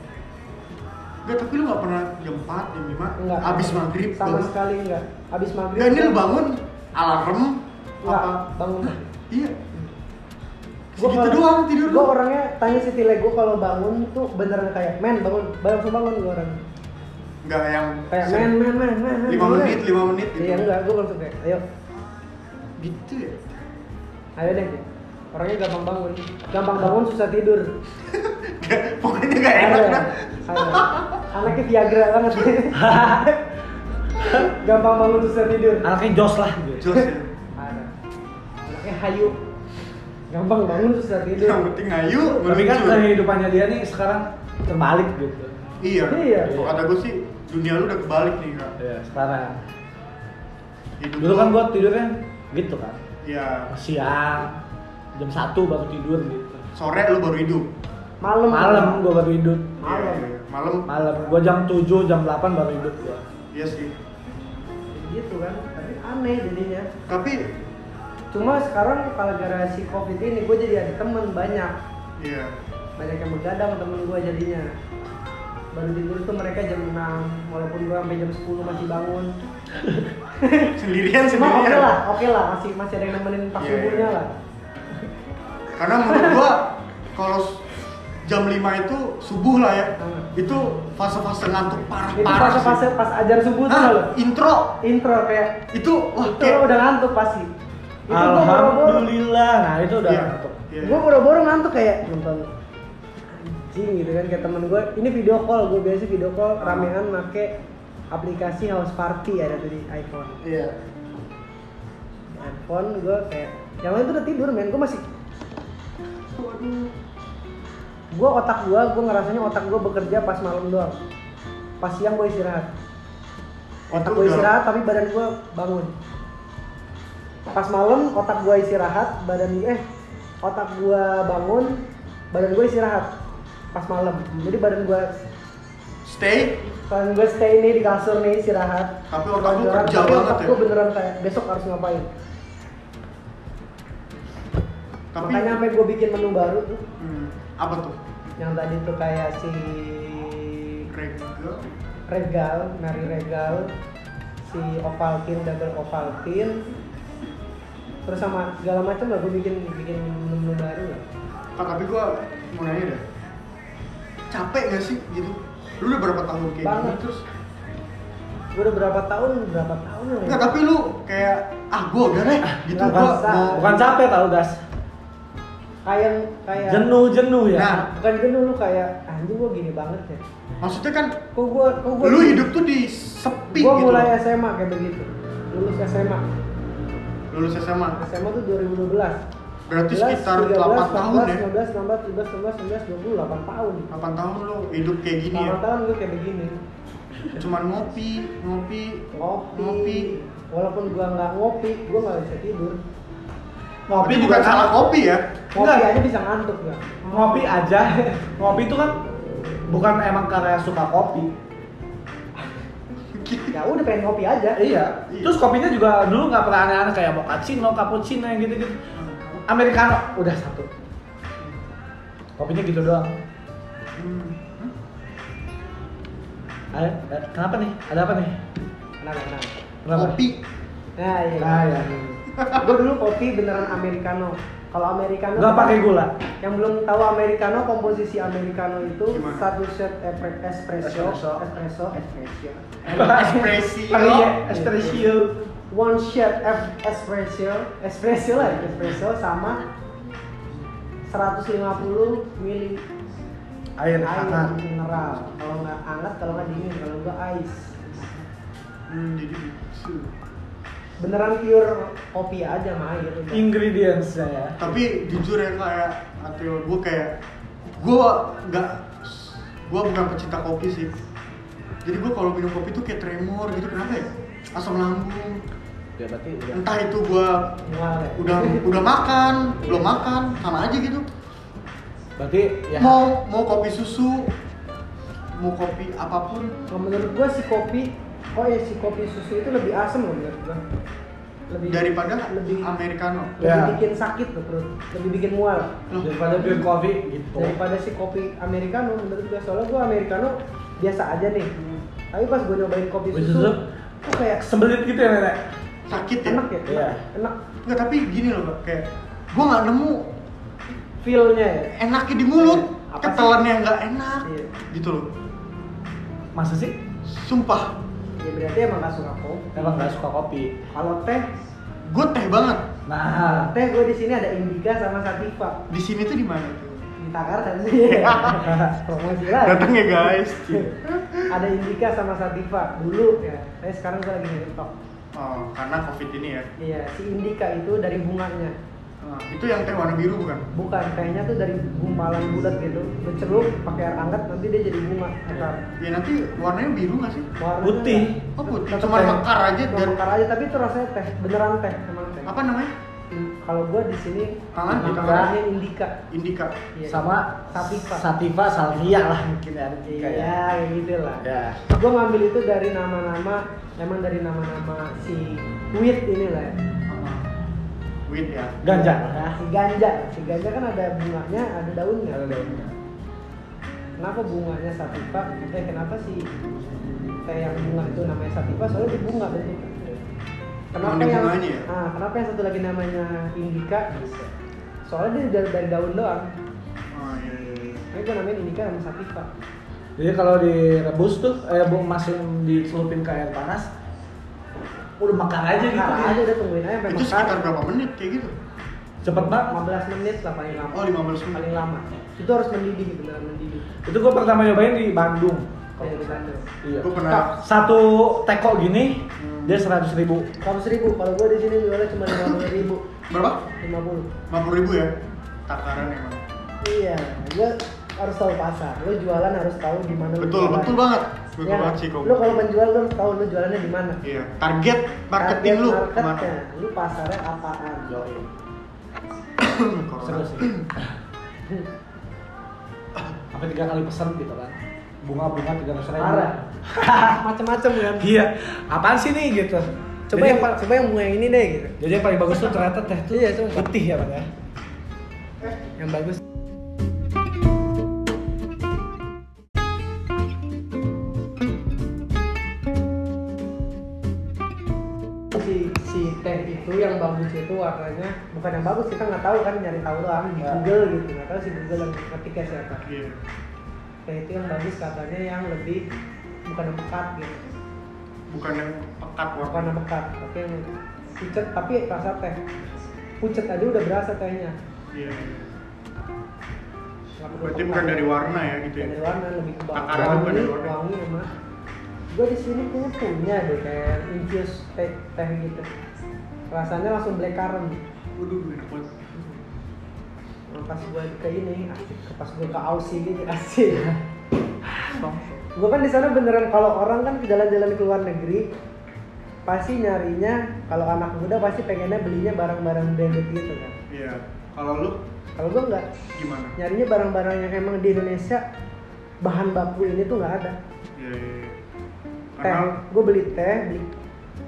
Speaker 4: Enggak, tapi lu enggak pernah jam 4, jam 5,
Speaker 2: Enggak.
Speaker 4: abis maghrib
Speaker 2: Sama
Speaker 4: bangun.
Speaker 2: sekali enggak. Abis maghrib.
Speaker 4: Enggak, ini lu bangun alarm
Speaker 2: Enggak,
Speaker 4: apa?
Speaker 2: bangun.
Speaker 4: Iya. Segitu Gitu doang tidur
Speaker 2: gue
Speaker 4: lu.
Speaker 2: orangnya tanya si Tile gue kalau bangun tuh beneran kayak men bangun langsung bangun gue orang
Speaker 4: Enggak yang
Speaker 2: kayak men men men men men,
Speaker 4: 5
Speaker 2: men."
Speaker 4: menit, 5 menit gitu.
Speaker 2: iya enggak gue langsung kayak ayo
Speaker 4: Gitu ya.
Speaker 2: ayo deh gitu. orangnya gampang bangun gampang bangun susah tidur
Speaker 4: Nggak, Pokoknya gak Eh, enak
Speaker 2: Ada,
Speaker 4: dah.
Speaker 2: ada. anaknya Viagra banget gampang bangun susah tidur
Speaker 1: Anaknya jos lah. gitu.
Speaker 4: Jos ya.
Speaker 2: ada anaknya hayu gampang bangun susah tidur
Speaker 4: Yang penting ayu,
Speaker 1: Tapi kan
Speaker 4: meluncur.
Speaker 1: kehidupannya dia nih sekarang terbalik gitu.
Speaker 4: Iya.
Speaker 2: Iya.
Speaker 4: Kalau kata gue sih dunia lu udah kebalik nih kak.
Speaker 1: Iya, sekarang.
Speaker 4: Hidup
Speaker 1: Dulu
Speaker 4: lu-
Speaker 1: kan gua tidurnya gitu kan.
Speaker 4: Iya.
Speaker 1: Siang jam 1 baru tidur gitu.
Speaker 4: Sore lu baru hidup.
Speaker 2: malam
Speaker 1: Malam gua baru hidup.
Speaker 4: Iya,
Speaker 2: Malam.
Speaker 4: iya. Malam.
Speaker 1: Malam gua jam 7, jam 8 baru hidup gua.
Speaker 4: Iya sih.
Speaker 2: gitu kan tapi aneh jadinya
Speaker 4: Tapi
Speaker 2: Cuma sekarang kalau gara si covid ini gue jadi ada temen banyak
Speaker 4: iya.
Speaker 2: Banyak yang begadang temen gue jadinya Baru tidur tuh mereka jam 6 Walaupun gue sampai jam 10 masih bangun
Speaker 4: Sendirian
Speaker 2: Cuma oke
Speaker 4: sendirian.
Speaker 2: lah, oke lah masih, masih ada yang nemenin pas
Speaker 4: Iya,
Speaker 2: subuhnya
Speaker 4: iya.
Speaker 2: lah
Speaker 4: Karena menurut gua kalau s- jam 5 itu subuh lah ya.
Speaker 2: Hmm.
Speaker 4: Itu fase-fase
Speaker 2: Itu
Speaker 4: ngantuk parah-parah.
Speaker 2: pas, pas,
Speaker 4: sih.
Speaker 2: pas ajar subuh tuh
Speaker 4: Hah,
Speaker 2: loh
Speaker 4: intro
Speaker 2: Intro kayak,
Speaker 4: itu wah
Speaker 2: itu
Speaker 4: kayak-
Speaker 2: udah ngantuk pasti Itu gue boro-boro
Speaker 1: Alhamdulillah. Nah, itu udah
Speaker 4: Iya,
Speaker 1: ngantuk.
Speaker 4: iya.
Speaker 2: Gue boro-boro ngantuk kayak nonton anjing gitu kan kayak temen gue ini video call gue biasa video call
Speaker 4: Ah.
Speaker 2: ramean make aplikasi house party ada tuh di iPhone
Speaker 4: Iya.
Speaker 2: handphone gue kayak yang lain tuh udah tidur men gue masih gue otak gue gue ngerasanya otak gue bekerja pas malam doang pas siang gue istirahat otak
Speaker 4: Itu
Speaker 2: gue
Speaker 4: udah-
Speaker 2: istirahat tapi badan gue bangun pas malam otak gue istirahat badan eh otak gue bangun badan gue istirahat pas malam jadi badan gue
Speaker 4: Stay
Speaker 2: badan gue stay nih di kasur nih istirahat
Speaker 4: Tapi otak lu
Speaker 2: Istirahat,
Speaker 4: kerja
Speaker 2: tapi
Speaker 4: banget
Speaker 2: otak
Speaker 4: ya?
Speaker 2: gue beneran kayak besok harus ngapain
Speaker 4: tapi
Speaker 2: makanya sampai gue bikin menu baru tuh
Speaker 4: Hmm, apa tuh?
Speaker 2: yang tadi tuh kayak si
Speaker 4: Regal.
Speaker 2: Regal, Nari Regal, si si Ovaltine double Ovaltine terus sama segala macam lah gue bikin bikin menu baru lah
Speaker 4: Ah, tapi gua mau nanya dah. Capek gak sih gitu? Lu udah berapa tahun kayak gini
Speaker 2: Banget.
Speaker 4: terus?
Speaker 2: gue udah berapa tahun berapa tahun lah ya.
Speaker 4: Enggak, tapi lu kayak ah gua udah deh gitu
Speaker 2: Nggak
Speaker 4: gua.
Speaker 2: bisa.
Speaker 4: mau-
Speaker 1: Bukan capek tau gas.
Speaker 2: kayak kayak
Speaker 1: Jenuh jenuh ya.
Speaker 4: Nah.
Speaker 2: bukan jenuh lu kayak anjing gue gini banget ya
Speaker 4: Maksudnya kan
Speaker 2: kok gue kok gue
Speaker 4: lu hidup tuh di sepi
Speaker 2: gue
Speaker 4: gitu.
Speaker 2: mulai SMA kayak begitu lulus SMA
Speaker 4: Lulus SMA.
Speaker 2: SMA tuh 2012
Speaker 4: Berarti sekitar 8 tahun ya.
Speaker 2: 15, 16, 17, 18, 19, 28 tahun
Speaker 4: 8 tahun lu hidup kayak
Speaker 2: 8
Speaker 4: gini ya.
Speaker 2: tahun gue kayak begini
Speaker 4: Cuman ngopi, ngopi,
Speaker 2: Ngopi
Speaker 4: ngopi.
Speaker 2: Walaupun gue nggak ngopi, gue nggak bisa tidur
Speaker 1: Ngopi
Speaker 4: Tapi
Speaker 1: juga
Speaker 4: bukan salah kopi ya.
Speaker 2: Ngopi
Speaker 1: Nggak.
Speaker 2: aja bisa ngantuk gak?
Speaker 1: Ngopi aja. Ngopi itu kan bukan emang karena suka kopi.
Speaker 2: Ya udah pengen ngopi aja
Speaker 1: Iya. Terus kopinya juga dulu nggak pernah aneh-aneh kayak mochaccino, cappuccino yang gitu-gitu.
Speaker 4: Hmm,
Speaker 1: Americano udah satu. Kopinya gitu doang.
Speaker 4: Hmm. Hmm.
Speaker 1: Ayo, eh, kenapa nih? Ada apa nih?
Speaker 2: Tenang, tenang
Speaker 1: Kenapa?
Speaker 4: Kopi.
Speaker 2: Nah iya
Speaker 1: Nah, ya.
Speaker 2: Gue dulu kopi beneran Americano Kalau Americano
Speaker 1: Nggak pakai gula.
Speaker 2: Yang belum tahu Americano, komposisi Americano itu
Speaker 4: Gimana?
Speaker 2: Satu shot epre- espresso
Speaker 1: Espresso.
Speaker 2: Espresso
Speaker 4: Espresi.
Speaker 1: Pakai ya, espresso.
Speaker 2: One shot ef- espresso Espresso lah, espresso sama 150 mili
Speaker 1: Air hangat.
Speaker 2: air mineral kalau nggak hangat kalau nggak dingin kalau nggak ice
Speaker 4: Hmm, jadi gitu.
Speaker 2: beneran pure kopi aja sama air udah.
Speaker 1: Ingredients ya.
Speaker 4: tapi jujur ya kayak Atrio gue kayak gue nggak gue bukan pecinta kopi sih jadi gue kalau minum kopi tuh kayak tremor gitu kenapa ya asam lambung
Speaker 1: Ya berarti udah.
Speaker 4: entah itu gue
Speaker 2: mual ya
Speaker 4: udah udah makan belum makan sama aja gitu
Speaker 1: Berarti ya.
Speaker 4: mau mau kopi susu mau kopi apapun
Speaker 2: Kalau Nah, menurut gua si kopi oh ya si kopi susu itu lebih asem loh menurut gua lebih
Speaker 4: daripada
Speaker 2: lebih
Speaker 4: americano
Speaker 2: lebih
Speaker 1: Ya.
Speaker 2: bikin sakit loh perut lebih bikin mual
Speaker 4: Loh,
Speaker 1: Daripada pure coffee gitu.
Speaker 2: daripada si kopi americano menurut gua soalnya gua americano biasa aja nih tapi pas gua nyobain kopi
Speaker 1: Kopi
Speaker 2: susu
Speaker 1: susu?
Speaker 2: kok kayak
Speaker 1: Sembelit gitu ya nenek.
Speaker 4: sakit ya
Speaker 2: enak ya
Speaker 1: Iya.
Speaker 2: enak, enak
Speaker 4: nggak tapi gini loh Pak, kayak gue nggak nemu
Speaker 2: feelnya ya
Speaker 4: enaknya di mulut
Speaker 2: Apa sih?
Speaker 4: ketelan yang nggak enak
Speaker 2: Iya.
Speaker 4: gitu loh
Speaker 1: Masa sih?
Speaker 4: sumpah
Speaker 2: ya berarti emang gak suka kopi
Speaker 1: Emang nggak suka kopi.
Speaker 2: kalau teh
Speaker 4: gue teh banget
Speaker 1: Nah,
Speaker 2: teh gue di sini ada indica sama sativa
Speaker 4: di sini tuh di mana tuh
Speaker 2: di Takarta sih promosi lagi
Speaker 4: datang ya guys
Speaker 2: ada indica sama sativa dulu ya saya sekarang gue lagi nyetok
Speaker 4: oh, karena covid ini ya
Speaker 2: iya si indica itu dari bunganya
Speaker 4: Nah, itu yang teh warna biru bukan
Speaker 2: bukan tehnya tuh dari gumpalan bulat gitu lu celup pakai air hangat nanti dia jadi bunga mekar
Speaker 4: ya nanti warnanya biru nggak sih
Speaker 2: Warnanya
Speaker 1: Putih.
Speaker 2: nggak-
Speaker 4: Oh, putih.
Speaker 2: tetep
Speaker 4: Cuman
Speaker 2: teh.
Speaker 4: mekar aja
Speaker 2: Cuma
Speaker 4: dan-
Speaker 2: mekar aja tapi itu rasanya teh beneran teh emang teh
Speaker 4: apa namanya
Speaker 2: Hmm, kalau gue di sini
Speaker 4: Tangan di kamar.
Speaker 2: namanya indica
Speaker 4: indika
Speaker 2: Iya.
Speaker 1: sama
Speaker 2: Sativa.
Speaker 1: Sativa Salvia lah mungkin ya. Kayak-
Speaker 2: iya kayak gitu lah
Speaker 1: Ya.
Speaker 2: gue ngambil itu dari nama-nama emang dari nama-nama si wit ini lah ya.
Speaker 4: Apa? wit ya
Speaker 1: Ganja.
Speaker 2: nah, si ganja si ganja kan ada bunganya ada daunnya
Speaker 1: Ada daunnya.
Speaker 2: kenapa bunganya sativa eh kenapa sih teh yang bunga itu namanya sativa soalnya di bunga bentuknya kenapa
Speaker 4: Emang di
Speaker 2: yang
Speaker 4: bunganya ya?
Speaker 2: ah, kenapa yang satu lagi namanya indica soalnya dia dari, dari daun doang
Speaker 4: oh, iya, iya, iya.
Speaker 2: ini gue namain indica sama sativa
Speaker 1: Jadi kalau direbus tuh eh bu masukin dicelupin ke air panas udah makan aja gitu.
Speaker 2: nah, aja udah tungguin aja sampai
Speaker 4: itu
Speaker 2: mekar.
Speaker 4: sekitar berapa menit kayak gitu
Speaker 1: Cepet banget.
Speaker 2: 15 menit lah paling lama
Speaker 4: oh 15 menit
Speaker 2: paling lama itu harus mendidih beneran mendidih
Speaker 1: Itu gua pertama nyobain di Bandung.
Speaker 2: kalau di Bandung
Speaker 1: Iya.
Speaker 4: gue pernah
Speaker 1: Satu teko gini
Speaker 4: Hmm.
Speaker 1: dia seratus ribu.
Speaker 2: seratus ribu kalau gue di sini jualnya cuma lima puluh ribu
Speaker 4: berapa
Speaker 2: lima puluh
Speaker 4: 50 ribu ya takaran emang
Speaker 2: iya gue harus tahu pasar lo jualan harus tahu di mana
Speaker 4: betul betul banget betul
Speaker 2: ya,
Speaker 4: banget sih kok
Speaker 2: lo kalau menjual lo harus tahu lo jualannya di mana
Speaker 4: iya target marketing
Speaker 2: Target
Speaker 4: lu
Speaker 2: marketnya lu pasarnya apaan
Speaker 4: Corona.
Speaker 1: Seru sih. Sampai tiga kali pesan gitu kan. Bunga-bunga tiga ratus ribu.
Speaker 2: parah macam-macam kan
Speaker 1: Iya. Apaan sih nih gitu?
Speaker 2: coba
Speaker 1: Jadi-
Speaker 2: yang pa- coba yang bunga yang ini deh gitu
Speaker 1: Jadi yang paling bagus tuh ternyata teh tuh
Speaker 2: Iya, sumpah.
Speaker 1: putih ya bang ya.
Speaker 2: yang bagus itu yang bagus itu warnanya bukan yang bagus kita nggak tahu kan nyari tahu doang di
Speaker 1: Ya.
Speaker 2: Google gitu nggak tahu si Google yang ketika siapa
Speaker 4: Iya.
Speaker 2: nah itu yang bagus katanya yang lebih bukan yang pekat gitu
Speaker 4: Bukan yang pekat
Speaker 2: bukan
Speaker 4: warna.
Speaker 2: yang pekat tapi yang pucet tapi rasa teh pucet aja udah berasa tehnya
Speaker 4: Iya.
Speaker 2: Nggak perlu
Speaker 4: Berarti
Speaker 2: pekat.
Speaker 4: bukan dari warna ya gitu ya.
Speaker 2: dari warna lebih ke bawah.
Speaker 4: Akarnya bukan
Speaker 2: wangi
Speaker 4: dari warna.
Speaker 2: wangi sama gue di sini punya punya deh kayak infused teh teh gitu rasanya langsung black currant
Speaker 4: Waduh, enak banget.
Speaker 2: pas gue ke ini asik pas gue ke Aussie gitu asik gue kan di sana beneran kalau orang kan ke jalan-jalan ke luar negeri pasti nyarinya kalau anak muda pasti pengennya belinya barang-barang branded gitu kan
Speaker 4: Iya. Kalau lu
Speaker 2: kalau gue nggak
Speaker 4: gimana?
Speaker 2: nyarinya barang-barang yang emang di Indonesia bahan baku ini tuh nggak ada
Speaker 4: Iya, iya, iya.
Speaker 2: teh Iya,
Speaker 4: Karena
Speaker 2: gue beli teh beli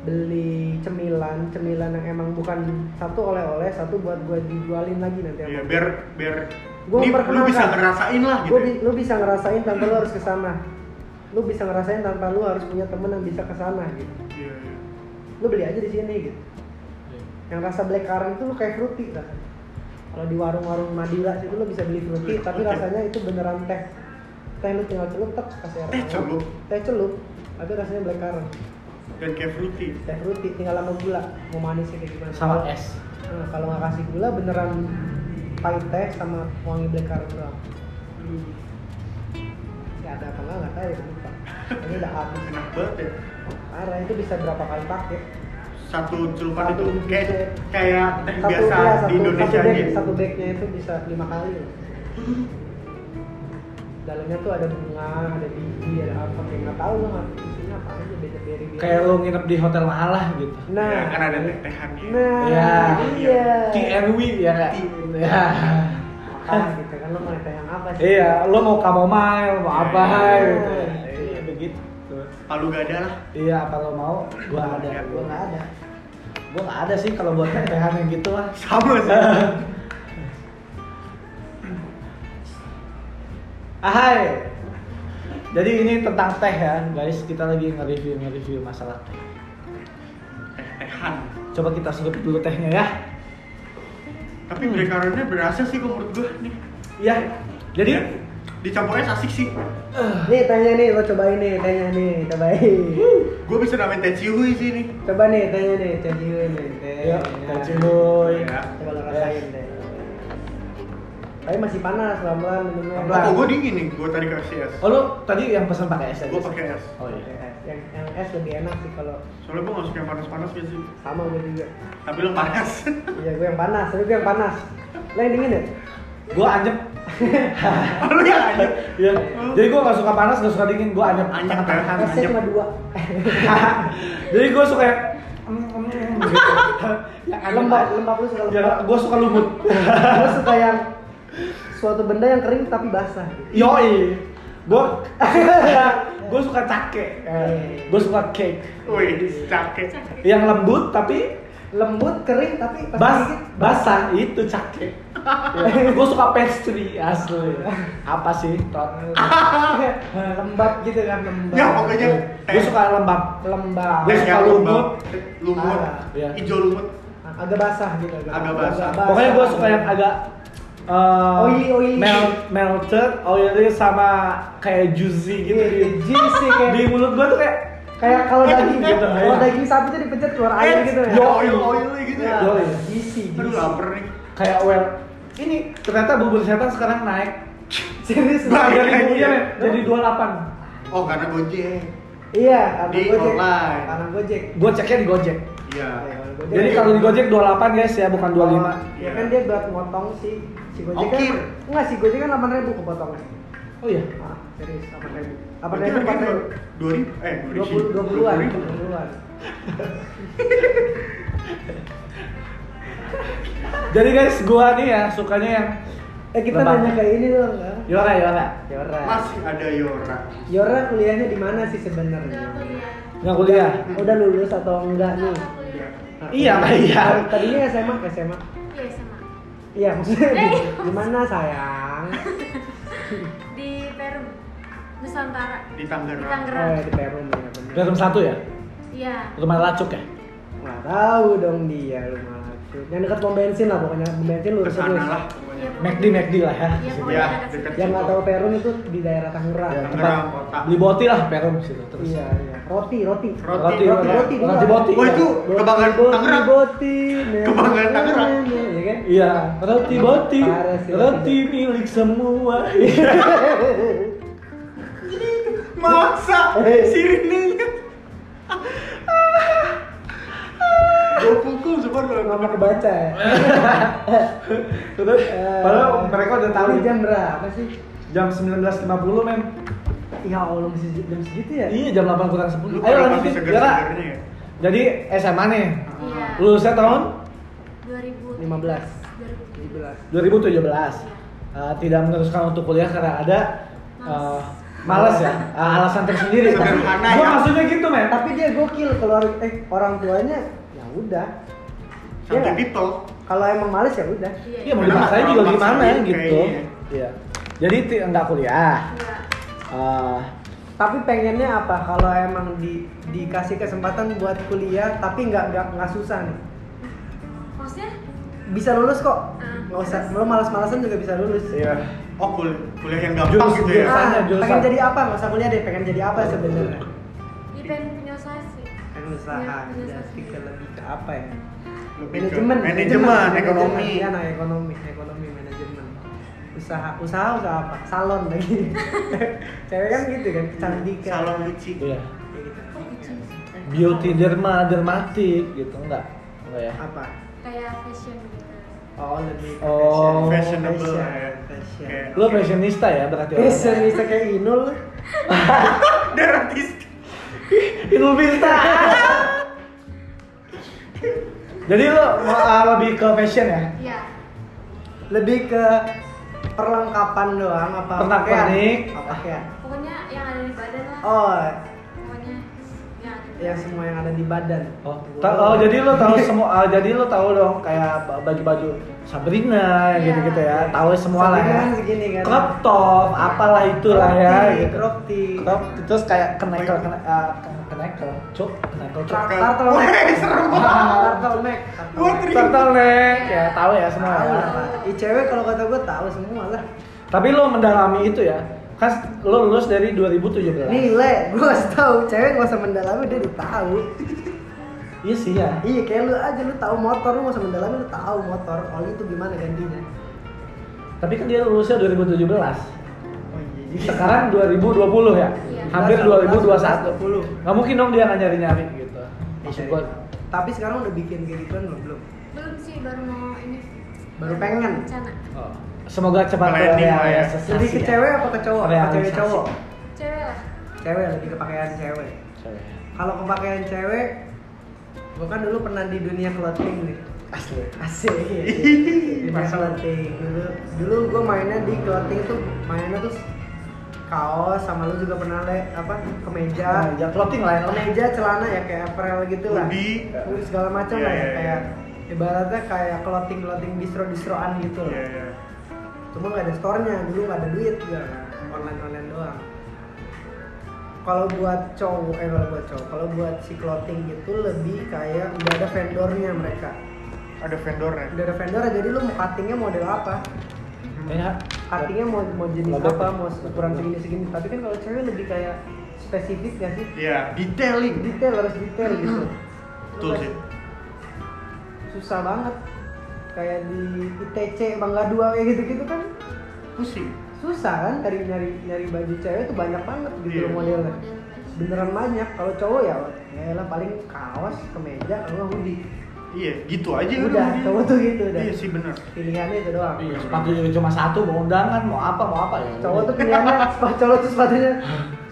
Speaker 2: beli cemilan cemilan yang emang bukan satu oleh-oleh satu buat gue dijualin lagi nanti
Speaker 4: Iya, biar biar
Speaker 2: Gua
Speaker 4: ini lu
Speaker 2: memperkenalkan.
Speaker 4: bisa ngerasain lah gitu.
Speaker 2: Gua bi- lu bisa ngerasain tanpa lu harus ke sana lu bisa ngerasain tanpa lu harus punya temen yang bisa ke sana gitu
Speaker 4: Iya, iya.
Speaker 2: lu beli aja di sini gitu yang rasa black currant itu lu kayak fruity kan kalau di warung-warung Madura situ lu bisa beli fruity tapi
Speaker 4: Iya, Oke.
Speaker 2: rasanya itu beneran teh teh lu tinggal celup tek kasih air
Speaker 4: Teh
Speaker 2: hangat.
Speaker 4: celup?
Speaker 2: teh celup tapi rasanya black currant
Speaker 4: Dan kayak fruity.
Speaker 2: teh fruity tinggal sama gula mau manisnya kayak gimana
Speaker 1: sama es
Speaker 2: Nah, kalau nggak kasih gula beneran pahit teh sama wangi black currant doang
Speaker 4: Aduh,
Speaker 2: ya ada apa nggak nggak tahu ya lupa ini udah habis
Speaker 4: enak banget ya.
Speaker 2: parah itu bisa berapa kali pakai
Speaker 4: Satu celupan
Speaker 2: Satu
Speaker 4: itu kayak
Speaker 2: biji.
Speaker 4: kayak teh biasa
Speaker 2: iya,
Speaker 4: di Indonesia
Speaker 2: satu bag,
Speaker 4: aja.
Speaker 2: satu bagnya itu bisa lima kali loh. dalamnya tuh ada bunga ada biji ada apa kayak nggak tahu lo nggak isinya apa aja beda beri
Speaker 1: kayak lo nginep di hotel mahal lah gitu
Speaker 2: nah
Speaker 4: Ya, kan ada teh-tehan ya.
Speaker 2: nah
Speaker 1: Ya.
Speaker 2: iya
Speaker 1: TNW ya nggak? ya
Speaker 2: Makan gitu kan lo mau teh yang apa sih
Speaker 1: iya lo mau chamomile mau apa
Speaker 2: Iya.
Speaker 1: gitu iya begitu
Speaker 4: Palu gak ada lah.
Speaker 1: iya apa lo mau gua ada
Speaker 4: Iya,
Speaker 2: gue nggak ada
Speaker 1: gua nggak ada sih kalau buat teh yang gitu lah
Speaker 4: Sama sih.
Speaker 1: Ahai. Ah, Jadi ini tentang teh ya, guys. Kita lagi nge-review nge-review masalah teh.
Speaker 4: Teh-tehan.
Speaker 1: Coba kita sedup dulu tehnya ya.
Speaker 4: Tapi black currant-nya berasa sih kalau menurut gua nih.
Speaker 1: Iya. Jadi
Speaker 4: Ya, dicampurnya asik sih.
Speaker 2: nih tehnya nih lo cobain nih tehnya nih cobain
Speaker 4: Gua bisa namain teh cihui sih nih.
Speaker 2: coba nih tehnya nih cobain nih teh
Speaker 4: Iya.
Speaker 1: Yuk, teh cihuy.
Speaker 4: Ya.
Speaker 2: coba lo rasain deh tapi masih panas pelan-pelan minumnya
Speaker 1: Pelan-pelan.
Speaker 4: Oh, gua dingin nih. Gua tadi kasih es.
Speaker 1: Oh lu tadi yang pesan pakai es aja.
Speaker 4: Gua
Speaker 1: sih?
Speaker 4: pakai es.
Speaker 1: Oh iya.
Speaker 2: yang, yang es lebih enak sih kalau
Speaker 4: Soalnya gua nggak suka yang panas-panas gitu sih.
Speaker 2: sama gue juga
Speaker 4: Tapi lu panas.
Speaker 2: iya gue yang panas tapi gue yang panas lo yang dingin ya
Speaker 1: Gua anjep.
Speaker 4: Lu yang aja.
Speaker 1: Iya. Jadi gua gak suka panas, gak suka dingin, gua anjep.
Speaker 4: Anjep,
Speaker 1: Tengah-tengah.
Speaker 2: esnya
Speaker 4: anjep.
Speaker 2: cuma dua
Speaker 1: Jadi gua suka yang em, em, em, gitu. Yang anjep.
Speaker 2: lembab lembab lu suka
Speaker 1: Ya,
Speaker 2: lembab
Speaker 1: gua suka lumut.
Speaker 2: lo suka yang suatu benda yang kering tapi basah
Speaker 1: Yoi. Gua gua suka cake. Gua suka cake.
Speaker 4: Wih, cakep.
Speaker 1: Yang lembut tapi
Speaker 2: lembut kering tapi pas
Speaker 1: Bas,
Speaker 2: digigit,
Speaker 1: basah itu cake. ya. Gue suka pastry asli. Apa sih?
Speaker 2: lembab gitu kan lembab
Speaker 4: Ya pokoknya
Speaker 1: Gue suka lembab.
Speaker 2: lembab
Speaker 1: Gua suka lumut.
Speaker 4: lumut,
Speaker 1: Iya.
Speaker 4: hijau lumut,
Speaker 2: agak basah gitu
Speaker 4: Agak basah.
Speaker 1: Pokoknya gue suka yang agak eh,
Speaker 2: Oily, oily.
Speaker 1: mel- melted, oily sama kayak juicy gitu di,
Speaker 2: Iya, juicy kayak
Speaker 1: di mulut gue tuh kayak
Speaker 2: kayak kalau
Speaker 4: Kayak
Speaker 2: daging
Speaker 4: gitu,
Speaker 2: gitu kalau
Speaker 1: iya.
Speaker 2: daging sapi tuh dipencet keluar air gitu ya Nah,
Speaker 4: yo oil oil Eh, gitu ya.
Speaker 1: Yoi.
Speaker 2: juicy
Speaker 4: Aduh
Speaker 2: juicy
Speaker 4: lapar nih.
Speaker 1: kayak well ini ternyata bubur setan sekarang naik
Speaker 2: serius
Speaker 4: Baik,
Speaker 1: dari
Speaker 4: iya.
Speaker 1: iya, men. jadi 28
Speaker 4: Oh karena gojek.
Speaker 2: Iya, karena
Speaker 4: Di
Speaker 2: Gojek.
Speaker 4: online.
Speaker 2: Karena Gojek.
Speaker 1: gue ceknya di gojek
Speaker 4: Iya.
Speaker 1: jadi kalau di gojek 28 guys ya bukan 25
Speaker 2: Ya kan dia buat motong si si Gojek
Speaker 4: Iya. Ongkir.
Speaker 2: kan. Enggak, si Gojek kan 8.000 kepotongnya.
Speaker 1: oh iya
Speaker 2: Ah, serius 8.000.
Speaker 4: Berarti
Speaker 2: 8.000
Speaker 4: harganya
Speaker 2: 4.000.
Speaker 4: dua ribu, eh dua
Speaker 2: 20 20-an, 20-an.
Speaker 1: Jadi guys, gua nih ya sukanya yang
Speaker 2: Eh kita
Speaker 1: Lebak.
Speaker 2: nanya kayak ini dong, Kang.
Speaker 1: Yora Yora.
Speaker 2: Yora.
Speaker 4: Masih ada Yora.
Speaker 2: Yora kuliahnya di mana sih
Speaker 11: Udah
Speaker 2: sebenarnya?
Speaker 11: kuliah.
Speaker 1: Nggak kuliah.
Speaker 2: Udah lulus atau enggak
Speaker 11: Udah
Speaker 2: nih?
Speaker 4: ya?
Speaker 11: kuliah.
Speaker 2: Nah,
Speaker 1: Iya,
Speaker 2: kuliah.
Speaker 1: iya.
Speaker 2: Tadinya SMA, SMA.
Speaker 11: Iya, sama.
Speaker 2: Iya, maksudnya di,
Speaker 11: Eh.
Speaker 2: di mana sayang?
Speaker 11: Di Perum. Nusantara.
Speaker 4: Di
Speaker 11: Di
Speaker 4: Tangerang.
Speaker 2: Oh,
Speaker 11: Tangerang.
Speaker 2: ya, di Perum ya, benar.
Speaker 1: Dalam satu ya,
Speaker 11: Iya.
Speaker 1: rumah lacuk ya.
Speaker 2: Nah, Tahu dong dia lu maksud. Yang dekat pom bensin lah pokoknya pom bensin lurus
Speaker 4: kesana
Speaker 2: terus.
Speaker 4: lah pokoknya
Speaker 12: McD McD lah ya.
Speaker 11: Iya,
Speaker 4: Ya,
Speaker 11: pokoknya dekat
Speaker 4: dekat.
Speaker 11: situ.
Speaker 2: Yang nggak tahu Perun itu di daerah Tangerang.
Speaker 12: Ya, tempat-
Speaker 4: Tangerang kota
Speaker 1: Beli boti lah perum situ terus.
Speaker 2: Iya, iya. Roti, roti.
Speaker 4: Roti,
Speaker 1: Roti,
Speaker 2: roti,
Speaker 1: roti,
Speaker 2: roti.
Speaker 1: roti, boti. ya?
Speaker 4: Wah, itu
Speaker 2: Roti,
Speaker 4: kebanggaan
Speaker 2: boti,
Speaker 4: Tangerang.
Speaker 2: Boti,
Speaker 4: Kebanggaan Tangerang.
Speaker 2: Iya kan?
Speaker 1: Iya, roti boti,
Speaker 2: Parah sih,
Speaker 1: roti
Speaker 2: roti.
Speaker 1: milik semua. Iya.
Speaker 4: masa sirine gue pukul sebenarnya
Speaker 2: Lama kebaca ya. Eh,
Speaker 1: Terus, padahal mereka udah tahu
Speaker 2: Ini jam berapa sih?
Speaker 1: jam 19.50 men.
Speaker 2: Ya Allah masih jam segitu ya?
Speaker 1: Iya jam 8 kurang 10.
Speaker 4: lu
Speaker 1: Ayo
Speaker 4: pada masih
Speaker 1: lanjutin.
Speaker 4: seger
Speaker 1: Yara.
Speaker 4: segernya ya
Speaker 1: Jadi SMA nih.
Speaker 11: Iya.
Speaker 1: Lulusnya tahun
Speaker 11: 2000.
Speaker 2: 15.
Speaker 11: 2000.
Speaker 2: 17.
Speaker 1: 2017. Eh, tidak meneruskan untuk kuliah karena ada eh, malas ya. Eh, alasan tersendiri.
Speaker 4: Sederhana
Speaker 1: Gua
Speaker 4: ya.
Speaker 1: maksudnya gitu, men.
Speaker 2: Tapi dia gokil keluar eh orang tuanya ya udah. Iya
Speaker 4: something
Speaker 2: nggak?
Speaker 4: people
Speaker 2: Kalau emang males ya udah.
Speaker 11: Iya.
Speaker 1: Iya, mau
Speaker 4: Karena
Speaker 1: dipaksain
Speaker 4: nggak
Speaker 1: juga
Speaker 4: terlalu
Speaker 1: gimana
Speaker 4: maksain
Speaker 1: gitu.
Speaker 4: kayaknya.
Speaker 1: Iya. Jadi ti- nggak kuliah.
Speaker 11: Iya.
Speaker 1: Eh,
Speaker 2: Tapi pengennya apa? Kalau emang di, dikasih kesempatan buat kuliah tapi nggak nggak nggak susah nih.
Speaker 11: Maksudnya?
Speaker 2: Bisa lulus kok.
Speaker 11: Ah,
Speaker 2: Nggak usah. Lo males-malesan juga bisa lulus.
Speaker 1: iya.
Speaker 4: oh kul- kuliah yang gampang
Speaker 1: Jurus-
Speaker 4: gitu ya
Speaker 1: jurusan.
Speaker 2: Ah, pengen
Speaker 1: jurusan.
Speaker 2: jadi apa? Nggak usah kuliah deh. Pengen jadi apa sebenarnya?
Speaker 11: Iya pengen punya usaha sih.
Speaker 2: Pengen usaha.
Speaker 11: Iya, punya
Speaker 2: Jadi
Speaker 11: usaha.
Speaker 2: ke lebih ke apa ya?
Speaker 4: lebih ke
Speaker 2: manajemen
Speaker 4: manajemen ekonomi
Speaker 2: ya nah ekonomi ekonomi manajemen usaha usaha usaha apa salon lagi cewek kan gitu kan kecantikan
Speaker 4: salon lucu
Speaker 1: Iya.
Speaker 2: Kayak gitu.
Speaker 1: Beauty derma dermatik gitu enggak. Enggak ya.
Speaker 2: apa
Speaker 11: Kayak fashion gitu.
Speaker 2: oh lebih ke
Speaker 1: Oh,
Speaker 2: fashion.
Speaker 4: fashionable ya.
Speaker 2: fashion
Speaker 4: Kayak-
Speaker 1: Lu fashionista ya berarti. orangnya?
Speaker 2: fashion bisa kayak inul
Speaker 4: Deratis.
Speaker 1: Idul Fitri. Jadi lo uh, lebih ke fashion ya?
Speaker 11: Iya.
Speaker 2: lebih ke perlengkapan doang apa
Speaker 1: Pernak pernik.
Speaker 2: apa pakaian
Speaker 11: Pokoknya yang ada di badan lah.
Speaker 2: oh Iya.
Speaker 11: Pokoknya yang ada di
Speaker 2: yang
Speaker 11: badan.
Speaker 2: semua yang ada di badan
Speaker 1: Oh, ta- oh, jadi lo tahu semua uh, jadi lo tahu dong kayak ba- baju-baju Sabrina
Speaker 11: Iya.
Speaker 1: gitu-gitu ya. Tahu semua lah ya.
Speaker 2: Sabrina segini kan
Speaker 1: Crop top, apalah itulah ya
Speaker 2: Crop tee,
Speaker 1: gitu.
Speaker 2: crop tee.
Speaker 1: Crop tee, terus kayak kenekel kene- uh, ke- kenekel, cuk, kenekel cuk.
Speaker 2: Tra- turtle neck.
Speaker 4: Weh, serem
Speaker 2: turtle neck turtle
Speaker 4: Gua
Speaker 2: neck.
Speaker 4: tri-
Speaker 1: Turtleneck ya, tahu ya semua
Speaker 2: tahu
Speaker 1: ya.
Speaker 2: lah Pak. Ih, cewek kalau kata gue tahu semua lah
Speaker 1: Tapi lo mendalami itu ya. Kan lo lulus dari 2017.
Speaker 2: nilai gue harus tahu cewek gak usah mendalami dia udah tahu
Speaker 1: Iya sih ya.
Speaker 2: iya kayak lu aja lu tahu motor lu gak usah mendalami lu tahu motor oli itu gimana gantinya
Speaker 1: Tapi kan dia lulusnya 2017.
Speaker 2: oh iya
Speaker 1: sekarang 2020 ya
Speaker 11: Iya.
Speaker 1: hampir
Speaker 2: 20.
Speaker 1: 2021 nggak mungkin dong dia nggak nyari nyari gitu
Speaker 2: Iya.
Speaker 1: maksud gua
Speaker 2: tapi sekarang udah bikin kayak gituan belum belum
Speaker 11: Belum sih baru mau ini.
Speaker 2: Baru pengen.
Speaker 11: Rencana.
Speaker 1: oh, semoga cepat
Speaker 4: Planning lah ya.
Speaker 1: terrealisasi
Speaker 2: lebih ke
Speaker 1: ya.
Speaker 2: cewek apa ke cowok Ke cewek
Speaker 1: Realisasi.
Speaker 2: cowok
Speaker 11: Cewek lah.
Speaker 2: cewek lebih ke pakaian cewek
Speaker 1: Cewek.
Speaker 2: kalau ke pakaian cewek gue kan dulu pernah di dunia clothing nih
Speaker 1: asli
Speaker 2: Asik. Di clothing. Dulu dulu gue mainnya di clothing tuh mainnya tuh kaos sama lu juga pernah le apa kemeja
Speaker 1: ya clothing lain lah
Speaker 2: kemeja celana ya kayak apparel gitu lah
Speaker 4: Hoodie.
Speaker 2: Hoodie segala macam
Speaker 4: Iya,
Speaker 2: lah ya
Speaker 4: iya,
Speaker 2: kayak ibaratnya kayak clothing clothing distro distroan gitu
Speaker 4: Iya,
Speaker 2: loh
Speaker 4: iya.
Speaker 2: cuma nggak ada store-nya dulu nggak ada duit juga online online doang kalau buat cowok eh kalau buat cowok kalau buat si clothing itu lebih kayak udah ada vendornya mereka
Speaker 4: Ada vendornya.
Speaker 2: udah ada vendor jadi lu mau cuttingnya model apa
Speaker 1: ya
Speaker 2: cuttingnya mau mau jenis
Speaker 1: Logo.
Speaker 2: apa mau ukuran segini segini tapi kan kalau cewek lebih kayak spesifik gak sih
Speaker 4: Iya, detailing.
Speaker 2: detail harus detail gitu
Speaker 4: Betul sih.
Speaker 2: susah banget kayak di ITC Bangga Dua kayak gitu gitu kan
Speaker 4: Pusing.
Speaker 2: susah kan cari nyari nyari baju cewek tuh banyak banget gitu
Speaker 4: Iya.
Speaker 2: loh modelnya beneran banyak kalau cowok ya ya lah paling kaos kemeja kalau nggak hoodie
Speaker 4: Iya, gitu aja
Speaker 2: Udah,
Speaker 4: dia.
Speaker 2: cowok tuh gitu udah.
Speaker 4: Iya sih benar.
Speaker 2: pilihannya itu doang
Speaker 1: Iya, sepatu juga cuma satu mau undangan mau apa mau apa ya
Speaker 2: cowok tuh pilihannya sepatu cowok tuh sepatunya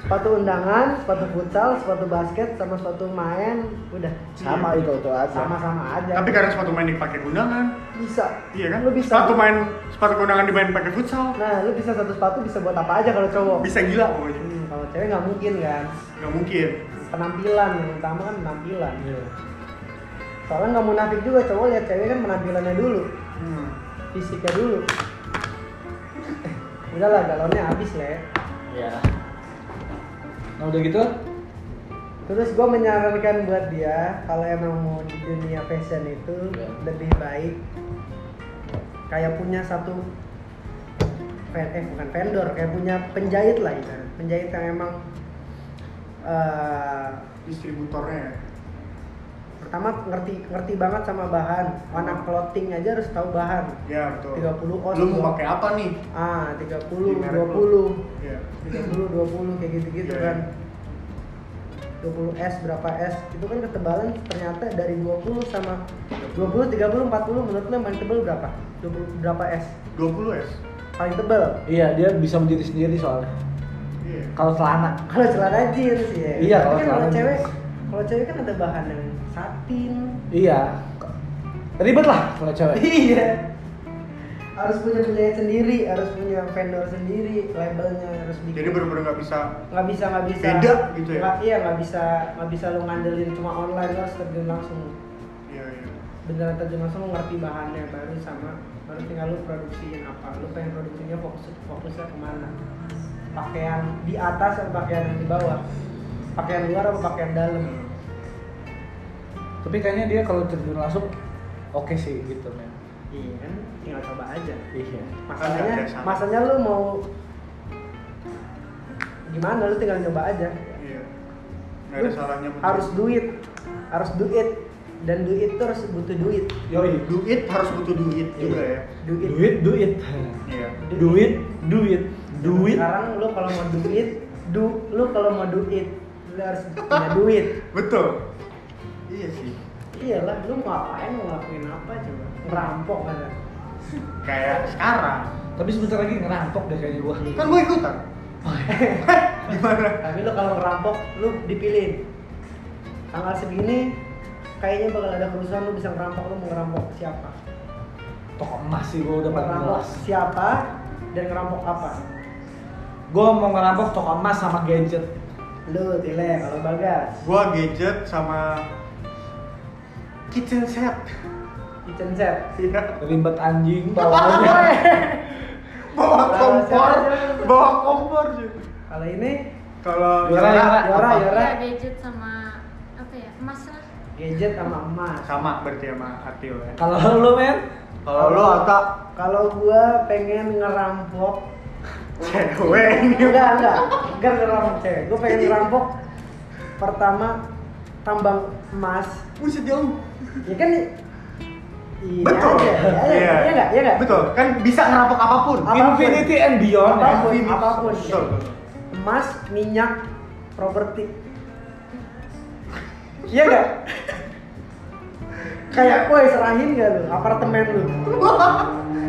Speaker 2: sepatu undangan sepatu futsal sepatu basket sama sepatu main udah
Speaker 1: sama itu itu aja
Speaker 2: sama sama aja
Speaker 4: Tapi karena sepatu main dipakai undangan,
Speaker 2: bisa
Speaker 4: iya kan?
Speaker 2: lu bisa
Speaker 4: Sepatu main sepatu undangan dimain pakai futsal,
Speaker 2: nah lu bisa satu sepatu bisa buat apa aja kalau cowok
Speaker 4: bisa gila pokoknya.
Speaker 2: Hmm, kalau cewek nggak mungkin kan
Speaker 4: Gak mungkin.
Speaker 2: penampilan yang utama kan penampilan
Speaker 1: Iya.
Speaker 2: soalnya nggak munafik juga cowok lihat cewek kan penampilannya dulu
Speaker 4: Hmm.
Speaker 2: fisiknya dulu Eh, udahlah galonnya habis le
Speaker 1: Iya. nah udah gitu
Speaker 2: Terus gue menyarankan buat dia kalau emang mau di dunia fashion itu lebih baik kayak punya satu ven- eh bukan vendor kayak punya penjahit lah ibarat. penjahit yang emang eh,
Speaker 4: distributornya ya
Speaker 2: pertama ngerti ngerti banget sama bahan warna clothing aja harus tahu bahan
Speaker 4: ya betul
Speaker 2: 30 ons
Speaker 4: lu mau pakai apa nih
Speaker 2: ah 30
Speaker 4: Di merek lu.
Speaker 2: 20
Speaker 4: ya
Speaker 2: 30, 20 kayak gitu-gitu
Speaker 4: Iya,
Speaker 2: kan 20 S berapa S itu kan ketebalan ternyata dari 20 sama 20, 30, 40 menurut lo yang paling tebal berapa? 20 berapa S?
Speaker 4: 20 S
Speaker 2: Paling tebal
Speaker 1: Iya, dia bisa berdiri sendiri soalnya.
Speaker 4: iya
Speaker 1: Kalau celana.
Speaker 2: kalau celana jeans ya
Speaker 1: Iya, kalau
Speaker 2: Tapi kan kalau
Speaker 1: celana
Speaker 2: cewek
Speaker 1: jeans.
Speaker 2: kalau cewek kan ada bahan yang satin
Speaker 1: Iya. Ribet lah kalau cewek.
Speaker 2: iya harus punya penjahit sendiri harus punya vendor sendiri labelnya harus bikin
Speaker 4: jadi bener-bener nggak bisa
Speaker 2: nggak bisa nggak bisa
Speaker 4: Beda gitu ya?
Speaker 2: Nggak- iya nggak bisa nggak bisa lo ngandelin cuma online lo harus terjun langsung
Speaker 4: iya iya
Speaker 2: beneran terjun langsung lo ngerti bahannya baru sama baru tinggal lo produksiin apa lo pengen produksinya fokus fokusnya kemana pakaian di atas atau pakaian yang di bawah pakaian luar apa pakaian dalam
Speaker 4: Hmm.
Speaker 1: Tapi kayaknya dia kalau terjun langsung oke sih gitu men.
Speaker 2: iya kan tinggal coba aja
Speaker 1: Iya.
Speaker 2: masalahnya
Speaker 4: Ada dasar.
Speaker 2: masalahnya lo mau gimana lo tinggal coba aja
Speaker 4: iya nggak ada
Speaker 2: Lu
Speaker 4: salahnya betul.
Speaker 2: harus duit harus duit dan duit tuh harus butuh duit
Speaker 1: Yoi.
Speaker 4: duit harus butuh duit
Speaker 2: Iya.
Speaker 4: juga ya
Speaker 2: duit,
Speaker 1: Duit, duit.
Speaker 4: iya
Speaker 1: Duit, duit, duit.
Speaker 2: sekarang lu kalau mau duit du lu kalau mau duit lu harus punya duit
Speaker 4: betul iya sih
Speaker 2: iyalah lu mau ngapain mau ngelakuin apa coba ngerampok kan
Speaker 4: kayak sekarang
Speaker 1: Tapi sebentar lagi ngerampok deh kayaknya gua.
Speaker 4: kan gue ikutan gimana
Speaker 2: tapi lu kalau ngerampok lu dipilih tanggal segini kayaknya bakal ada kerusuhan lu bisa ngerampok lu mau ngerampok siapa
Speaker 1: Toko emas sih gua udah paling
Speaker 2: ngerampok
Speaker 1: jelas.
Speaker 2: siapa dan ngerampok apa
Speaker 1: Gua mau ngerampok toko emas sama gadget.
Speaker 2: lu tile kalau bagas
Speaker 4: gua gadget sama kitchen set
Speaker 2: kitchen set
Speaker 4: Iya.
Speaker 1: Ribet anjing bawahnya.
Speaker 4: bawa kompor bawa kompor sih
Speaker 2: kalau ini
Speaker 4: kalau
Speaker 1: Yora, Yora.
Speaker 2: Yora,
Speaker 1: Apa?
Speaker 2: Yora.
Speaker 11: Iya, gadget sama apa ya? Emas lah.
Speaker 2: gadget sama emas
Speaker 4: sama berarti sama Atil ya
Speaker 1: Kalau lu men,
Speaker 4: kalau lo Ata
Speaker 2: kalau gua pengen ngerampok
Speaker 4: cewek ini
Speaker 2: enggak enggak enggak ngerampok cewek gua pengen ngerampok pertama tambang emas
Speaker 4: buset jauh
Speaker 2: ya kan iya
Speaker 4: betul
Speaker 2: aja, iya aja,
Speaker 4: Iya.
Speaker 2: iya enggak iya enggak
Speaker 4: betul kan bisa ngerampok apapun
Speaker 2: Apapun.
Speaker 1: infinity and beyond ya.
Speaker 2: Apapun,
Speaker 4: Infinity.
Speaker 2: apapun.
Speaker 4: betul betul.
Speaker 2: emas minyak properti iya enggak
Speaker 4: Iya.
Speaker 2: kayak woi serahin gak lu apartemen lu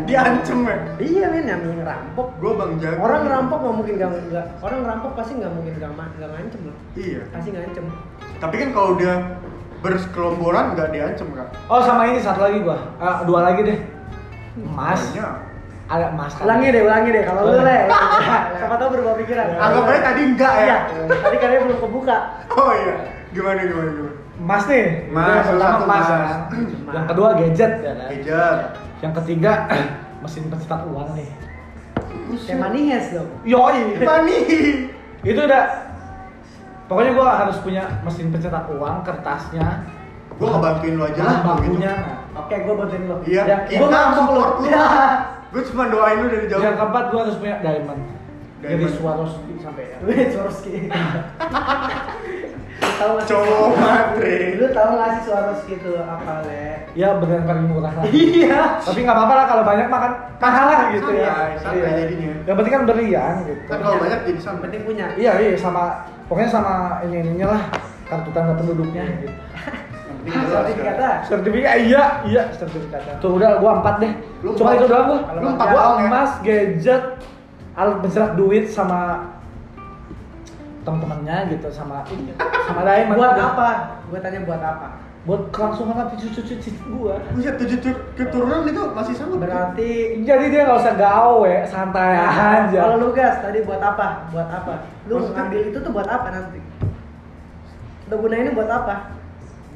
Speaker 4: diancem ya
Speaker 2: iya men namanya ngerampok
Speaker 4: gua bang jago
Speaker 2: orang ngerampok nggak mungkin gak, nggak- orang ngerampok pasti nggak mungkin gak, nggak ngancem lah
Speaker 4: iya
Speaker 2: pasti ngancem
Speaker 4: tapi kan kalau udah bersekelomboran nggak diancem kan
Speaker 1: Oh sama ini satu lagi gua. Eh, dua lagi deh. Emas.
Speaker 4: Iya.
Speaker 1: Ada emas. kan?
Speaker 2: ulangi deh ulangi deh kalau lu
Speaker 1: Boleh.
Speaker 2: leh siapa tahu berubah pikiran
Speaker 4: anggap aja tadi enggak
Speaker 1: Eh.
Speaker 4: ya
Speaker 2: Iya, tadi karena belum kebuka
Speaker 4: oh iya gimana gimana gimana
Speaker 1: Emas nih.
Speaker 4: Emas,
Speaker 1: Yang pertama
Speaker 4: satu
Speaker 1: emas.
Speaker 4: emas.
Speaker 1: kan? Yang kedua gadget ya kan.
Speaker 2: Iya.
Speaker 4: gadget
Speaker 1: Yang ketiga mesin pencetak uang nih.
Speaker 2: kayak manihes dong
Speaker 1: Yoi.
Speaker 4: money
Speaker 1: Itu udah Pokoknya gua harus punya mesin pencetak uang, kertasnya, Ah,
Speaker 4: gua ngebantuin lu aja
Speaker 1: bahan
Speaker 4: lah kalau gitu
Speaker 1: bakunya.
Speaker 2: oke gue bantuin lo
Speaker 4: iya
Speaker 1: Ya,
Speaker 4: kita
Speaker 1: gua ngerampok
Speaker 4: support
Speaker 1: lu.
Speaker 4: lu
Speaker 1: Ya.
Speaker 4: gua cuma doain lu dari jauh
Speaker 1: Yang keempat gua harus punya diamond. Jadi
Speaker 4: Diamond.
Speaker 1: Swarovski sampai ya.
Speaker 2: weh Swarovski tahu nggak sih-
Speaker 4: cowok matre
Speaker 2: lu tahu nggak sih Swarovski itu apa le
Speaker 1: Ya beneran paling murah lah.
Speaker 2: iya
Speaker 1: Tapi nggak apa-apa lah kalau banyak makan mahal lah gitu ya.
Speaker 4: Santai, santai
Speaker 1: Iya.
Speaker 4: jadinya.
Speaker 1: Yang penting kan berlian gitu.
Speaker 4: kan kalau banyak jadi sampai
Speaker 2: penting punya
Speaker 1: Iya iya sama pokoknya sama ini ininya lah kartu tanda penduduknya
Speaker 4: Iya,
Speaker 1: gitu.
Speaker 2: sertifikat lah
Speaker 1: Sertifikat iya iya sertifikatnya. Tuh udah gua empat deh.
Speaker 4: Lu
Speaker 1: Cuma
Speaker 4: empat.
Speaker 1: itu doang gua.
Speaker 4: Lu empat
Speaker 1: gua
Speaker 4: doang ya?
Speaker 1: emas, gadget, alat pencerak duit sama temen-temennya gitu sama sama lain
Speaker 2: buat apa gue tanya buat apa
Speaker 1: buat kelangsungan hati cucu-cucu cucu gua
Speaker 4: Buset, Iya, tujuh tur- keturunan itu masih sanggup
Speaker 2: berarti
Speaker 1: jadi dia nggak usah gawe santai aja
Speaker 2: Kalau lu gas tadi buat apa? Buat apa? Lu
Speaker 4: Maksudnya?
Speaker 2: ngambil itu tuh buat apa nanti? Lu gunainnya buat apa?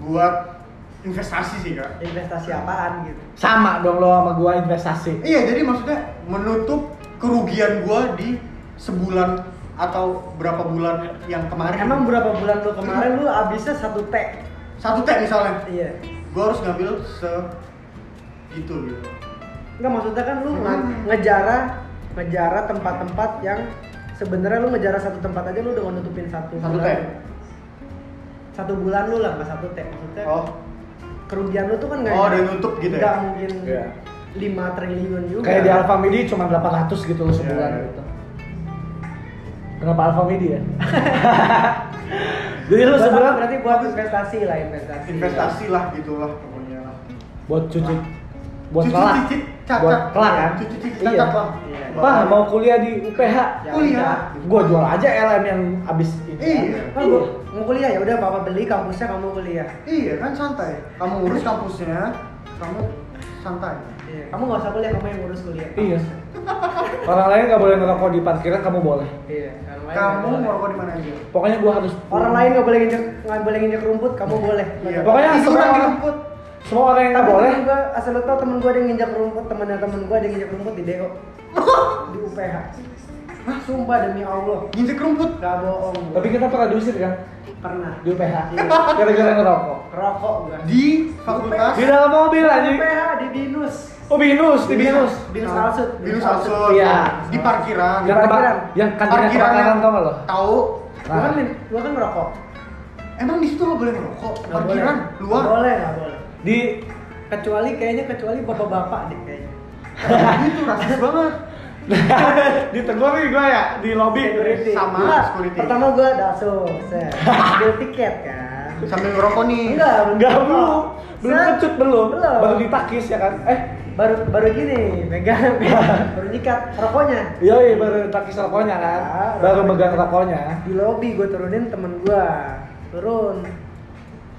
Speaker 4: buat investasi sih kak
Speaker 2: Investasi apaan gitu?
Speaker 1: sama dong lo sama gua investasi
Speaker 4: iya jadi maksudnya menutup kerugian gua di sebulan atau berapa bulan yang kemarin
Speaker 2: Emang berapa bulan lu kemarin lu habisnya satu T?
Speaker 4: satu tek misalnya
Speaker 2: Iya.
Speaker 4: gue harus ngambil se gitu gitu
Speaker 2: Enggak maksudnya kan lu nge-
Speaker 4: Mm-hmm.
Speaker 2: ngejara ngejara tempat-tempat yang sebenarnya lu ngejara satu tempat aja lu udah nutupin satu
Speaker 4: Satu
Speaker 2: bulan.
Speaker 4: T.
Speaker 2: Satu bulan lu lah, nggak satu T maksudnya.
Speaker 4: oh
Speaker 2: Kerugian lu tuh kan nggak
Speaker 4: oh ada yang nutup gitu
Speaker 2: nggak
Speaker 4: ya
Speaker 2: mungkin
Speaker 1: Iya.
Speaker 2: 5 triliun juga.
Speaker 1: Kayak di Alfamidi cuma 800 gitu loh sebulan
Speaker 4: Iya.
Speaker 1: gitu. Kenapa Alfamidi ya? Jadi lu
Speaker 2: Buat apa?
Speaker 1: sebulan
Speaker 2: berarti buat investasi lah investasi.
Speaker 4: investasi lah gitulah pokoknya lah
Speaker 1: buat cuci buat
Speaker 4: Cuci
Speaker 1: kelak.
Speaker 4: cicit cacat.
Speaker 1: Buat kelak kan?
Speaker 4: Cuci cicit
Speaker 1: Iya.
Speaker 4: cacat bang.
Speaker 2: Iya.
Speaker 1: Pak mau kuliah di UPH.
Speaker 2: Jangan,
Speaker 4: Oh iya.
Speaker 2: jangan.
Speaker 1: Gua jual aja LM yang abis ini.
Speaker 4: Iya.
Speaker 2: Kan gua mau kuliah ya udah papa beli kampusnya kamu kuliah.
Speaker 4: Iya kan santai. Kamu urus kampusnya, kamu santai.
Speaker 2: Iya. Kamu nggak usah kuliah, kamu yang ngurus kuliah.
Speaker 1: Iya. Orang lain nggak boleh ngerokok di parkiran, kamu boleh.
Speaker 2: Iya. orang lain nggak
Speaker 4: Kamu
Speaker 2: boleh.
Speaker 4: ngerokok di mana aja.
Speaker 1: Pokoknya gua harus.
Speaker 2: Orang lain nggak boleh nginjek nggak boleh nginjek rumput, kamu boleh.
Speaker 4: Iya.
Speaker 1: Pokoknya
Speaker 4: Tiduran
Speaker 1: semua
Speaker 4: di
Speaker 1: orang-
Speaker 4: rumput.
Speaker 1: Semua orang yang
Speaker 2: Tapi
Speaker 1: nggak boleh.
Speaker 2: boleh. Gua, asal lo tau temen gue ada yang nginjak rumput, temennya temen gue ada yang nginjak rumput di DO di UPH. Hah? Sumpah demi Allah,
Speaker 4: Nginjek rumput.
Speaker 2: gak bohong. gua.
Speaker 1: Tapi kita pernah diusir kan
Speaker 2: pernah
Speaker 1: di UPH.
Speaker 2: Iya.
Speaker 1: Gara-gara ngerokok.
Speaker 2: rokok gue.
Speaker 4: Di fakultas.
Speaker 1: Di dalam mobil aja.
Speaker 2: UPH di binus.
Speaker 1: Oh binus, di binus.
Speaker 2: Binus Alsut.
Speaker 4: Binus Alsut.
Speaker 1: Iya.
Speaker 4: Di parkiran.
Speaker 1: Yang
Speaker 2: parkiran.
Speaker 1: kebak, yang kantinnya kebakaran tau nggak lo?
Speaker 4: Tahu.
Speaker 1: Nah.
Speaker 2: Gue kan, gua kan ngerokok.
Speaker 4: Emang di situ lo boleh ngerokok.
Speaker 2: Nggak
Speaker 4: Parkiran
Speaker 2: boleh.
Speaker 4: luar.
Speaker 2: Nggak boleh, gak boleh.
Speaker 1: Di
Speaker 2: Kecuali kayaknya kecuali bapak-bapak deh kayaknya.
Speaker 4: Itu rasis banget.
Speaker 1: ditegur nih gua ya di lobby.
Speaker 2: Security.
Speaker 4: Sama
Speaker 2: Nggak,
Speaker 4: security.
Speaker 2: Pertama gue daso, set. Ambil tiket kan.
Speaker 4: Sambil ngerokok nih.
Speaker 2: Enggak,
Speaker 1: Enggak belum, belum
Speaker 2: Set.
Speaker 1: kecut belum.
Speaker 2: Belum.
Speaker 1: Baru ditakis ya kan? Eh,
Speaker 2: baru baru gini megang baru nyikat rokoknya
Speaker 1: yoi Iya, baru takis rokoknya kan? Baru megang rokoknya.
Speaker 2: di lobby gue turunin temen gue turun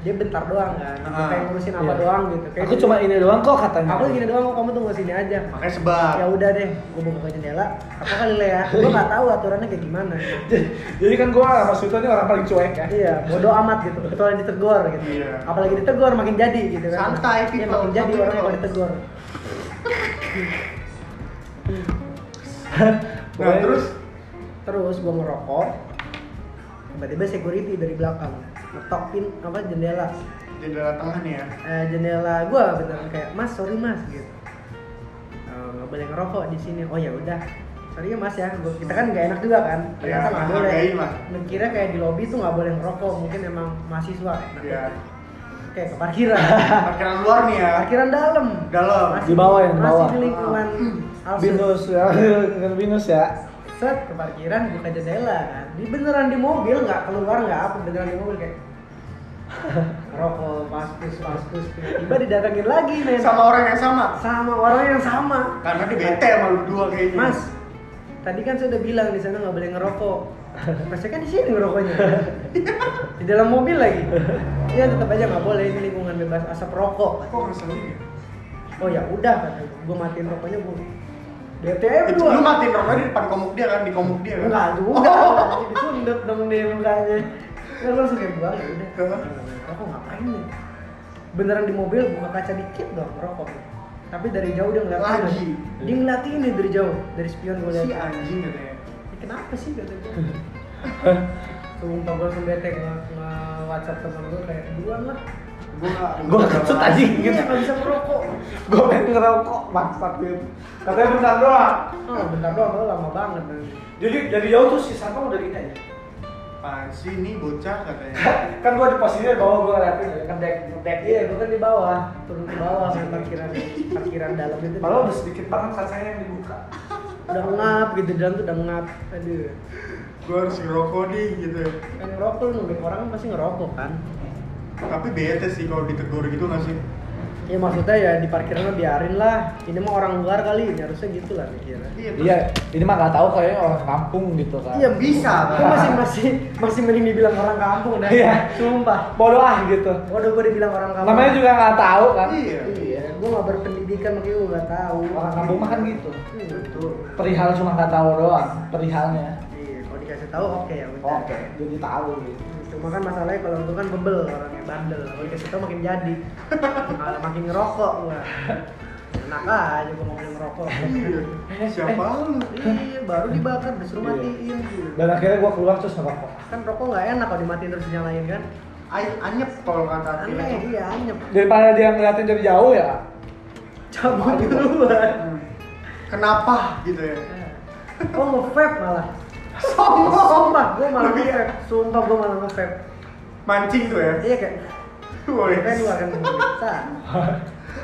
Speaker 2: dia bentar doang kan
Speaker 4: Ah,
Speaker 2: kayak ngurusin
Speaker 1: iya.
Speaker 2: apa doang gitu kayak
Speaker 1: Aku cuma ini doang kok katanya.
Speaker 2: aku gini doang kok kamu tunggu sini aja
Speaker 4: Makanya sebar.
Speaker 2: ya udah deh gue buka jendela apa kali lah ya gue nggak tahu aturannya kayak gimana
Speaker 1: Jadi kan gua sama Suto ini orang paling cuek ya.
Speaker 2: iya bodo amat gitu kecuali ditegur gitu
Speaker 4: Iya.
Speaker 2: apalagi ditegur makin jadi gitu kan
Speaker 4: Santai,
Speaker 2: Iya,
Speaker 4: people.
Speaker 2: makin jadi
Speaker 4: Santai,
Speaker 2: orang
Speaker 4: people.
Speaker 2: kalau ditegur
Speaker 4: Nah terus
Speaker 2: terus gue ngerokok tiba-tiba security dari belakang ngetok pin apa jendela
Speaker 4: jendela tengah nih ya.
Speaker 2: eh, jendela gue beneran kayak mas sorry mas gitu Eh, nggak boleh ngerokok di sini oh ya udah sorry ya mas ya Gua- kita kan nggak enak juga kan
Speaker 4: Iya,
Speaker 2: ternyata nggak boleh
Speaker 4: menghargai lah.
Speaker 2: Dikira kayak di lobby tuh nggak boleh ngerokok mungkin emang mahasiswa
Speaker 4: Iya.
Speaker 2: kayak ke parkiran
Speaker 4: Parkiran luar nih ya.
Speaker 2: parkiran dalam
Speaker 4: Dalam.
Speaker 1: Di bawah ya, di bawah.
Speaker 2: masih di lingkungan Alsun.
Speaker 1: Binus ya, dengan binus ya.
Speaker 2: set ke parkiran buka jendela kan di beneran di mobil nggak keluar nggak apa beneran di mobil kayak rokok paskus paskus tiba-tiba didatengin lagi nih
Speaker 4: Sama orang yang sama.
Speaker 2: sama orang yang sama
Speaker 4: Karena dia bete sama lu dua kayaknya.
Speaker 2: mas tadi kan saya udah bilang di sana nggak boleh ngerokok masnya kan di sini ngerokoknya di dalam mobil lagi ya tetap aja nggak boleh ini lingkungan bebas asap rokok
Speaker 4: kok ngeselin ya?
Speaker 2: oh ya udah kata gue matiin rokoknya gue BTM
Speaker 4: Itu
Speaker 2: dua
Speaker 4: lu matiin rokoknya di depan komuk dia kan, di komuk dia kan?
Speaker 2: Enggak juga, disundut dong di mukanya Ya lu langsung kayak buang, ya udah Rokok ngapain nih? Beneran di mobil buka kaca dikit dong rokok Tapi dari jauh dia ngeliatin
Speaker 4: Lagi.
Speaker 2: Dia ngeliatin nih dari jauh, dari spion gue liat
Speaker 4: Si anjing katanya.
Speaker 2: "Ya Kenapa sih kata gue Sumpah gue langsung bete nge-whatsapp temen gue kayak duluan lah
Speaker 4: Gua nggak-
Speaker 1: Gua kecut aja gitu.
Speaker 2: Iya gak bisa merokok
Speaker 1: Gua pengen ngerokok maksat gitu. Katanya bentar doang.
Speaker 2: Oh bentar doang, lo lama banget
Speaker 1: Jadi dari jauh tuh si Saka udah gini aja.
Speaker 4: Apaan sih nih bocah katanya?
Speaker 1: kan gua di posisinya bawah gua ngeliatin ya, kan dek dek
Speaker 2: Iya, gue kan di bawah, turun ke bawah ke parkiran parkiran dalam itu.
Speaker 1: Malah udah sedikit banget kacanya yang dibuka.
Speaker 2: udah ngap gitu di dalam tuh udah ngap aduh
Speaker 4: Gua harus ngerokok nih gitu.
Speaker 2: kan ngerokok lu nungguin orang kan pasti ngerokok kan
Speaker 4: Tapi bete sih kalau ditegur gitu nggak sih?
Speaker 2: ya maksudnya ya di parkiran lo biarin lah ini mah orang luar kali ya harusnya gitu lah mikirnya
Speaker 4: terus-
Speaker 1: Iya, ini mah nggak tahu kayaknya orang kampung gitu kan.
Speaker 2: iya
Speaker 4: bisa,
Speaker 2: gue masih masih masih mending dibilang orang kampung dah
Speaker 1: Iya.
Speaker 2: sumpah
Speaker 1: Bodoh ah gitu.
Speaker 2: waduh gue dibilang orang kampung
Speaker 1: Namanya juga nggak tahu kan.
Speaker 4: Iya.
Speaker 2: iya gue gak berpendidikan makanya gue gak tahu
Speaker 1: Orang kampung mah kan gitu.
Speaker 2: Hmm.
Speaker 1: Perihal cuma nggak tahu doang, perihalnya.
Speaker 2: iya kalau dikasih tahu oke ya udah
Speaker 1: Oke, jadi tahu gitu.
Speaker 2: cuma kan masalahnya kalau itu kan bebel orangnya bandel kalau dikasih tau makin jadi Malah makin ngerokok gua enak aja gua mau beli ngerokok
Speaker 4: Iya. Siapa lu?
Speaker 2: iya baru dibakar disuruh matiin
Speaker 1: Dan akhirnya gua keluar terus ngerokok.
Speaker 2: kan rokok nggak enak kalau dimatiin terus dinyalain kan
Speaker 4: Ay, anyep kalau kata dia.
Speaker 2: aneh iya anyep
Speaker 1: Daripada dia ngeliatin dari jauh ya,
Speaker 2: cabut duluan
Speaker 4: Hmm. Kenapa gitu ya?
Speaker 2: oh nge-vape malah sumpah gua malah
Speaker 4: Lebih-
Speaker 2: nge-vape sumpah gua malah nge-vape
Speaker 4: Mancing tuh ya.
Speaker 2: iya kayak
Speaker 4: Woi,
Speaker 2: vape lu akan bisa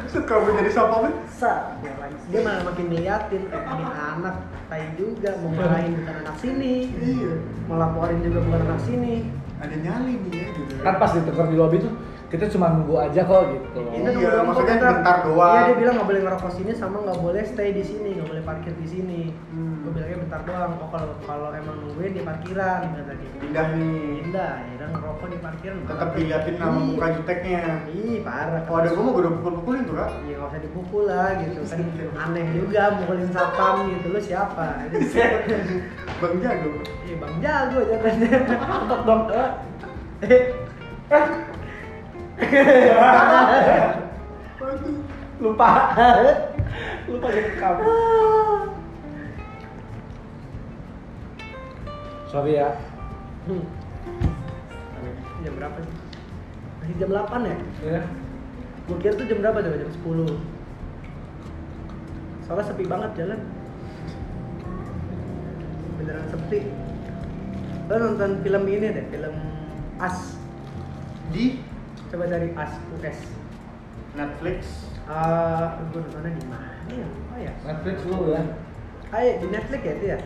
Speaker 4: suka menjadi siapa men?
Speaker 2: Sa, dia lagi- dia malah makin ngeliatin eh ini anak tai juga mau marahin bukan anak sini
Speaker 4: Iya.
Speaker 2: melaporin juga bukan anak sini
Speaker 4: Ada nyali nih ya gitu. ya.
Speaker 1: kan pas ditegur di lobby tuh kita cuma nunggu aja kok gitu.
Speaker 2: Ini
Speaker 4: Iya,
Speaker 2: nunggu nunggu
Speaker 4: maksudnya
Speaker 2: bentar.
Speaker 4: bentar doang.
Speaker 2: Iya dia bilang nggak boleh ngerokok sini sama nggak boleh stay di sini, nggak boleh parkir di sini.
Speaker 4: Hmm.
Speaker 2: Gue bilangnya bentar doang. Oh kalau kalau emang nungguin di parkiran kata dia.
Speaker 4: Pindah nih.
Speaker 2: Pindah, akhirnya ngerokok di parkiran.
Speaker 4: Tetap diliatin nama
Speaker 2: Ih,
Speaker 4: muka juteknya.
Speaker 2: Ih parah.
Speaker 4: Kalau ada gua mah gua udah pukul-pukulin tuh kak.
Speaker 2: Iya nggak usah dipukul lah gitu kan aneh juga mukulin satpam gitu lu siapa?
Speaker 4: Bang Jago.
Speaker 2: Iya bang jago jangan.
Speaker 1: Tetep dong. eh,
Speaker 4: Waduh.
Speaker 1: Lupa. Lupa jadi kamu. Sorry ya.
Speaker 2: Hmm. Jam berapa sih? Masih jam 8 ya?
Speaker 1: Ya.
Speaker 2: Gue kira tuh jam berapa coba? Jam 10 Soalnya sepi banget jalan Beneran sepi Lo nonton film ini deh, film As
Speaker 4: Di
Speaker 2: Coba cari As, US
Speaker 4: Netflix.
Speaker 2: Ah, Gue nontonnya di mana ya? Oh ya
Speaker 1: Netflix lu ya.
Speaker 2: Ah iya, di Netflix ya itu ya?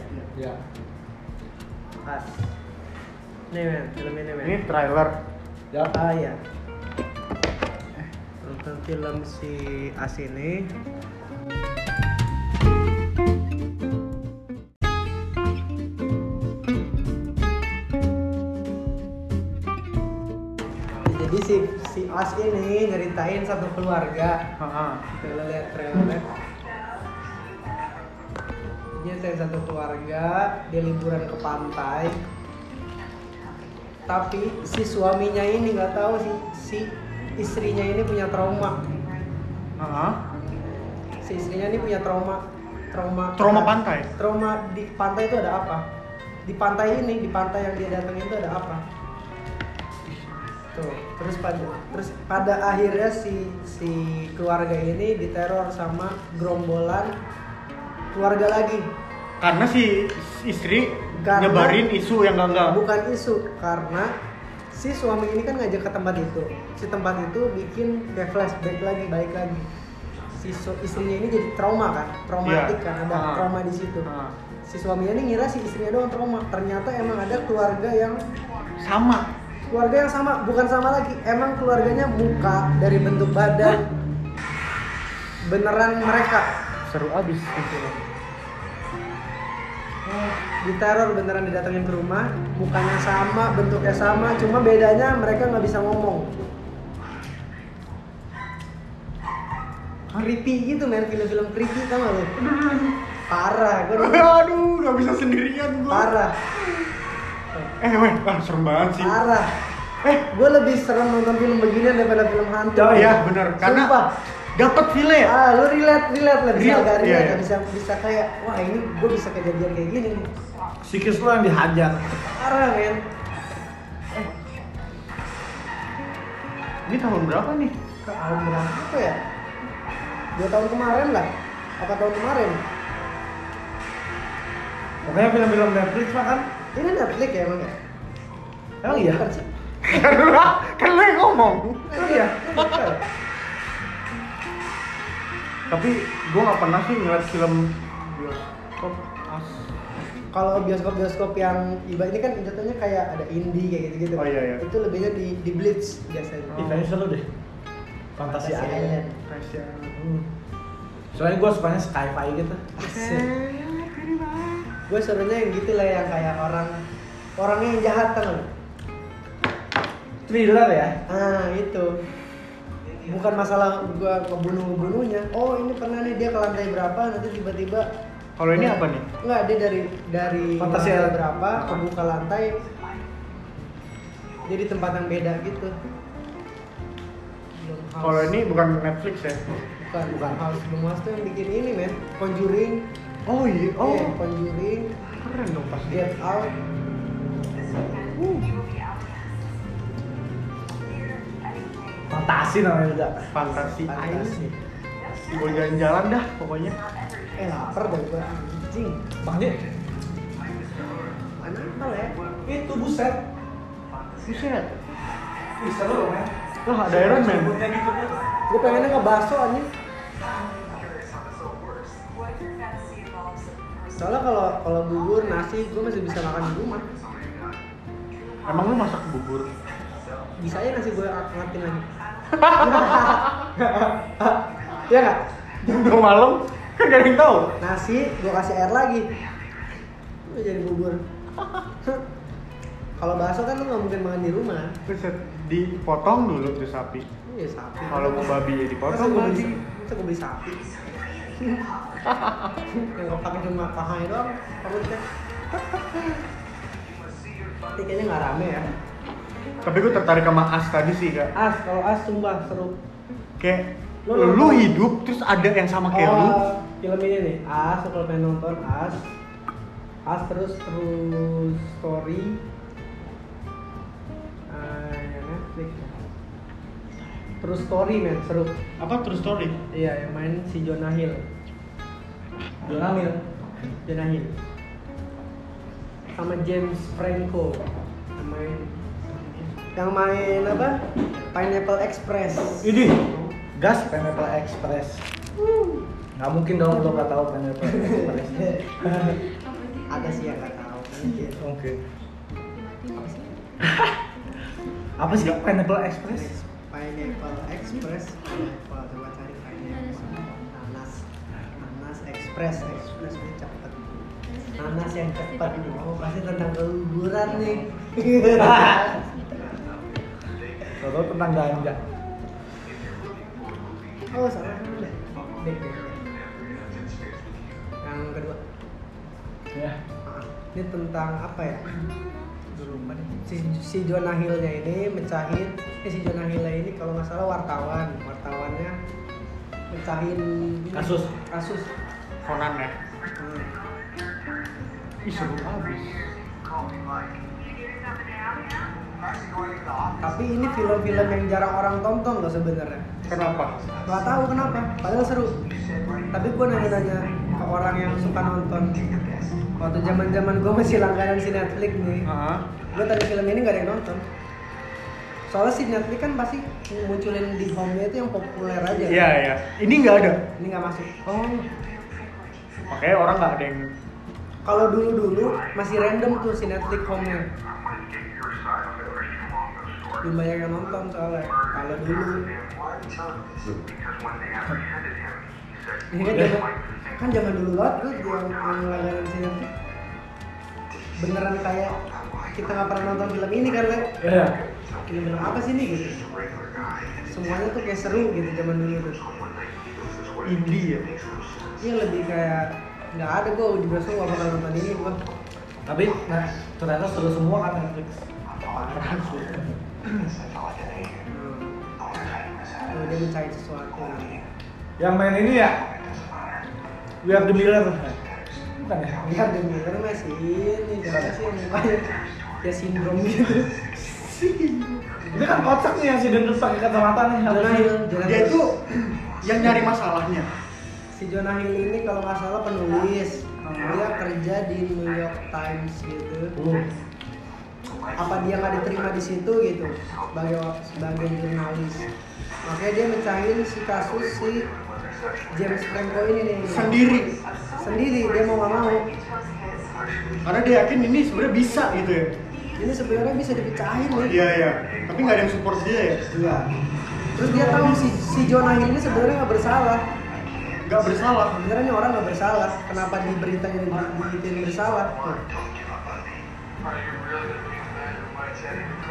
Speaker 1: Ya.
Speaker 2: As Nih men, film ini men
Speaker 4: Ini trailer.
Speaker 1: Ya.
Speaker 2: Ah iya. Eh, Nonton film si As ini. Jadi si si As ini nyeritain satu keluarga.
Speaker 4: Heeh.
Speaker 2: Kalau lihat trailer. Dia nyeritain satu keluarga, dia liburan ke pantai. Tapi si suaminya ini nggak tahu si si istrinya ini punya trauma.
Speaker 4: Heeh.
Speaker 2: Si istrinya ini punya trauma trauma
Speaker 4: Trauma pantai.
Speaker 2: trauma di pantai itu ada apa? Di pantai ini, di pantai yang dia datangin itu ada apa? Tuh, terus pada terus pada akhirnya si si keluarga ini diteror sama gerombolan keluarga lagi.
Speaker 4: Karena si istri
Speaker 2: Karena-
Speaker 4: nyebarin isu yang enggak enggak.
Speaker 2: Bukan isu karena si suami ini kan ngajak ke tempat itu. Si tempat itu bikin kayak flashback lagi, balik lagi. Si su- istrinya ini jadi trauma kan, traumatik
Speaker 4: Iya.
Speaker 2: kan, ada
Speaker 4: Ah.
Speaker 2: trauma di situ.
Speaker 4: Ah.
Speaker 2: si suaminya ini ngira si istrinya doang trauma ternyata emang ada keluarga yang
Speaker 4: Sama.
Speaker 2: keluarga yang sama bukan sama lagi emang keluarganya muka dari bentuk badan beneran mereka
Speaker 4: Seru abis gitu.
Speaker 2: diteror beneran didatengin ke rumah mukanya sama bentuknya sama cuma bedanya mereka nggak bisa ngomong creepy gitu men film-film creepy tau gak lu parah gue
Speaker 4: Aduh, nggak bisa sendirian gua.
Speaker 2: parah
Speaker 4: Eh, weh, ah, serem banget sih.
Speaker 2: parah eh gue lebih serem nonton film beginian daripada film hantu
Speaker 4: Oh iya, bener. Karena
Speaker 2: Sumpah.
Speaker 4: dapat file ya.
Speaker 2: ah lu relate relate lah bisa
Speaker 4: Relate,
Speaker 2: agak
Speaker 4: iya,
Speaker 2: relate
Speaker 4: iya.
Speaker 2: bisa bisa kayak wah ini gue bisa kejadian kayak gini nih.
Speaker 1: Sikis lu yang dihajar.
Speaker 2: parah men
Speaker 4: Ini tahun berapa nih?
Speaker 2: ke alam apa ya dua tahun kemarin lah apa tahun kemarin
Speaker 1: Pokoknya film-film Netflix mah kan.
Speaker 2: ini Netflix ya emang ya
Speaker 1: Emang iya.
Speaker 2: Bukan sih.
Speaker 4: Karena kan lu yang ngomong.
Speaker 2: Emang iya
Speaker 4: Tapi gua nggak pernah sih ngeliat film bioskop as.
Speaker 2: kalau bioskop bioskop yang iba ini kan jatuhnya kayak ada indie kayak gitu gitu
Speaker 4: Oh, iya, iya.
Speaker 2: itu lebihnya di di blitz biasanya
Speaker 4: Oh.
Speaker 1: Eventnya seru deh. Hmm. Fantasi aja. Hmm.
Speaker 2: Island.
Speaker 4: Fashion.
Speaker 1: Soalnya gua sukanya sci-fi gitu.
Speaker 2: gue serunya yang gitu lah yang kayak orang orangnya yang jahat tau nggak lu?
Speaker 1: Thriller ya.
Speaker 2: ah itu bukan masalah gue ngebunuh ngebunuhnya oh ini pernah nih dia ke lantai berapa nanti tiba-tiba
Speaker 4: Kalau ini apa nih?
Speaker 2: Enggak, dia dari dari
Speaker 1: Fantasi
Speaker 2: lantai
Speaker 4: ya.
Speaker 1: alam.
Speaker 2: berapa kebuka lantai jadi tempat yang beda gitu Belum
Speaker 4: Kalau
Speaker 2: house.
Speaker 4: ini bukan Netflix ya.
Speaker 2: bukan bukan hal sebelum mas tuh yang bikin ini men conjuring
Speaker 4: Oh iya, oh.
Speaker 2: Iya, conjuring
Speaker 4: Keren dong pasti.
Speaker 2: get out
Speaker 1: Fantasi namanya juga.
Speaker 4: Fantasi
Speaker 2: fantasi
Speaker 4: Island. Boleh jalan-jalan dah pokoknya.
Speaker 2: eh lapar dah gua anjing
Speaker 1: Makanya
Speaker 2: mana kali ya
Speaker 1: eh, itu buset.
Speaker 4: Buset.
Speaker 1: Ih, seru men.
Speaker 4: Wah, ada Iron Man.
Speaker 1: Sebutnya gitu kan.
Speaker 2: gua pengennya ngebaso anjing soalnya kalau kalau bubur nasi gua masih bisa makan di rumah
Speaker 4: Emang lu masak bubur?
Speaker 2: bisa aja nasi gue ngertiin lagi Iya nggak?
Speaker 4: Jam 2 malam? Kan gak ada yang tau.
Speaker 2: Nasi gue kasih air lagi Udah jadi bubur Kalau bakso kan lu nggak mungkin makan di rumah
Speaker 4: Buset. Dipotong dulu tuh sapi.
Speaker 2: Iya sapi
Speaker 4: Kalau mau babi ya
Speaker 2: Masa
Speaker 4: dipotong
Speaker 2: gue
Speaker 4: lagi.
Speaker 2: beli, masa gue beli sapi Yang gue pakai cuma pahanya doang perutnya Tapi kayaknya nggak rame ya
Speaker 4: Tapi gue tertarik sama As tadi sih kak.
Speaker 2: As, kalau as sumpah seru
Speaker 4: Kayak
Speaker 2: Lu
Speaker 4: lu,
Speaker 2: nonton.
Speaker 4: hidup terus ada yang sama kayak lu.
Speaker 2: Oh, film ini nih As kalau pengen nonton As As terus True Story Ah, ya Netflix True Story men seru
Speaker 4: Apa true story?
Speaker 2: iya yang main si Jonah Hill
Speaker 1: Donald Mill.
Speaker 2: Jonah Hill sama James Franco yang main yang main apa Pineapple Express
Speaker 1: Ini gas Pineapple Express. Nggak mungkin dong lo nggak tahu Pineapple Express.
Speaker 2: ada sih yang gak tahu Mungkin.
Speaker 1: Oke.
Speaker 11: Tiba-tiba sih.
Speaker 1: Apa sih Pineapple Express?
Speaker 2: Pineapple Express, Pineapple coba cari Pineapple, nanas, nanas Express, Express ini cepet, nanas yang cepet, oh pasti tentang keguguran nih.
Speaker 1: Tahu tentang ganja.
Speaker 2: oh salah deh, Dek, dek, dek. Yang kedua,
Speaker 1: Ya.
Speaker 2: ah, ini tentang apa ya? Gua lupa deh. Si, si Jonah Hill-nya ini mecahin, eh, si Jonah Hill-nya ini kalau nggak salah wartawan, wartawannya mecahin ini,
Speaker 1: Kasus.
Speaker 2: kasus
Speaker 4: Conan ya.
Speaker 2: Hmm.
Speaker 4: Ih seru abis.
Speaker 2: Tapi ini film-film yang jarang orang tonton loh sebenarnya.
Speaker 4: Kenapa?
Speaker 2: Gak tahu kenapa, padahal seru. Tapi gue nanya-nanya ke orang yang suka nonton. Waktu zaman-zaman gue masih langganan si Netflix nih.
Speaker 4: Heeh.
Speaker 2: Gue tadi film ini gak ada yang nonton. Soalnya si Netflix kan pasti munculin di home-nya itu yang populer aja.
Speaker 4: Iya iya. Ini nggak ada.
Speaker 2: Ini nggak masuk.
Speaker 4: Oh. Makanya orang nggak ada yang
Speaker 2: Kalau dulu-dulu masih random tuh si Netflix home-nya. Belum banyak yang nonton soalnya. Kalau dulu Ini kan zaman, kan zaman dulu banget lu yang yang langganan sini tuh beneran kayak kita nggak pernah nonton film ini kan kan
Speaker 1: Ya.
Speaker 2: film film apa sih ini gitu semuanya tuh kayak seru gitu zaman dulu tuh
Speaker 4: indie ya.
Speaker 2: ini lebih kayak nggak ada gue juga suka gak bakal nonton ini gue
Speaker 1: Tapi nah, ternyata seru semua kan Netflix.
Speaker 4: Parah sih.
Speaker 2: tuh dia mencari sesuatu
Speaker 1: Yang main ini ya. We are the Miller. Bukan ya?
Speaker 2: biar demi karena sih ini jangan sih yang mukanya ya sindrom gitu
Speaker 1: Ini kan kocak nih yang si Dendrus pakai kacamata nih
Speaker 2: Jonah Hill, Jonah
Speaker 4: Dia
Speaker 2: Hill.
Speaker 4: itu yang nyari masalahnya.
Speaker 2: si Jonah Hill ini kalau nggak salah penulis dia kerja di New York Times gitu apa dia nggak diterima di situ gitu sebagai sebagai jurnalis makanya dia mencari si kasus si James Franco ini nih
Speaker 4: Sendiri.
Speaker 2: sendiri dia mau nggak mau
Speaker 4: Karena dia yakin ini sebenarnya bisa gitu ya.
Speaker 2: ini sebenarnya bisa dipecahin nih
Speaker 4: Iya iya. Tapi nggak ada yang support dia ya.
Speaker 2: Iya. terus dia tahu si si Jonah Hill ini sebenarnya nggak bersalah
Speaker 4: Nggak bersalah.
Speaker 2: sebenarnya ini orang nggak bersalah kenapa di beritanya di- dibikin bersalah Tuh.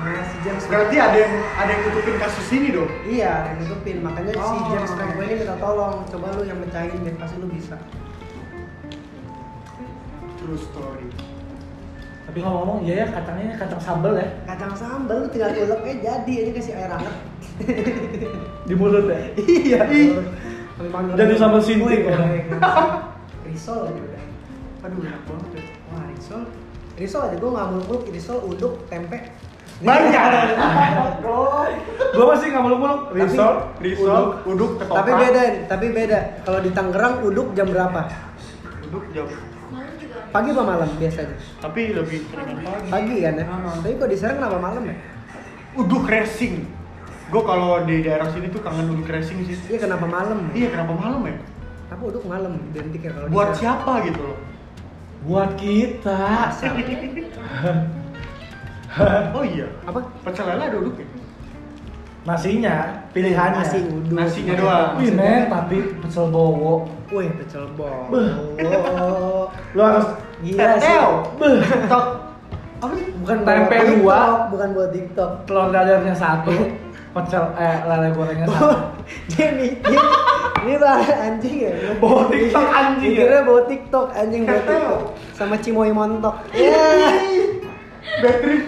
Speaker 2: Nah, si James
Speaker 4: Berarti ada yang ada yang tutupin kasus ini dong.
Speaker 2: Iya, ada yang nutupin. Makanya si
Speaker 4: Oh.
Speaker 2: James Franco ini minta tolong. Coba lu yang mecahin deh, pasti lu bisa.
Speaker 4: True story.
Speaker 1: Tapi ngomong-ngomong, iya ya kacangnya ini kacang sambal ya.
Speaker 2: Kacang sambal lu tinggal ulek eh jadi. Ini kasih air hangat.
Speaker 1: Di mulut ya.
Speaker 2: iya.
Speaker 4: Ih,
Speaker 12: Jadi sambal sinting.
Speaker 2: kan? risol aja udah. Aduh enak banget.
Speaker 4: ya.
Speaker 2: tuh. Wah risol. Risol aja gue nggak muluk-muluk risol uduk tempe.
Speaker 12: Banyak.
Speaker 1: ya.
Speaker 2: Bro.
Speaker 12: Gua masih nggak muluk-muluk.
Speaker 4: Risol, risol, uduk, ketoprak.
Speaker 2: Tapi beda, tapi beda. Kalau di Tangerang uduk jam berapa?
Speaker 4: Uduk jam.
Speaker 11: Malam juga ada.
Speaker 2: Pagi apa malam biasanya?
Speaker 4: Tapi lebih keren pagi.
Speaker 2: Pagi kan ya. Tapi kok di Serang kenapa malam ya?
Speaker 4: Uduk racing. Gue kalau di daerah sini tuh kangen uduk racing sih.
Speaker 2: Iya kenapa malam?
Speaker 4: Iya kenapa malam ya?
Speaker 2: Apa uduk malam identik ya kalau di
Speaker 4: Buat
Speaker 2: Serang?
Speaker 4: siapa gitu loh?
Speaker 12: Buat kita.
Speaker 4: Oh iya.
Speaker 2: Apa?
Speaker 4: Pecel lele ada uduk ya?
Speaker 1: Nasinya, pilihannya.
Speaker 2: Nasi uduk.
Speaker 4: Nasinya doang.
Speaker 1: Wih men, tapi pecel bowo.
Speaker 2: Wih, pecel bol.
Speaker 12: Lu harus
Speaker 1: Iya
Speaker 2: Gila sih.
Speaker 4: TikTok. Apa sih?
Speaker 2: Bukan
Speaker 1: Tempe dua.
Speaker 2: buat TikTok, bukan buat TikTok.
Speaker 1: Telur dadarnya satu, pecel eh lele gorengnya satu.
Speaker 2: dia mikir ini lah anjing ya.
Speaker 12: Bawa TikTok anjing ya?
Speaker 2: Mikirnya bawa TikTok anjing bawa
Speaker 4: Ketel.
Speaker 2: TikTok. Sama Cimoy Montok. Ya,
Speaker 4: Battery.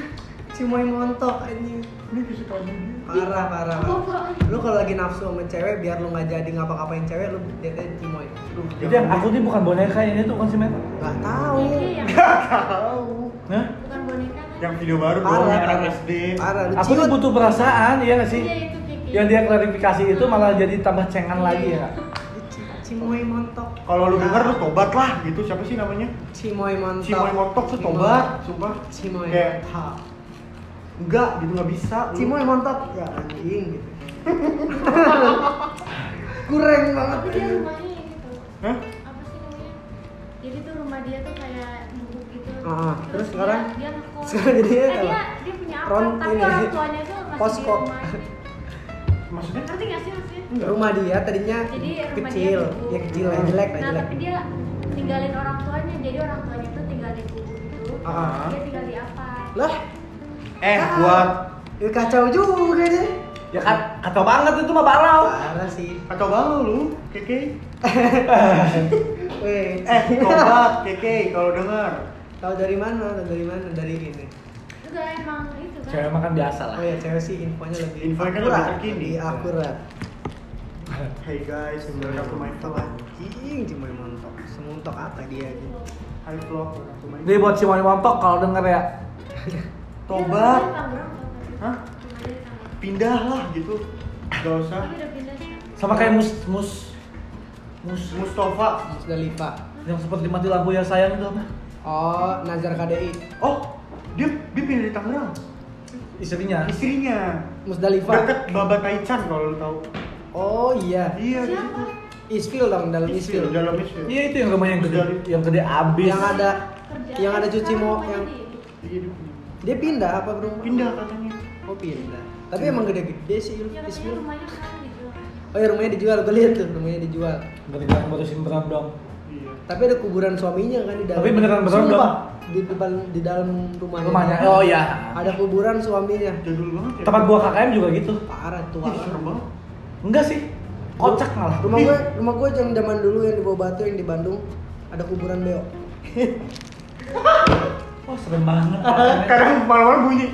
Speaker 2: Cimoy Montok anjing.
Speaker 4: Ini bisa tahu dia.
Speaker 2: Parah, parah.
Speaker 11: Apa apaan?
Speaker 2: Lu kalau lagi nafsu sama cewek biar lu nggak jadi ngapa-ngapain cewek lu liatnya Cimoy.
Speaker 4: Aduh,
Speaker 1: Jadi
Speaker 4: jangan.
Speaker 1: aku ini bukan boneka ini tuh konsumen.
Speaker 2: Gak tahu.
Speaker 11: Iya, iya, yang
Speaker 4: Tahu.
Speaker 1: Hah?
Speaker 11: bukan boneka kan?
Speaker 4: Yang video baru dong,
Speaker 2: Parah,
Speaker 4: yang anak
Speaker 2: parah.
Speaker 4: SD.
Speaker 2: Parah, lu
Speaker 1: Aku tuh
Speaker 2: ciut.
Speaker 1: butuh perasaan, iya nggak sih?
Speaker 11: Iya, itu Kiki.
Speaker 1: Yang dia klarifikasi itu malah jadi tambah cengan lagi ya.
Speaker 2: Cimoy Montok.
Speaker 4: Kalau lu denger lu tobat lah gitu. Siapa sih namanya?
Speaker 2: Cimoy Montok.
Speaker 4: Cimoy Montok tuh tobat, sumpah.
Speaker 2: Cimoy
Speaker 4: Kayak,
Speaker 2: Montok.
Speaker 4: Enggak gitu nggak bisa. lu.
Speaker 2: Cimoy Montok. Ya anjing gitu. Kurang banget.
Speaker 11: Tapi dia rumahnya gitu.
Speaker 4: Hah?
Speaker 11: Apa sih namanya? Jadi tuh rumah dia tuh kayak nubuk gitu.
Speaker 2: Ah, terus
Speaker 11: terus
Speaker 2: sekarang?
Speaker 11: dia, dia ngekos.
Speaker 2: Sekarang jadinya
Speaker 11: eh,
Speaker 2: apa?
Speaker 11: dia, dia punya apa?
Speaker 2: Ron-
Speaker 11: tapi
Speaker 2: ini.
Speaker 11: orang tuanya tuh masih
Speaker 2: Posko.
Speaker 11: di rumahnya.
Speaker 4: Maksudnya?
Speaker 11: Ngerti nggak sih maksudnya?
Speaker 2: Rumah dia tadinya
Speaker 11: Jadi rumah
Speaker 2: kecil,
Speaker 11: dia kubu.
Speaker 2: ya kecil lah jelek lah
Speaker 11: Nah,
Speaker 2: jelek.
Speaker 11: tapi dia tinggalin orang tuanya. Jadi orang tuanya tuh tinggal di kubu gitu.
Speaker 4: Ah.
Speaker 11: Dia tinggal di apa?
Speaker 2: Lah,
Speaker 4: Eh,
Speaker 2: ah,
Speaker 4: buat
Speaker 2: ya kacau juga deh.
Speaker 1: Ya kan, kacau banget itu mah parau.
Speaker 2: Parah sih.
Speaker 4: kacau balau lu, Keke.
Speaker 2: Weh,
Speaker 4: Eh, tobat, Keke kalau dengar.
Speaker 2: tahu dari mana? Tahu dari mana? Dari ini.
Speaker 11: Enggak emang itu kan.
Speaker 1: Cewek makan biasa lah.
Speaker 2: Oh ya, cewek sih infonya lebih
Speaker 4: Infonya kan
Speaker 2: akurat,
Speaker 4: lebih terkini.
Speaker 2: lebih akurat.
Speaker 4: Hey guys, welcome to my vlog.
Speaker 2: Anjing, cuma montok. Semuntok apa dia gitu.
Speaker 4: Hai vlog, welcome to my
Speaker 1: Jadi buat si Wani Montok kalau denger ya,
Speaker 4: Tobat.
Speaker 11: Dia rumahnya Tangerang, Tangerang.
Speaker 4: Hah?
Speaker 11: Rumah dia di Tangerang.
Speaker 4: Pindah lah gitu. Gak usah.
Speaker 11: Tapi udah pindah sekarang.
Speaker 1: sama kayak mus mus mus
Speaker 4: Mustafa.
Speaker 2: Sudah lipa.
Speaker 1: yang seperti mati lampu ya sayang itu apa?
Speaker 2: Oh, Nazar KDI.
Speaker 4: Oh, dia dia pindah di Tangerang.
Speaker 1: Istrinya.
Speaker 4: Istrinya
Speaker 2: Musdalifah.
Speaker 4: deket Baba Taichan kalau lu tahu.
Speaker 2: Oh iya,
Speaker 4: Iya, di
Speaker 11: Siapa?
Speaker 4: situ.
Speaker 2: Isfil dong dalam Isfil.
Speaker 4: Isfil, dalam Isfil.
Speaker 1: Iya itu yang rumah yang gede, yang gede abis.
Speaker 2: Yang ada
Speaker 11: Kerjaan
Speaker 2: yang ada
Speaker 11: sekarang
Speaker 2: cuci mo
Speaker 11: rumahnya
Speaker 2: yang
Speaker 11: di- ya,
Speaker 4: Iya, dia pindah.
Speaker 2: dia pindah apa bro?
Speaker 4: Pindah katanya.
Speaker 2: Oh pindah. Tapi emang gede-gede sih
Speaker 11: Ya katanya
Speaker 2: Isfil.
Speaker 11: rumahnya sekarang dijual.
Speaker 2: Oh ya rumahnya dijual, gue lihat tuh rumahnya dijual.
Speaker 1: Gede yang baru simpenan dong.
Speaker 4: Iya.
Speaker 2: Tapi ada kuburan suaminya kan di dalam.
Speaker 1: Tapi beneran beneran
Speaker 2: Sumpah,
Speaker 1: dong?
Speaker 2: Di depan di dalam rumahnya.
Speaker 1: Rumahnya. Oh iya.
Speaker 2: Ada kuburan suaminya.
Speaker 4: Jadul banget ya.
Speaker 1: Tempat gua KKM juga gitu.
Speaker 2: Parah tua.
Speaker 4: Ih, serem banget.
Speaker 1: Enggak sih. Kocak malah.
Speaker 2: Rumah gue, rumah gue jam zaman dulu yang di Bawah Batu yang di Bandung ada kuburan beo.
Speaker 1: Wah serem banget.
Speaker 4: Kadang malam-malam bunyi.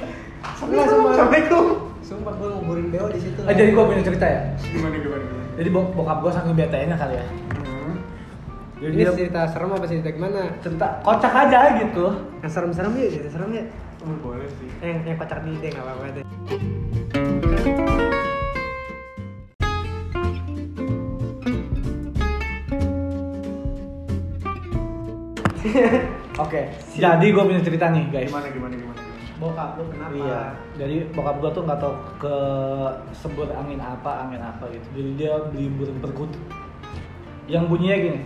Speaker 2: Sebelah sumpah.
Speaker 4: Assalamualaikum.
Speaker 2: Sumpah gue nguburin beo di situ.
Speaker 1: Eh, jadi gua punya cerita ya.
Speaker 4: Gimana gimana gimana?
Speaker 1: Jadi bok- bokap gua saking betenya kali ya.
Speaker 4: Hmm.
Speaker 1: Jadi
Speaker 2: ini
Speaker 1: dia
Speaker 2: cerita serem apa cerita gimana?
Speaker 1: cerita kocak aja gitu.
Speaker 2: Yang serem-serem ya, cerita serem ya.
Speaker 4: Oh, boleh sih.
Speaker 2: Eh, Yang yang kocak di deh nggak apa-apa deh.
Speaker 1: Oke. Jadi gua punya cerita nih guys.
Speaker 4: Gimana gimana gimana? gimana?
Speaker 2: Bokap lu kenapa?
Speaker 1: Iya. Jadi bokap gua tuh nggak tahu ke sebut angin apa, angin apa gitu. Jadi dia beli burung perkutut. Yang bunyinya gini.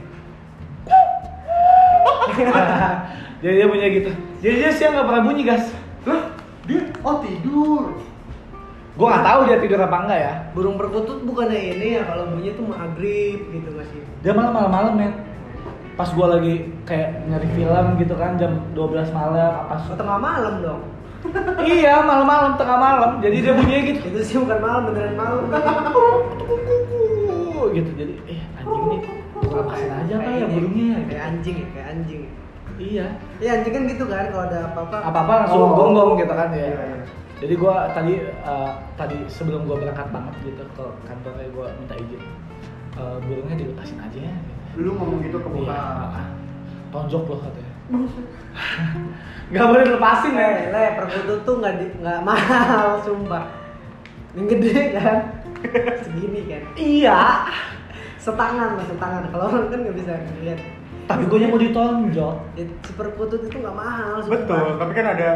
Speaker 1: Jadi dia bunyinya gitu. Jadi dia siang nggak pernah bunyi guys.
Speaker 4: Lah, dia oh tidur.
Speaker 1: Gua nggak tahu dia tidur apa enggak ya.
Speaker 2: Burung perkutut bukannya ini ya kalau bunyi tuh maghrib gitu nggak sih?
Speaker 1: Dia malam malam malam men. Pas gua lagi kayak nyari film gitu kan jam 12 malam apa
Speaker 2: Oh,
Speaker 1: sih?
Speaker 2: tengah malam dong.
Speaker 1: iya malam-malam tengah malam. Jadi dia bunyinya gitu.
Speaker 2: Itu sih bukan malam beneran malam.
Speaker 1: Uh, gitu jadi eh anjing nih lepasin aja
Speaker 2: Kayak
Speaker 1: kali ya
Speaker 2: ini,
Speaker 1: burungnya gitu.
Speaker 2: Kayak anjing ya, kayak anjing. ya.
Speaker 1: iya
Speaker 2: Iya anjing kan gitu kan kalau ada apa-apa.
Speaker 1: apa-apa langsung
Speaker 2: Zoom.
Speaker 1: gonggong gitu kan ya
Speaker 4: Iya, iya.
Speaker 1: jadi gua tadi eh, tadi sebelum gua berangkat banget gitu ke kantornya gua minta izin eh, burungnya dilepasin aja ya
Speaker 4: Lu ngomong gitu ke
Speaker 1: Iya,
Speaker 4: bokap.
Speaker 1: ah, tonjok loh katanya
Speaker 12: Gak boleh lepasin ya.
Speaker 2: Eh, Le, le, perkutut tuh nggak di- nggak mahal, sumpah. Yang gede kan, segini kan. Iya. Setangan lah, setangan. Kalau orang kan nggak bisa ngeliat.
Speaker 1: tapi gue mau ditonjok
Speaker 2: Ya, si perkutut itu nggak mahal. sumpah.
Speaker 4: Betul, tapi kan ada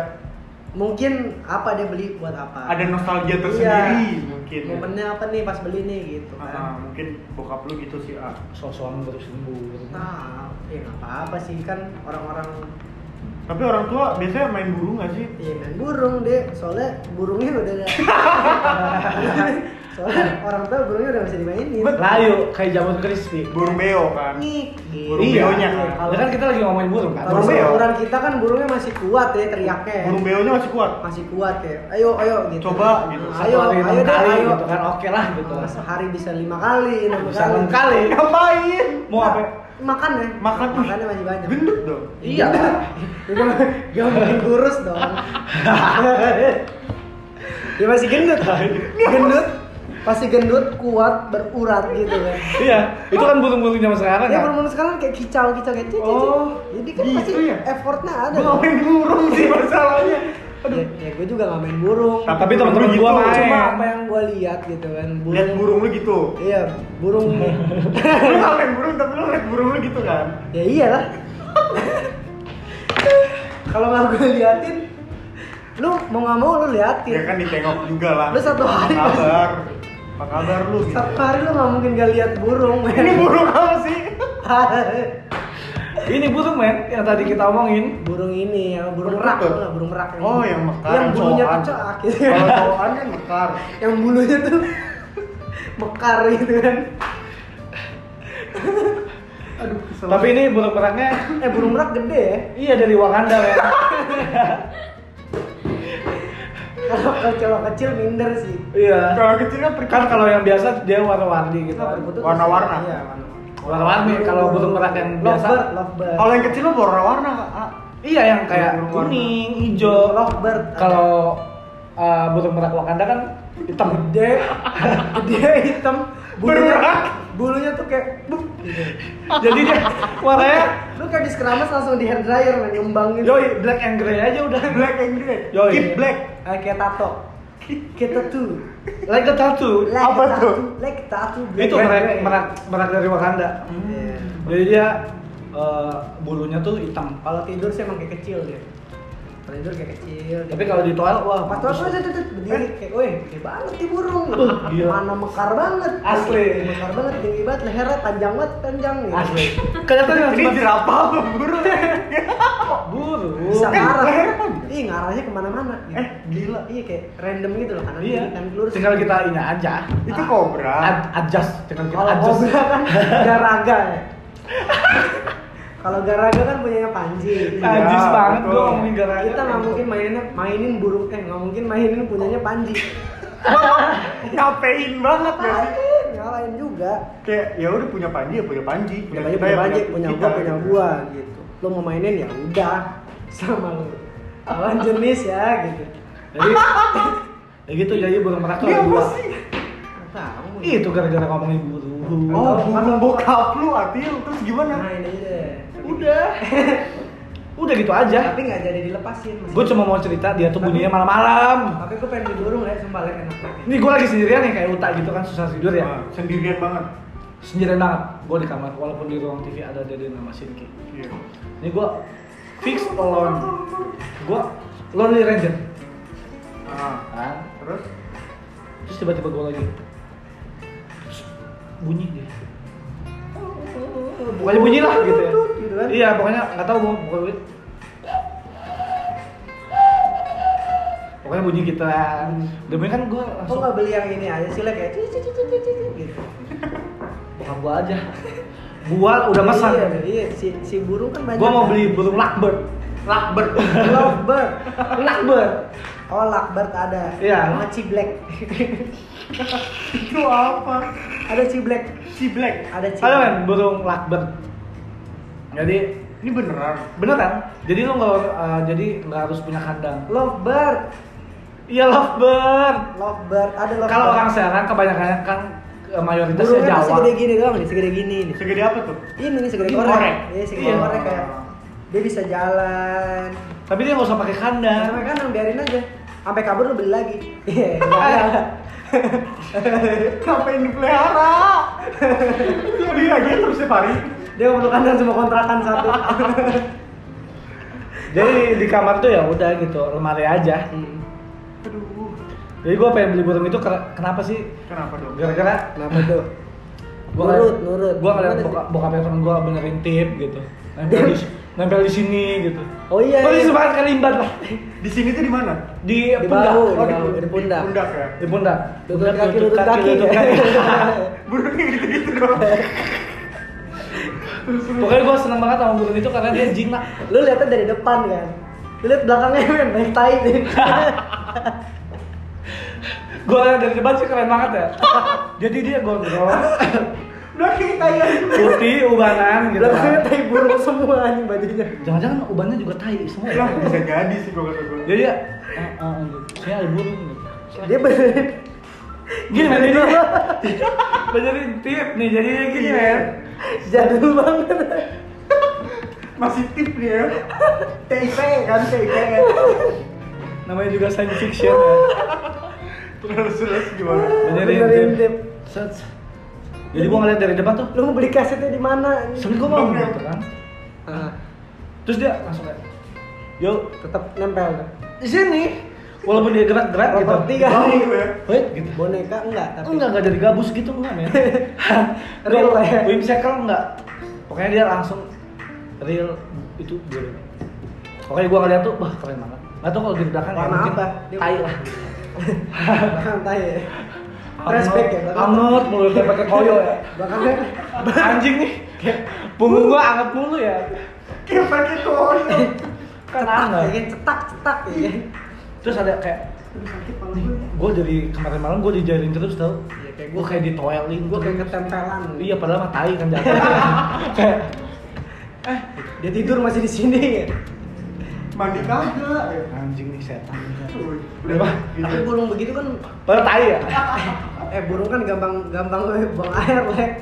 Speaker 2: Mungkin apa dia beli buat apa?
Speaker 4: ada nostalgia tersendiri
Speaker 2: Iya.
Speaker 4: mungkin. ya.
Speaker 2: Momennya apa nih pas beli nih gitu
Speaker 4: Ah,
Speaker 2: kan.
Speaker 4: mungkin bokap lu gitu sih ah.
Speaker 1: sosokan baru sembuh
Speaker 2: Nah, ya nggak apa-apa sih kan orang-orang
Speaker 4: Tapi orang tua biasanya main burung gak sih?
Speaker 2: Iya main burung deh, soalnya burungnya udah ada. soalnya orang tua burungnya udah bisa dimainin.
Speaker 1: layu kayak jamur crispy
Speaker 4: Burung beo kan.
Speaker 2: Ngik.
Speaker 4: Burung
Speaker 1: Iya.
Speaker 4: beonya kan.
Speaker 1: Ya kan kita lagi ngomongin burung kan
Speaker 2: gitu. Kalau
Speaker 4: Burung beo.
Speaker 2: seumuran kita kan burungnya masih kuat ya teriaknya. ya.
Speaker 4: Burung beonya masih kuat.
Speaker 2: Masih kuat ya. Ayo ayo gitu.
Speaker 4: Coba, gitu.
Speaker 2: Nah,
Speaker 1: Satu
Speaker 2: Ayo
Speaker 1: hari
Speaker 2: ayo
Speaker 1: enam
Speaker 2: deh
Speaker 1: kali
Speaker 2: ayo.
Speaker 1: gitu kan oke lah gitu
Speaker 2: Nah, sehari bisa lima kali, enam
Speaker 1: bisa enam kali
Speaker 4: Ngapain?
Speaker 1: mau apa
Speaker 2: Makan ya.
Speaker 4: Makan
Speaker 2: Makannya masih banyak.
Speaker 4: Gendut dong.
Speaker 2: Iya. Gak mungkin kurus dong. Dia masih gendut kan? Gendut. Pasti gendut, kuat, berurat gitu kan.
Speaker 1: iya itu kan burung-burung zaman sekarang
Speaker 2: Dia
Speaker 1: kan
Speaker 2: belum sekarang kayak kicau-kicau kayak cicit.
Speaker 4: Oh,
Speaker 2: Jadi kan
Speaker 4: gitu
Speaker 2: pasti
Speaker 4: ya? iya.
Speaker 2: effortnya ada.
Speaker 4: Gua nggak main burung sih masalahnya.
Speaker 2: Ya, ya gue juga gak main burung.
Speaker 4: Tapi
Speaker 1: tapi teman-teman
Speaker 4: burung
Speaker 1: gua
Speaker 4: gitu,
Speaker 1: main
Speaker 2: Cuma apa yang gue lihat gitu kan.
Speaker 4: Lihat burung lu gitu.
Speaker 2: Iya, burung.
Speaker 4: Lu nggak main burung tapi lu lihat burung lu gitu kan.
Speaker 2: ya iyalah. Kalau nggak gue liatin, lu mau nggak mau lu liatin.
Speaker 4: Ya kan ditengok juga lah.
Speaker 2: Lu satu hari
Speaker 4: Apa kabar? Apa kabar lu? gitu.
Speaker 2: Satu hari lu gak mungkin gak lihat burung, men.
Speaker 4: Ini burung apa sih?
Speaker 1: ini burung men yang tadi kita omongin
Speaker 2: burung ini, ya, burung merak,
Speaker 4: Betul.
Speaker 2: lah, burung merak.
Speaker 4: Oh, yang mekar.
Speaker 2: Yang bulunya
Speaker 4: cowokan.
Speaker 2: kecak, gitu.
Speaker 4: Kalau cowokan kan mekar.
Speaker 2: yang bulunya tuh mekar gitu kan.
Speaker 4: Aduh, kesel.
Speaker 1: tapi ini burung merahnya
Speaker 2: Eh, burung merak gede ya.
Speaker 1: iya dari Wakanda men
Speaker 2: Kalau kalau kecil minder sih.
Speaker 1: iya
Speaker 4: kalau kecil kan
Speaker 1: kan
Speaker 4: perikar
Speaker 1: kalau yang biasa dia warna-warni gitu
Speaker 2: Kalau berbutut
Speaker 4: Warna-warna.
Speaker 2: masih- Iya, warna-warna.
Speaker 1: warna-warni ya, kalau burung merah yang
Speaker 2: Lovebird,
Speaker 1: biasa
Speaker 2: lovebird.
Speaker 4: Kalau yang kecil lu warna-warna, Kak.
Speaker 1: iya yang kayak
Speaker 4: Burung warna.
Speaker 1: kuning hijau
Speaker 2: lovebird.
Speaker 1: kalau uh, burung merak Wakanda kan hitam
Speaker 2: gede, gede hitam.
Speaker 4: Bermerak.
Speaker 2: Bulunya tuh kayak buk gitu.
Speaker 1: jadi dia warnanya
Speaker 2: Lu kayak di keramas langsung di hair dryer men, nyumbang gitu.
Speaker 1: yoi black and grey aja udah
Speaker 4: Black and grey.
Speaker 1: Yoi.
Speaker 4: Keep black.
Speaker 2: Eh, kayak tato. Kayak tattoo.
Speaker 1: like a tattoo
Speaker 2: Like
Speaker 4: Apa
Speaker 2: tattoo.
Speaker 4: tuh?
Speaker 2: Like tattoo.
Speaker 1: itu merak merak merak dari Wakanda
Speaker 2: Iya.
Speaker 1: jadi dia uh, bulunya tuh hitam
Speaker 2: Kalau tidur sih emang kayak kecil dia. Kalau tidur kayak kecil.
Speaker 1: tapi kalau di toilet wah
Speaker 2: pas tuh
Speaker 1: mampus
Speaker 2: tuh
Speaker 1: tuh.
Speaker 2: tuh berdiri kayak, weh, gede banget nih burung.
Speaker 1: gila.
Speaker 2: Mana mekar banget.
Speaker 1: Asli.
Speaker 2: Mekar banget, tinggi banget, lehernya panjang banget, panjang gitu.
Speaker 1: asli kelihatannya
Speaker 4: Ini
Speaker 1: cuma
Speaker 4: jerapah apa burung?
Speaker 1: burung
Speaker 2: Bisa
Speaker 4: Kan
Speaker 2: ngarah.
Speaker 4: lehernya panjang.
Speaker 2: Ih, ngarahnya kemana-mana. gitu.
Speaker 4: Eh, gila.
Speaker 2: Iya kayak random gitu loh kanan
Speaker 1: iya
Speaker 2: kiri kanan lurus.
Speaker 1: tinggal kita ini aja
Speaker 4: Itu
Speaker 2: Ah.
Speaker 4: kobra.
Speaker 1: Ad adjust tinggal kita
Speaker 2: Kalau
Speaker 1: adjust
Speaker 2: kobra kan garaga ya. Kalau garaga kan punyanya Panji.
Speaker 4: Iya,
Speaker 1: adjust banget
Speaker 4: betul.
Speaker 1: gua ngomongin gara
Speaker 2: Kita nggak mungkin maininnya mainin burung eh nggak mungkin mainin punyanya Panji.
Speaker 4: Ngapain banget gak sih?
Speaker 2: Panji nyalain juga.
Speaker 4: Kayak ya udah punya panji ya punya panji,
Speaker 2: Punya Panji punya Panji, punya gua punya gua gitu. Lo mau mainin ya udah sama lo. Lawan jenis ya gitu.
Speaker 1: jadi ya gitu jadi burung merak tuh
Speaker 4: Ini
Speaker 1: ada
Speaker 4: apa
Speaker 1: dua
Speaker 4: sih?
Speaker 2: Nggak Tahu.
Speaker 1: Ih, itu gara-gara ngomongin burung
Speaker 4: Oh, burung bokap lu Atil, terus gimana?
Speaker 2: Nah ini aja deh.
Speaker 1: udah udah gitu aja
Speaker 2: Tapi nggak jadi dilepasin. masih-
Speaker 1: gue cuma mau cerita dia tuh bunyinya malam-malam
Speaker 2: Tapi gue pengen di burung ya, sumpah lek enak banget.
Speaker 1: ini gue lagi sendirian nih kayak utak gitu kan susah tidur ya
Speaker 4: Nah, sendirian banget.
Speaker 1: sendirian banget gue di kamar walaupun di ruang TV ada dia nama Shinki
Speaker 4: Iya.
Speaker 1: ini gue fix alone gue lonely ranger
Speaker 4: Ah,
Speaker 1: kan
Speaker 4: terus
Speaker 1: terus tiba-tiba gue lagi Terus bunyi dia pokoknya bunyi lah gitu ya
Speaker 2: Gitu kan?
Speaker 1: iya pokoknya nggak tahu mau pokoknya bunyi. pokoknya bunyi kita demi kan gue
Speaker 2: Kok
Speaker 1: langsung
Speaker 2: nggak beli yang ini aja sih lek ya? Cici, cici, cici, cici, Gitu.
Speaker 1: bokap gue aja gue udah pesan
Speaker 2: Iya, iya. Si, si burung kan banyak.
Speaker 1: gue mau beli burung lovebird lovebird
Speaker 2: lovebird.
Speaker 1: lovebird
Speaker 2: Oh, lovebird ada.
Speaker 1: Iya.
Speaker 2: Sama ciblek.
Speaker 4: itu apa?
Speaker 2: ada ciblek.
Speaker 4: Si Black.
Speaker 2: Ada ciblek.
Speaker 1: ada kan burung lovebird jadi
Speaker 4: Ini beneran.
Speaker 1: beneran jadi lo nggak eh, jadi nggak harus punya kandang
Speaker 2: Lovebird.
Speaker 1: iya lovebird
Speaker 2: Lovebird. Ada lovebird.
Speaker 1: kalau orang Serang kebanyakan kan eh, eh, mayoritasnya
Speaker 2: Burungnya tuh
Speaker 1: Jawa.
Speaker 2: segede gini doang nih, segede gini nih.
Speaker 4: Segede apa tuh?
Speaker 2: Ini nih segede
Speaker 1: Ini korek.
Speaker 2: korek. Iya, segede
Speaker 1: Iya.
Speaker 2: korek kayak
Speaker 4: Ah.
Speaker 2: dia bisa jalan.
Speaker 1: Tapi dia nggak usah pakai kandang.
Speaker 2: Sampai kanan biarin aja. Sampai kabur lu beli lagi. Iya. enggak.
Speaker 4: Kenapa yang dipelihara? Jadi lagi terus setiap hari.
Speaker 2: Dia nggak perlu kandang cuma kontrakan satu.
Speaker 1: Jadi di kamar tuh ya udah gitu, lemari aja.
Speaker 2: Hmm.
Speaker 4: Aduh.
Speaker 1: Jadi gua pengen beli burung itu ker- kenapa sih?
Speaker 4: Kenapa dong?
Speaker 1: Gara-gara
Speaker 2: Kenapa tuh?
Speaker 1: gua
Speaker 2: Nurut,
Speaker 1: ngeliat-
Speaker 2: nurut.
Speaker 1: Gua ngeliat
Speaker 2: Gimana sih?
Speaker 1: boka, bokapnya temen gua benerin tip gitu. Nempel di nempel di sini gitu.
Speaker 2: Oh iya.
Speaker 1: Pokoknya
Speaker 2: iya.
Speaker 1: semangat kelimbat lah.
Speaker 4: Di sini tuh di mana?
Speaker 1: Di,
Speaker 2: Di
Speaker 1: pundak.
Speaker 2: bahu,
Speaker 1: Oh, di
Speaker 2: di bahu,
Speaker 1: pundak.
Speaker 2: di pundak.
Speaker 4: Pundak ya.
Speaker 1: Di pundak.
Speaker 2: Lutut kaki, lutut
Speaker 1: kaki,
Speaker 2: kaki.
Speaker 1: lutut kaki.
Speaker 4: Burungnya gitu-gitu doang.
Speaker 1: Pokoknya gua seneng banget sama burung itu karena dia jinak.
Speaker 2: Lu lihatnya dari depan kan. Lu lihat belakangnya men, naik tai nih.
Speaker 1: Gua liat dari depan sih keren banget ya. Jadi dia gondrong,
Speaker 2: Belakangnya tai. kan?
Speaker 1: Gitu kan? putih, ubanan gitu. kan.
Speaker 2: Belakangnya tai burung semua anjing badannya.
Speaker 1: Jangan-jangan ubannya juga tai semua ya.
Speaker 4: Lah, bisa jadi sih gua kata gua.
Speaker 1: Jadi ya, eh, eh, gitu. Ini ada burung gitu.
Speaker 2: Dia benerin
Speaker 1: Gini men, jadi benerin tip nih, jadi
Speaker 2: Iya,
Speaker 1: gini men.
Speaker 2: jadul banget.
Speaker 4: Masih tip nih ya. TIP
Speaker 2: iya,
Speaker 4: kan TIP. kan.
Speaker 1: Namanya juga science fiction ya.
Speaker 4: Terus terus gimana?
Speaker 1: Benerin,
Speaker 2: Benerin
Speaker 1: tip.
Speaker 2: tip.
Speaker 1: Set. Jadi gua ngeliat dari depan tuh,
Speaker 2: Lu mau beli kasetnya di mana?
Speaker 1: sebenernya gua mau gitu kan.
Speaker 2: Ah,
Speaker 1: Terus dia langsung kayak, yo
Speaker 2: tetap nempel.
Speaker 1: di sini. Walaupun dia gerak-gerak gitu.
Speaker 2: Properti kan?
Speaker 4: Bau lu ya.
Speaker 1: Wait, gitu.
Speaker 2: Boneka enggak, tapi
Speaker 1: Enggak, enggak jadi gabus gitu enggak men
Speaker 2: Real lah ya.
Speaker 1: Whimsical enggak Pokoknya dia langsung real itu gue Pokoknya gua ngeliat tuh, wah keren banget Gak tau kalau di belakang ya
Speaker 2: Warna
Speaker 1: mungkin
Speaker 2: apa?
Speaker 1: tai lah
Speaker 2: santai ya. Respect ya, belakang.
Speaker 1: Anget mulu kayak pakai koyo ya
Speaker 2: Belakangnya
Speaker 1: Anjing nih, kayak punggung gua anget mulu ya
Speaker 4: Kayak pakai koyo.
Speaker 1: Kan
Speaker 2: cetak, ya
Speaker 1: anget
Speaker 2: kan? cetak, cetak ya kan?
Speaker 1: Terus ada kayak Gue dari kemarin malam gue dijarin terus tau
Speaker 2: Iya, kayak
Speaker 1: Gue kayak ditoelin,
Speaker 2: Gue kayak ketempelan.
Speaker 1: Iya padahal mah tai kan jatuh Kayak eh,
Speaker 2: Dia tidur masih di sini. ya.
Speaker 4: Mandi kagak. ya.
Speaker 1: anjing nih setan
Speaker 4: Tuh,
Speaker 1: Udah, Pak.
Speaker 2: Tapi
Speaker 4: Gitu.
Speaker 2: burung begitu kan,
Speaker 1: Padahal tai ya?
Speaker 2: eh burung kan gampang gampang buang air lek.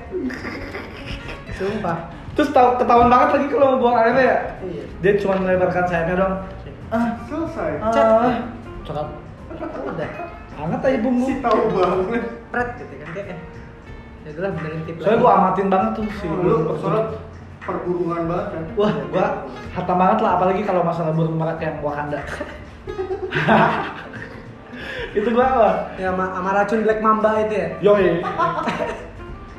Speaker 2: Sumpah.
Speaker 1: Terus tau, ketahuan banget lagi kalau mau buang airnya ya?
Speaker 2: Iya.
Speaker 1: Dia cuma melebarkan sayapnya dong
Speaker 4: Selesai.
Speaker 2: Cet.
Speaker 1: Ah, Cakap
Speaker 2: Udah.
Speaker 1: Anget aja bumbu
Speaker 4: Si tahu banget.
Speaker 2: Pret gitu kan kayak. eh. Ya udah lah, benerin tip
Speaker 1: Soalnya
Speaker 2: lagi.
Speaker 1: gua amatin banget tuh si
Speaker 4: Lu soalnya perburungan banget kan.
Speaker 1: Wah, gua hatam banget lah apalagi kalau masalah burung merak yang Wakanda Itu gua wah
Speaker 2: Ya sama, sama racun black mamba itu ya.
Speaker 1: Yoi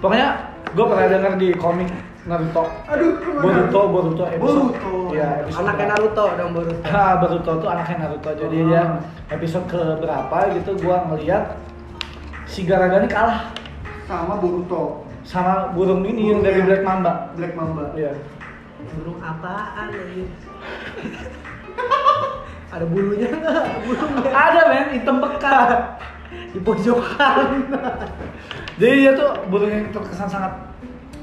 Speaker 1: Pokoknya gua pernah denger di komik Naruto
Speaker 4: Aduh,
Speaker 1: Boruto, Boruto episode
Speaker 4: Boruto.
Speaker 1: Iya, episode
Speaker 2: Anaknya
Speaker 1: berapa.
Speaker 2: Naruto Ah. dong Boruto.
Speaker 1: Ah, Baruto tuh anaknya Naruto. Jadi dia episode ke berapa gitu gua ngeliat si Garaga ini kalah
Speaker 4: Sama Boruto.
Speaker 1: sama burung ini yang dari Black Mamba.
Speaker 4: Black Mamba.
Speaker 1: Iya.
Speaker 2: Burung apaan ini? Ada bulunya nggak? Burungnya
Speaker 1: Ada men, hitam pekat.
Speaker 2: di pojokan.
Speaker 1: Jadi dia tuh burung yang terkesan sangat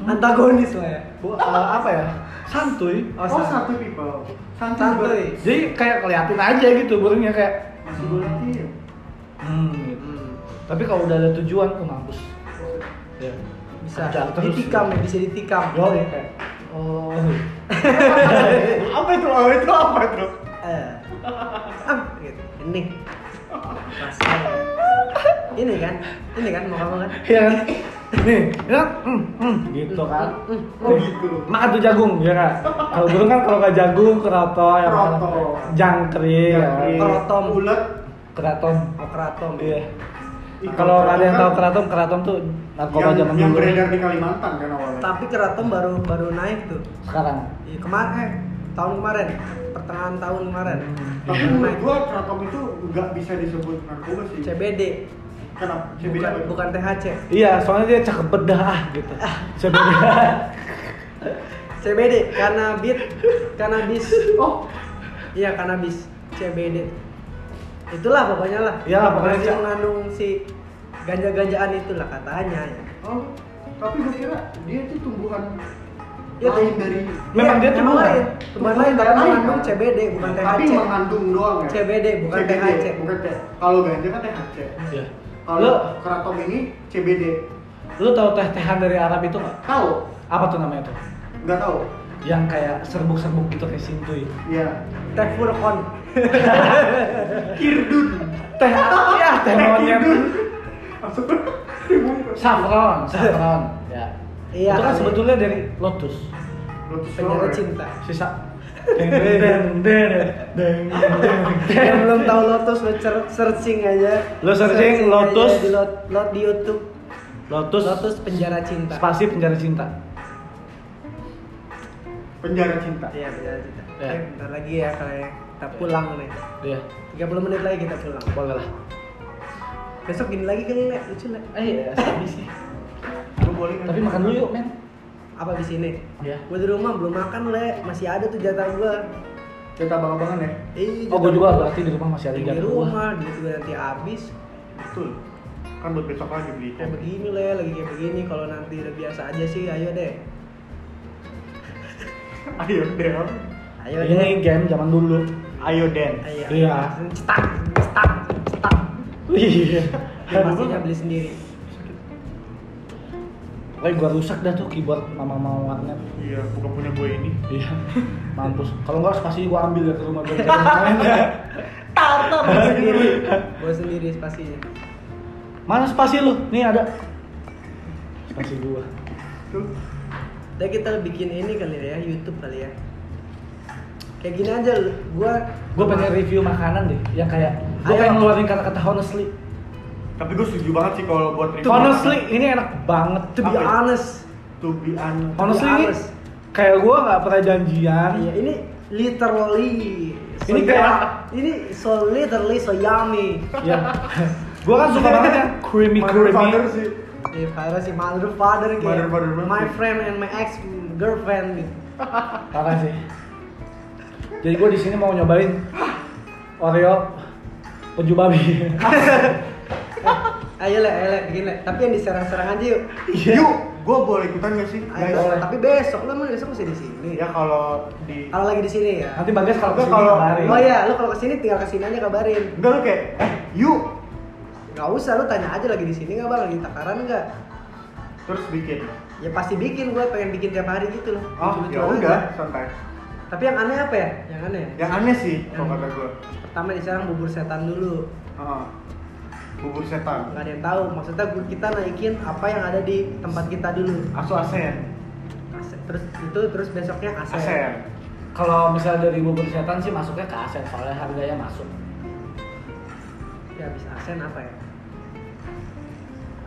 Speaker 2: Antagonis lah ya.
Speaker 1: bu- eh, apa ya? Santuy.
Speaker 4: Oh,
Speaker 2: santai.
Speaker 4: satu people.
Speaker 1: Iya.
Speaker 2: Santuy.
Speaker 4: Santai. banget.
Speaker 1: Jadi kayak keliatin aja gitu burungnya kayak
Speaker 4: Masih gue latihan.
Speaker 1: hmm gitu.
Speaker 2: Hmm,
Speaker 1: Tapi kalau udah ada tujuan tuh mampus. Iya.
Speaker 2: bisa
Speaker 1: Ada terus.
Speaker 2: ditikam ya, bisa ditikam.
Speaker 1: Yo, ya kayak
Speaker 2: Oh.
Speaker 4: apa itu apa itu apa
Speaker 1: Iya,
Speaker 4: itu
Speaker 2: Eh. Ah, gitu. Ini. Rasanya. Ini kan, ini kan mau kamu kan?
Speaker 1: Iya kan? Nih, ya kan? Hmm, hmm, gitu kan.
Speaker 2: Hmm,
Speaker 4: oh gitu
Speaker 1: Makan tuh jagung, ya kan? Kalau burung kan kalau nggak jagung, kerato, yang mana?
Speaker 4: Kerato.
Speaker 1: jangkrik, ya kan?
Speaker 2: Krotom.
Speaker 4: ulet
Speaker 1: keratom.
Speaker 2: Mau keratom.
Speaker 1: Iya.
Speaker 4: Ikan
Speaker 1: Kalau
Speaker 4: keratom
Speaker 1: ada yang
Speaker 4: kan
Speaker 1: tahu keratom, keratom tuh narkoba
Speaker 4: yang,
Speaker 1: zaman
Speaker 4: yang
Speaker 1: dulu.
Speaker 4: beredar di Kalimantan kan awalnya
Speaker 2: Tapi keratom baru baru naik tuh.
Speaker 1: Sekarang.
Speaker 2: Iya, kemarin eh, tahun kemarin, pertengahan tahun kemarin.
Speaker 1: Iya.
Speaker 4: tapi
Speaker 2: Baru
Speaker 4: menurut
Speaker 2: naik.
Speaker 4: gua kratom itu nggak bisa disebut narkoba sih
Speaker 2: CBD
Speaker 4: kenapa CBD
Speaker 2: bukan,
Speaker 4: apa itu?
Speaker 2: bukan THC
Speaker 1: Iya, soalnya dia cakep bedah ah, gitu. Cakep bedah.
Speaker 2: CBD kanabis kanabis
Speaker 4: oh
Speaker 2: iya kanabis CBD itulah pokoknya lah
Speaker 1: Iyalah, pokoknya
Speaker 2: Yang
Speaker 1: Cak.
Speaker 2: mengandung si ganja-ganjaan itulah katanya ya
Speaker 4: oh tapi gua kira dia itu tumbuhan
Speaker 1: Ya,
Speaker 2: Iya,
Speaker 4: lain
Speaker 2: tuh.
Speaker 4: dari
Speaker 1: Memang dia kan?
Speaker 2: memang
Speaker 1: tumbuhan.
Speaker 2: lain tumbuhan lain tapi
Speaker 4: Lain,
Speaker 2: mengandung
Speaker 4: kan?
Speaker 2: CBD bukan
Speaker 4: tapi
Speaker 2: THC
Speaker 4: mengandung doang ya
Speaker 2: CBD, bukan THC.
Speaker 4: bukan THC. kalau ganja kan THC
Speaker 1: Iya.
Speaker 4: kalau
Speaker 1: Lu
Speaker 4: kratom ini CBD
Speaker 1: Lu tahu teh-tehan dari Arab itu nggak?
Speaker 4: Tahu?
Speaker 1: Apa tuh namanya tuh?
Speaker 4: Nggak tahu.
Speaker 1: Yang kayak serbuk-serbuk gitu kayak sintuy.
Speaker 4: Iya.
Speaker 2: Teh Furkon.
Speaker 4: Kirdun. Eh,
Speaker 1: Teh ya teh monyet.
Speaker 4: Masuk.
Speaker 1: Saffron, saffron. Ya.
Speaker 2: Iya,
Speaker 1: itu kan
Speaker 2: kali.
Speaker 1: sebetulnya dari lotus.
Speaker 4: Lotus
Speaker 2: Penjara
Speaker 4: Flower.
Speaker 2: cinta.
Speaker 1: Sisa deng deng deng deng deng deng, deng.
Speaker 2: Yang belum tahu Lotus lo cer- searching aja.
Speaker 1: Lo searching Lotus.
Speaker 2: aja di lot, lot di YouTube.
Speaker 1: Lotus,
Speaker 2: Lotus penjara cinta.
Speaker 1: spasi penjara cinta.
Speaker 4: Penjara cinta.
Speaker 2: Iya, penjara cinta.
Speaker 1: Iya.
Speaker 2: Eh, Bentar lagi ya kalian. Kita pulang nih.
Speaker 1: Iya,
Speaker 2: 30 menit lagi kita pulang.
Speaker 1: boleh lah.
Speaker 2: Besok gini lagi kali Lek. lucu Lek.
Speaker 1: Eh, ya, habis sih.
Speaker 4: Lu boleh nggak?
Speaker 1: Tapi makan dulu yuk, men.
Speaker 2: Apa di sini?
Speaker 1: Iya.
Speaker 2: Gue di rumah belum makan Lek. Masih ada tuh jatah gue.
Speaker 4: Kita abang-abangan ya.
Speaker 2: Eh,
Speaker 1: Oh, gue juga berarti di rumah masih ada
Speaker 2: Di
Speaker 1: jam gua.
Speaker 2: rumah, duit gue nanti habis.
Speaker 4: Betul. Kan buat besok lagi beli
Speaker 2: Kayak begini le, lagi kayak begini. Kalau nanti udah biasa aja sih, ayo deh.
Speaker 4: Ayo deh.
Speaker 2: Ayo deh.
Speaker 1: Ini game zaman dulu.
Speaker 4: Ayo Den.
Speaker 2: Ayo.
Speaker 1: Iya.
Speaker 2: Cetak, cetak, cetak.
Speaker 1: Iya.
Speaker 2: Pastinya beli sendiri.
Speaker 1: Woi, gua rusak dah tuh keyboard mama mama warnet.
Speaker 4: Iya, bukan punya gue ini.
Speaker 1: Iya. Mampus. Kalau enggak spasi gua ambil ya ke rumah gua. Jangan main ya.
Speaker 2: Tartar gue sendiri. Gue sendiri pastinya.
Speaker 1: Mana spasi lu? Nih ada. Spasi gua.
Speaker 2: Udah kita bikin ini kali ya, YouTube kali ya. Kayak gini aja, lu. gua
Speaker 1: Gua pengen review makanan deh yang kayak gua
Speaker 2: Ayo.
Speaker 1: pengen ngeluarin kata-kata honestly.
Speaker 4: Tapi gue setuju banget sih kalau buat review.
Speaker 1: Honestly, ini enak banget tuh.
Speaker 2: to be
Speaker 4: Apa ya?
Speaker 2: honest.
Speaker 4: To be honest.
Speaker 1: Honestly, ini
Speaker 2: honest.
Speaker 1: kayak gua nggak pernah janjian.
Speaker 2: Iya, ini literally
Speaker 1: Ini
Speaker 2: yum-
Speaker 1: kayak-
Speaker 2: ini so literally so yummy.
Speaker 1: Iya. gua kan suka banget yang creamy creamy.
Speaker 4: Motherfucker sih.
Speaker 2: Ini father si Iya, mother father gitu.
Speaker 4: Mother father banget.
Speaker 2: My friend and my ex girlfriend gitu.
Speaker 1: Parah sih. Jadi gua di sini mau nyobain Oreo keju babi.
Speaker 2: Ayo lek, ayo lek, bikin lek. Tapi yang diserang-serang aja yuk.
Speaker 4: Yuk, gue boleh ikutan gak sih?
Speaker 2: Ayo,
Speaker 4: Guys.
Speaker 2: tapi besok lu emang besok masih di sini.
Speaker 4: Ya kalau di
Speaker 2: Kalau lagi di sini ya.
Speaker 1: Nanti Bagas kalau
Speaker 4: Gua
Speaker 1: kesini
Speaker 4: kalau-
Speaker 1: kabarin.
Speaker 2: Oh iya, lu kalau kesini tinggal kesini aja kabarin.
Speaker 4: Enggak lu kayak, eh yuk
Speaker 2: Gak usah, lu tanya aja lagi di sini nggak bang, lagi takaran nggak?
Speaker 4: Terus bikin
Speaker 2: Ya pasti bikin, gue pengen bikin tiap hari gitu loh.
Speaker 4: Oh
Speaker 2: Lucu-lucu
Speaker 4: ya
Speaker 2: aja.
Speaker 4: udah, santai
Speaker 2: Tapi yang aneh apa ya? Yang aneh. ya?
Speaker 4: Yang aneh sih, kalau kata gue
Speaker 2: Pertama diserang bubur setan dulu.
Speaker 4: Heeh. Bubur setan
Speaker 2: Gak ada yang tahu. Maksudnya gua- kita naikin apa yang ada di tempat kita dulu.
Speaker 4: Asu ASEAN
Speaker 2: Ase- Terus itu terus besoknya aset.
Speaker 4: ASEAN
Speaker 1: Kalau misalnya dari bubur setan sih masuknya ke asen soalnya harganya masuk.
Speaker 2: Ya habis asen apa ya?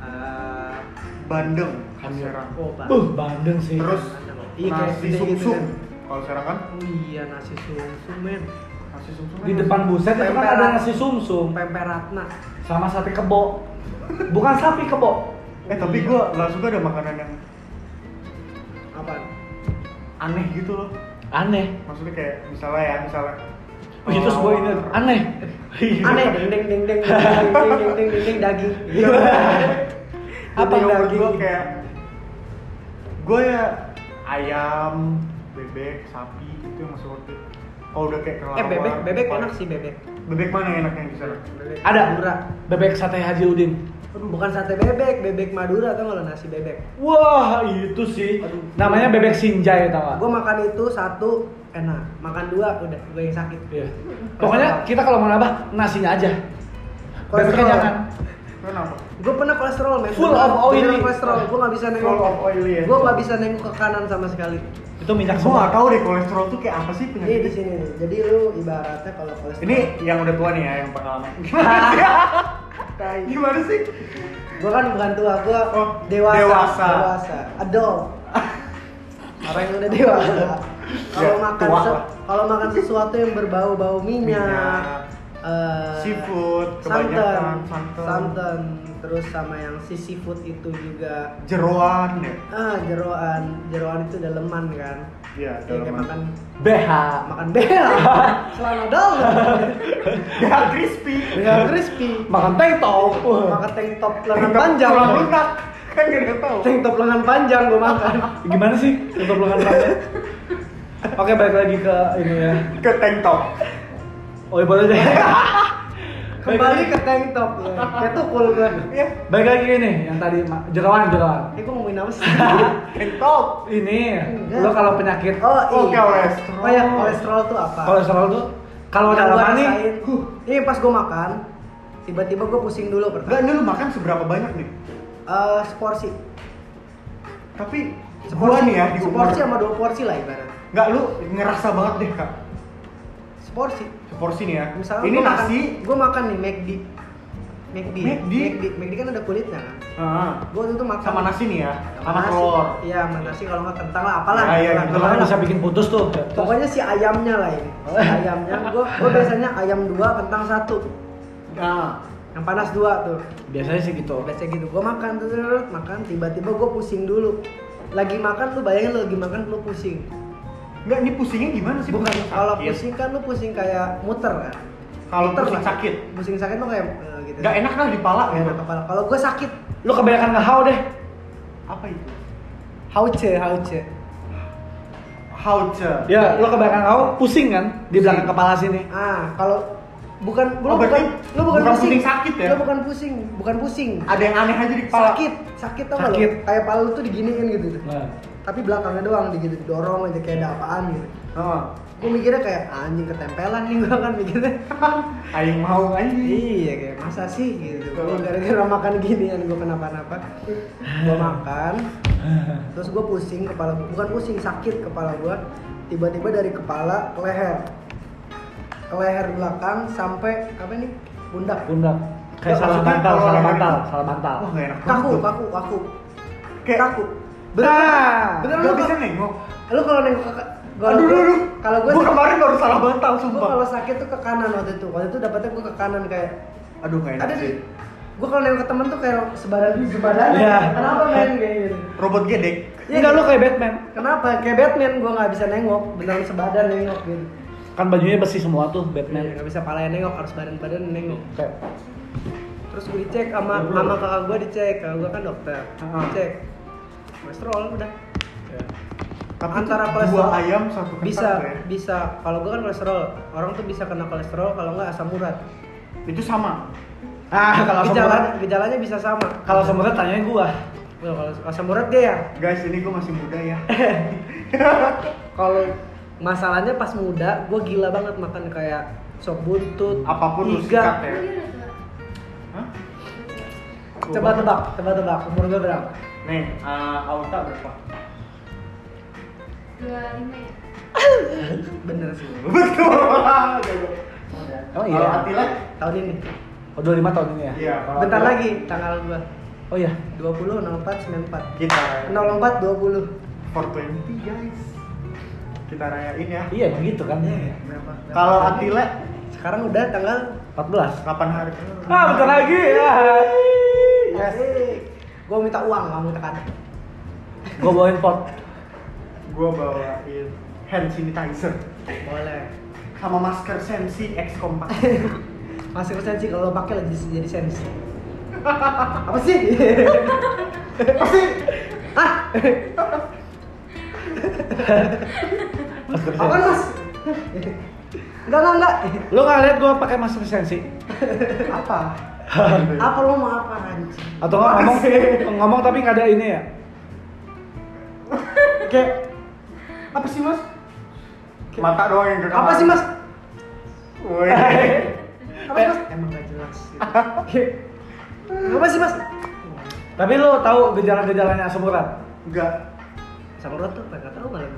Speaker 2: Eh,
Speaker 4: Bandeng, khas Serang
Speaker 2: oh, Pak.
Speaker 1: Buh, bandeng sih.
Speaker 4: Terus
Speaker 2: Iya, kayak
Speaker 4: nasi
Speaker 2: gede gitu
Speaker 4: sumsum
Speaker 2: kan.
Speaker 4: Kalau Serang kan,
Speaker 2: Oh iya nasi sumsum men.
Speaker 4: nasi sumsum
Speaker 1: di depan buset itu kan
Speaker 2: Pempek.
Speaker 1: ada nasi sumsum
Speaker 2: Pemperatna.
Speaker 1: sama sate kebo. Bukan sapi kebo.
Speaker 4: Eh tapi
Speaker 2: Hmm.
Speaker 4: gue langsung ada makanan yang
Speaker 2: Apa?
Speaker 4: aneh gitu loh
Speaker 1: Aneh.
Speaker 4: Maksudnya kayak misalnya ya, misalnya
Speaker 1: Oh,
Speaker 2: iya,
Speaker 1: itu sebuah ini aneh.
Speaker 2: Aneh ding Iya. deng deng deng deng deng deng deng deng deng daging.
Speaker 4: apa
Speaker 2: Apa
Speaker 4: yang
Speaker 2: daging?
Speaker 4: gue kayak gue ya ayam bebek sapi itu yang masuk waktu kalau Oh, udah kayak kelawar
Speaker 2: Eh bebek bebek
Speaker 4: kepala-
Speaker 2: enak sih bebek.
Speaker 4: bebek mana yang enak yang di sana
Speaker 2: Bebek
Speaker 1: Ada
Speaker 2: Madura.
Speaker 1: bebek sate Haji Udin.
Speaker 2: Aduh, Bukan sate bebek, bebek Madura tau nggak lo nasi bebek.
Speaker 1: Wah, itu sih. Namanya bebek sinjai tau gak?
Speaker 2: Gue makan itu satu enak, makan dua udah gue yang sakit.
Speaker 1: Iya. Pokoknya kita kalau mau nambah nasinya aja. Bebeknya
Speaker 2: Kolesterol.
Speaker 1: jangan.
Speaker 12: kan?
Speaker 4: kenapa
Speaker 2: Gue pernah kolesterol men.
Speaker 1: Full of oily.
Speaker 2: Beneran kolesterol. Gue nggak bisa nengok.
Speaker 4: Full of oily ya.
Speaker 2: Gue nggak bisa nengok ke kanan sama sekali.
Speaker 1: Itu minyak
Speaker 4: gue gak
Speaker 1: semua.
Speaker 4: tau deh kolesterol tuh kayak apa sih
Speaker 2: Ini Iya, di
Speaker 4: penyakitnya
Speaker 2: sini nih. Jadi lu ibaratnya kalau kolesterol.
Speaker 4: ini yang udah tua nih ya yang pengalaman
Speaker 2: Tai.
Speaker 4: gimana sih
Speaker 2: Gua kan bukan tua, gua
Speaker 4: Oh,
Speaker 2: dewasa,
Speaker 4: dewasa.
Speaker 2: dewasa, adult. Orang yang udah dewasa. Kalau
Speaker 4: Ya,
Speaker 2: makan
Speaker 4: tua
Speaker 2: se-
Speaker 4: lah.
Speaker 2: kalau makan sesuatu yang berbau-bau minyak,
Speaker 4: Minyak,
Speaker 2: eh,
Speaker 4: seafood,
Speaker 2: santan,
Speaker 4: kebanyakan santan.
Speaker 2: santan, terus sama yang si seafood itu juga
Speaker 4: jeroan ya
Speaker 2: ah jeroan, jeroan itu udah leman kan.
Speaker 4: iya
Speaker 2: Ya,
Speaker 4: dalam
Speaker 2: kayak makan
Speaker 1: BH.
Speaker 2: makan bela, celana dalam,
Speaker 4: ya crispy
Speaker 2: bela crispy,
Speaker 1: Makan tengtong.
Speaker 2: makan tank top lengan
Speaker 4: Tetap
Speaker 2: panjang,
Speaker 4: tulang lunak kan gak ada yang tau
Speaker 2: tank top lengan panjang gua makan.
Speaker 1: Gimana sih tutup lengan rambut? Oke, balik lagi ke ini
Speaker 12: iya,
Speaker 1: ya.
Speaker 4: ke tank top
Speaker 1: Oh, ibaratnya
Speaker 2: Kembali ke tank top. Ya tukul gue. Ya.
Speaker 12: Baik lagi ini yang tadi Ma- jerawan jerawan.
Speaker 2: Eh gue ngomongin apa sih? tank top.
Speaker 12: Ini
Speaker 2: Enggak.
Speaker 12: lo kalau penyakit
Speaker 2: Oh,
Speaker 4: Oh,
Speaker 2: iya.
Speaker 4: kolesterol.
Speaker 2: Oh ya, kolesterol tuh apa?
Speaker 12: kolesterol tuh kalau
Speaker 2: Yang
Speaker 12: dalam
Speaker 2: gua
Speaker 12: manis
Speaker 2: rasain, huh, Ini pas gue makan, tiba-tiba gue pusing dulu
Speaker 4: Enggak,
Speaker 2: pertama.
Speaker 4: ini lu makan seberapa banyak nih?
Speaker 2: Eh, seporsi.
Speaker 4: Tapi gua
Speaker 2: Seporsi
Speaker 4: nih ya di umur
Speaker 2: Seporsi sama dua porsi lah ibarat.
Speaker 4: Enggak, lu ngerasa banget deh, Kak.
Speaker 2: Seporsi.
Speaker 4: Seporsi nih ya.
Speaker 2: Misalnya
Speaker 4: ini
Speaker 2: gua
Speaker 4: nasi.
Speaker 2: Makan, gue makan nih McD. McD.
Speaker 4: McD?
Speaker 2: McD. McD kan ada kulitnya kan.
Speaker 4: Heeh.
Speaker 2: Gue tuh makan
Speaker 4: Sama nasi nih ya. Sama
Speaker 2: sama nasi.
Speaker 4: telur.
Speaker 2: Iya, sama nasi kalau nggak kentang lah apalah.
Speaker 4: Ya, iya,
Speaker 2: Kurang-
Speaker 4: gitu
Speaker 12: Lo
Speaker 4: lah,
Speaker 2: kurang
Speaker 12: kan bisa
Speaker 2: lah.
Speaker 12: bikin putus tuh.
Speaker 2: Pokoknya si ayamnya lah ini.
Speaker 4: Oh.
Speaker 2: Si ayamnya, gue gue biasanya ayam dua, kentang satu, Ah.
Speaker 4: Nah,
Speaker 2: yang panas dua tuh.
Speaker 12: Biasanya sih gitu.
Speaker 2: Biasanya gitu, gue makan tuh, terus makan, tiba-tiba gue pusing dulu. Lagi makan lu bayangin lu lagi makan lu pusing.
Speaker 4: enggak ini pusingnya gimana sih?
Speaker 2: Bukan kalau
Speaker 4: sakit.
Speaker 2: pusing kan lu pusing kayak muter kan.
Speaker 4: kalau
Speaker 2: Muter
Speaker 4: pusing
Speaker 2: lah.
Speaker 4: sakit.
Speaker 2: Pusing sakit lu kayak eh, gitu.
Speaker 4: Enggak enak lah di pala
Speaker 2: Nggak
Speaker 4: gitu.
Speaker 2: enak kepala. Kalau gue sakit,
Speaker 12: Lo kebanyakan ngehau deh.
Speaker 4: Apa itu?
Speaker 2: hauce, hauce.
Speaker 4: Hauce.
Speaker 2: Iya,
Speaker 12: Ya, lo kebanyakan ngehau pusing kan di belakang kepala sini.
Speaker 2: Ah, kalau bukan lu
Speaker 4: Oh,
Speaker 2: bukan
Speaker 4: berarti
Speaker 2: lu bukan,
Speaker 4: bukan pusing sakit ya?
Speaker 2: Lu bukan pusing, bukan pusing.
Speaker 4: Ada yang aneh aja di kepala.
Speaker 2: Sakit, sakit tau gak lu?
Speaker 12: Sakit.
Speaker 2: Kayak pala lu tuh diginiin gitu.
Speaker 12: Nah.
Speaker 2: Tapi belakangnya doang digitu didorong aja kayak ada apaan gitu.
Speaker 4: Heeh.
Speaker 2: Gue mikirnya kayak anjing ketempelan nih gue kan mikirnya.
Speaker 4: Aing mau anjing.
Speaker 2: iya kayak masa sih gitu. Gue gara-gara makan ginian gue kenapa-napa. Gue makan, terus gue pusing kepala gue. Bukan pusing, sakit kepala gue. Tiba-tiba dari kepala ke leher, ke leher belakang sampai apa nih? Pundak.
Speaker 12: Pundak. Kayak
Speaker 4: Nggak,
Speaker 12: salah
Speaker 4: maksudnya
Speaker 12: bantal,
Speaker 4: kalau
Speaker 12: salah
Speaker 4: yang-
Speaker 12: bantal, salah bantal.
Speaker 4: Wah, enggak enak banget.
Speaker 2: kaku
Speaker 4: tuh.
Speaker 2: kaku kaku
Speaker 4: Kayak-
Speaker 2: kaku
Speaker 4: Bener,
Speaker 2: bener lu
Speaker 4: bener lu bisa
Speaker 2: bisa
Speaker 4: nengok.
Speaker 2: lu kalau nengok ke kalau
Speaker 4: Aduh,
Speaker 2: gua-
Speaker 4: aduh, aduh.
Speaker 2: kalau gue
Speaker 4: Gua kemarin baru salah bantal,
Speaker 2: gue
Speaker 4: sumpah.
Speaker 2: kalau sakit tuh ke kanan waktu itu waktu itu dapetnya gue ke kanan kayak
Speaker 4: Aduh, enggak enak
Speaker 12: gitu
Speaker 2: ada
Speaker 4: sih.
Speaker 2: nih gue kalau nengok ke temen tuh kayak sebadan sebadan
Speaker 12: Iya.
Speaker 2: kenapa men kayak gitu
Speaker 4: Robot gedek.
Speaker 2: Iya,
Speaker 12: Enggak lo
Speaker 2: gitu.
Speaker 12: kayak Batman.
Speaker 2: kenapa kayak Batman gue nggak bisa nengok beneran sebadan nengok gitu
Speaker 12: Kan bajunya besi semua tuh
Speaker 2: Iya,
Speaker 12: Batman.
Speaker 2: nggak bisa palanya nengok harus badan badan nengok
Speaker 12: Kayak
Speaker 2: terus gue dicek
Speaker 12: Ya,
Speaker 2: sama sama kakak gue dicek kakak gue kan dokter
Speaker 4: Ah.
Speaker 2: dicek kolesterol udah
Speaker 4: Tapi
Speaker 2: Antara
Speaker 4: antara dua
Speaker 2: kolesterol.
Speaker 4: ayam satu kentang
Speaker 2: bisa
Speaker 4: tuh ya.
Speaker 2: bisa kalau gue kan kolesterol orang tuh bisa kena kolesterol kalau nggak asam urat
Speaker 4: Itu sama.
Speaker 12: Ah, kalau asam urat,
Speaker 2: gejalanya gejalanya bisa sama
Speaker 12: kalau asam urat tanyain gua.
Speaker 2: Loh, kalau asam urat dia ya
Speaker 4: Guys, ini gue masih muda ya.
Speaker 2: kalau masalahnya pas muda gue gila banget makan kayak sop buntut
Speaker 4: Apapun lu sikat
Speaker 2: iga
Speaker 4: ya.
Speaker 11: Virus lah.
Speaker 4: Hah?
Speaker 2: coba tebak coba tebak umur gue berapa
Speaker 4: Nih, eh, Auta berapa?
Speaker 11: Dua lima ya.
Speaker 2: bener sih Oh,
Speaker 4: Betul.
Speaker 12: Emang
Speaker 4: Kalau
Speaker 12: iya.
Speaker 4: Atila?
Speaker 2: tahun ini
Speaker 12: Oh, 25 tahun ini ya.
Speaker 4: Iya, kalau
Speaker 2: bentar
Speaker 4: Atila,
Speaker 2: lagi tanggal gue
Speaker 12: Oh iya.
Speaker 2: 20 04
Speaker 4: Kita
Speaker 2: 94 04 20
Speaker 4: 420 guys. Kita rayain ya.
Speaker 12: Iya, emang gitu kan.
Speaker 2: berapa, berapa
Speaker 4: Kalau
Speaker 2: tahun?
Speaker 4: Atila
Speaker 2: sekarang udah tanggal
Speaker 12: 14.
Speaker 4: 8 hari.
Speaker 12: Ah, bentar lagi ya.
Speaker 2: gue minta uang kamu tekan
Speaker 12: Gua bawain pot.
Speaker 4: Gua bawain hand sanitizer
Speaker 2: boleh
Speaker 4: sama masker Sensi X Compact.
Speaker 2: Masih sensi kalau lo pakai lagi jadi sensi. Apa sih? Apa sih? Hah? Apa mas? Enggak enggak enggak.
Speaker 12: Lo nggak lihat gua pakai masker sensi?
Speaker 2: Apa? Apa lo mau apa anjing?
Speaker 12: Atau nggak ngomong ngomong tapi nggak ada ini ya?
Speaker 4: Kayak apa sih, Mas? Mata doang yang kedengaran.
Speaker 2: Apa sih mas?
Speaker 4: Woi.
Speaker 2: Apa sih mas? Eh, Emang gak jelas. Apa sih mas?
Speaker 12: Tapi lo tahu gejala-gejalanya asam urat?
Speaker 4: Enggak.
Speaker 2: Sama lo tuh nggak tahu malah.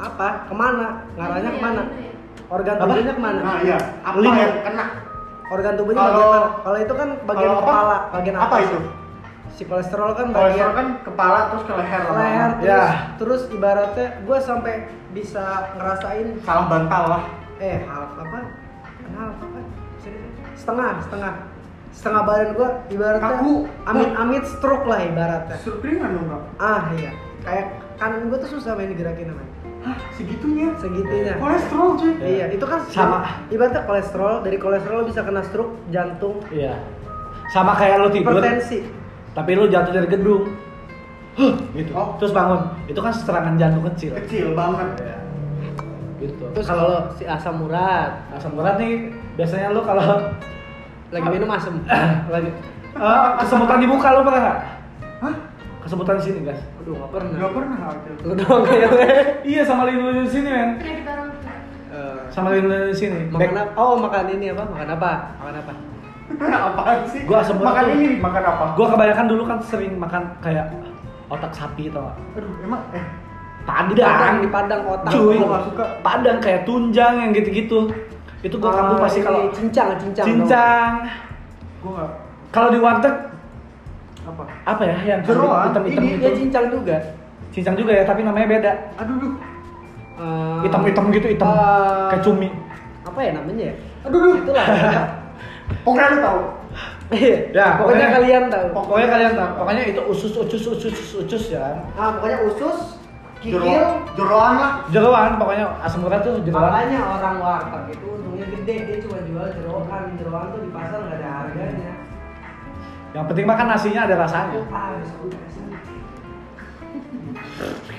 Speaker 2: Apa? Kemana? Ngarahnya
Speaker 11: Lima ya,
Speaker 2: kemana?
Speaker 11: lima ya.
Speaker 2: Organ tubuhnya kemana?
Speaker 4: Nah, iya. Apa
Speaker 12: Link.
Speaker 4: yang kena?
Speaker 2: organ tubuhnya
Speaker 4: Kalau-
Speaker 2: bagian mana? Ah, Kalau itu kan bagian
Speaker 4: Kalau apa?
Speaker 2: kepala, bagian
Speaker 4: Apa
Speaker 2: atas.
Speaker 4: itu?
Speaker 2: Si kolesterol kan bagian
Speaker 4: Kolesterol kan kepala terus ke leher.
Speaker 2: leher terus,
Speaker 12: Ya.
Speaker 2: terus ibaratnya gue sampai bisa ngerasain
Speaker 4: Salah bantal lah.
Speaker 2: eh half apa? Half apa? Serius? Setengah, setengah. Setengah badan gue ibaratnya
Speaker 4: Kaku.
Speaker 2: amit-amit stroke lah ibaratnya.
Speaker 4: Surpringan dong, Bang.
Speaker 2: Ah iya, kayak kanan gue tuh susah main digerakin namanya.
Speaker 4: Hah, segitunya?
Speaker 2: Segitunya.
Speaker 4: Kolesterol cuy.
Speaker 2: Iya, itu kan
Speaker 12: Sama.
Speaker 2: Ibaratnya kolesterol, dari kolesterol bisa kena stroke, jantung,
Speaker 12: Iya. Sama kayak lo tidur,
Speaker 2: hipertensi.
Speaker 12: tapi lo jatuh dari gedung. Huh, gitu.
Speaker 4: Oh.
Speaker 12: Terus bangun. Itu kan serangan jantung kecil.
Speaker 4: Kecil banget.
Speaker 1: gitu
Speaker 2: Terus kalau si asam urat
Speaker 1: asam urat nih biasanya lu kalau
Speaker 2: lagi minum asam.
Speaker 1: lagi eh, kesemutan di muka lu pernah nggak
Speaker 4: Hah?
Speaker 1: kesemutan di sini guys
Speaker 2: Aduh, enggak pernah.
Speaker 4: Gak pernah ada.
Speaker 2: Lu doang kayaknya.
Speaker 1: iya sama lilin di sini men
Speaker 11: penyakit orang tua
Speaker 2: Eh,
Speaker 1: sama lilin di sini
Speaker 2: makan
Speaker 1: Back-
Speaker 2: apa? Oh, makan ini apa? Makan apa? Makan apa?
Speaker 4: Apaan sih?
Speaker 1: Gua asam urat
Speaker 4: makan
Speaker 1: tuh.
Speaker 4: ini, makan apa?
Speaker 1: gua kebanyakan dulu kan sering makan kayak otak sapi tau gak?
Speaker 4: Aduh, emang eh
Speaker 2: Padang,
Speaker 1: padang
Speaker 2: di padang otak. Oh,
Speaker 1: cuy
Speaker 4: gua nggak suka.
Speaker 1: padang kayak tunjang yang gitu-gitu itu gua kamu
Speaker 2: Ah,
Speaker 1: pasti
Speaker 2: ini
Speaker 1: kalau
Speaker 2: cincang, cincang.
Speaker 1: cincang
Speaker 4: gua enggak
Speaker 1: kalau di warteg
Speaker 4: apa?
Speaker 1: apa ya yang
Speaker 4: Jeroan,
Speaker 1: hitam-hitam
Speaker 4: ini
Speaker 2: Iya,
Speaker 1: itu
Speaker 2: cincang juga.
Speaker 1: cincang juga ya tapi namanya beda
Speaker 4: Aduh, duh.
Speaker 2: Eh,
Speaker 1: hitam-hitam gitu hitam
Speaker 2: eh,
Speaker 1: kayak cumi
Speaker 2: Apa ya namanya ya?
Speaker 4: Aduh, duh.
Speaker 2: Itulah.
Speaker 4: Pokoknya lu tahu.
Speaker 2: Iya.
Speaker 1: Ya,
Speaker 2: pokoknya,
Speaker 1: pokoknya-
Speaker 2: kalian tahu.
Speaker 1: pokoknya kalian tahu pokoknya itu usus usus usus usus usus ya
Speaker 2: Ah, pokoknya usus, kikil,
Speaker 4: Jero, jeroan lah.
Speaker 1: jeroan pokoknya asam urat tuh jeroan
Speaker 2: Makanya orang warteg itu untungnya gede, dia cuma jual jeroan. Jeroan tuh di pasar nggak ada harganya.
Speaker 1: yang penting makan nasinya ada rasanya
Speaker 2: Ah, bisa udah sih.
Speaker 1: jadi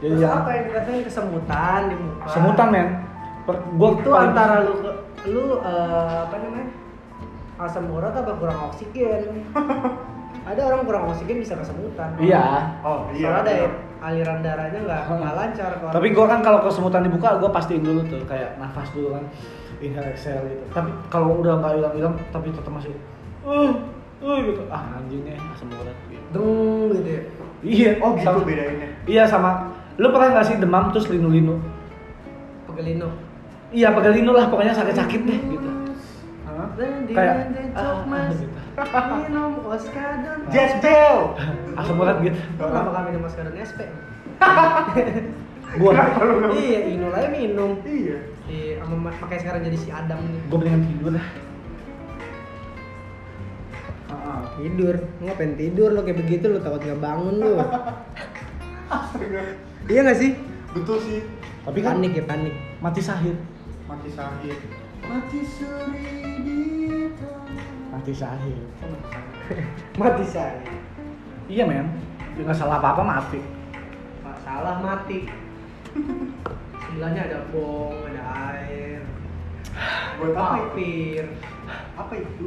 Speaker 2: Terus
Speaker 1: jangan-
Speaker 2: apa yang dikatakan kesemutan di muka?
Speaker 1: Iya, semutan men Per- gua
Speaker 2: Itu
Speaker 1: paling-
Speaker 2: antara lu ke- lu eh, apa namanya? Asam urat apa kurang oksigen? ada orang kurang oksigen bisa kesemutan.
Speaker 1: iya
Speaker 4: Oh,
Speaker 2: Soalnya ada aliran darahnya nggak nggak lancar kalau
Speaker 1: Tapi gua kan kalau kesemutan dibuka gua pastiin dulu tuh kayak nafas dulu kan inhale exhale gitu. Tapi kalau udah nggak hilang-hilang tapi tetap masih uh uh gitu. Ah anjingnya asam urat gitu.
Speaker 2: dung gitu ya.
Speaker 1: Iya,
Speaker 4: Oh, gitu
Speaker 1: sama,
Speaker 4: bedainnya.
Speaker 1: Iya sama. Lu pernah nggak sih demam terus linu-linu?
Speaker 2: Pegelino.
Speaker 1: Iya, pakai linu lah pokoknya sakit-sakit deh gitu. Kayak,
Speaker 2: Kayak
Speaker 1: ah, ah,
Speaker 2: mas
Speaker 1: gitu.
Speaker 2: minum oskadon.
Speaker 4: Jazz bell.
Speaker 1: Asam urat gitu.
Speaker 2: Kenapa kami minum oskadon SP?
Speaker 1: Gua
Speaker 4: Kenapa lu nggak-
Speaker 2: Iya, Inul aja minum.
Speaker 4: Iya.
Speaker 2: Iya, sama makanya sekarang jadi si Adam nih.
Speaker 1: gua mendingan tidur lah.
Speaker 2: Tidur, lu ngapain tidur lo kayak begitu lo takut nggak bangun lo. iya nggak sih?
Speaker 4: Betul sih.
Speaker 1: Tapi kan
Speaker 2: panik ya panik.
Speaker 1: mati sahid.
Speaker 4: Mati sahid. Mati suri di tangan.
Speaker 1: Mati sahid.
Speaker 2: Mati saya.
Speaker 1: Iya, men. Ya nggak salah apa-apa mati.
Speaker 2: Masalah mati. Sebelahnya ada bong, ada air,
Speaker 4: Buat apa itu?
Speaker 2: papir.
Speaker 4: Apa itu?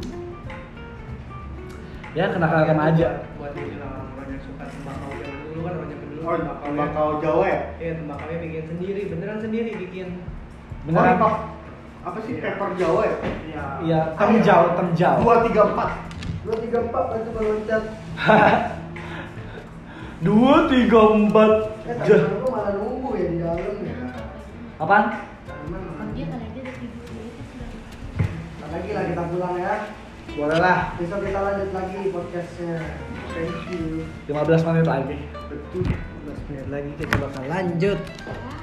Speaker 1: Ya kenakalan remaja.
Speaker 2: Iya, Buat bikin orang-orang yang suka tembakau zaman dulu kan banyak dulu
Speaker 4: Oh,
Speaker 2: tembakau.
Speaker 4: tembakau Jawa ya?
Speaker 2: Iya tembakau bikin sendiri, beneran sendiri bikin.
Speaker 1: Beneran.
Speaker 4: Oh, apa sih paper Jawa ya? Iya.
Speaker 1: Iya, temjau, temjau.
Speaker 4: Dua tiga empat.
Speaker 2: Dua tiga empat itu meloncat.
Speaker 1: Dua, tiga, empat.
Speaker 2: Eh,
Speaker 1: Ja.
Speaker 2: tapi gua malah nunggu ya di dalam ya.
Speaker 1: Apaan?
Speaker 2: Aman,
Speaker 11: dia
Speaker 2: aman.
Speaker 11: kali aja udah tidur gitu sudah.
Speaker 2: Ntar lagi lah kita pulang ya.
Speaker 1: Boleh lah.
Speaker 2: Besok kita lanjut lagi podcastnya.
Speaker 4: Thank you.
Speaker 1: 15 menit lagi.
Speaker 4: Betul.
Speaker 2: 15 menit lagi kita bakal lanjut.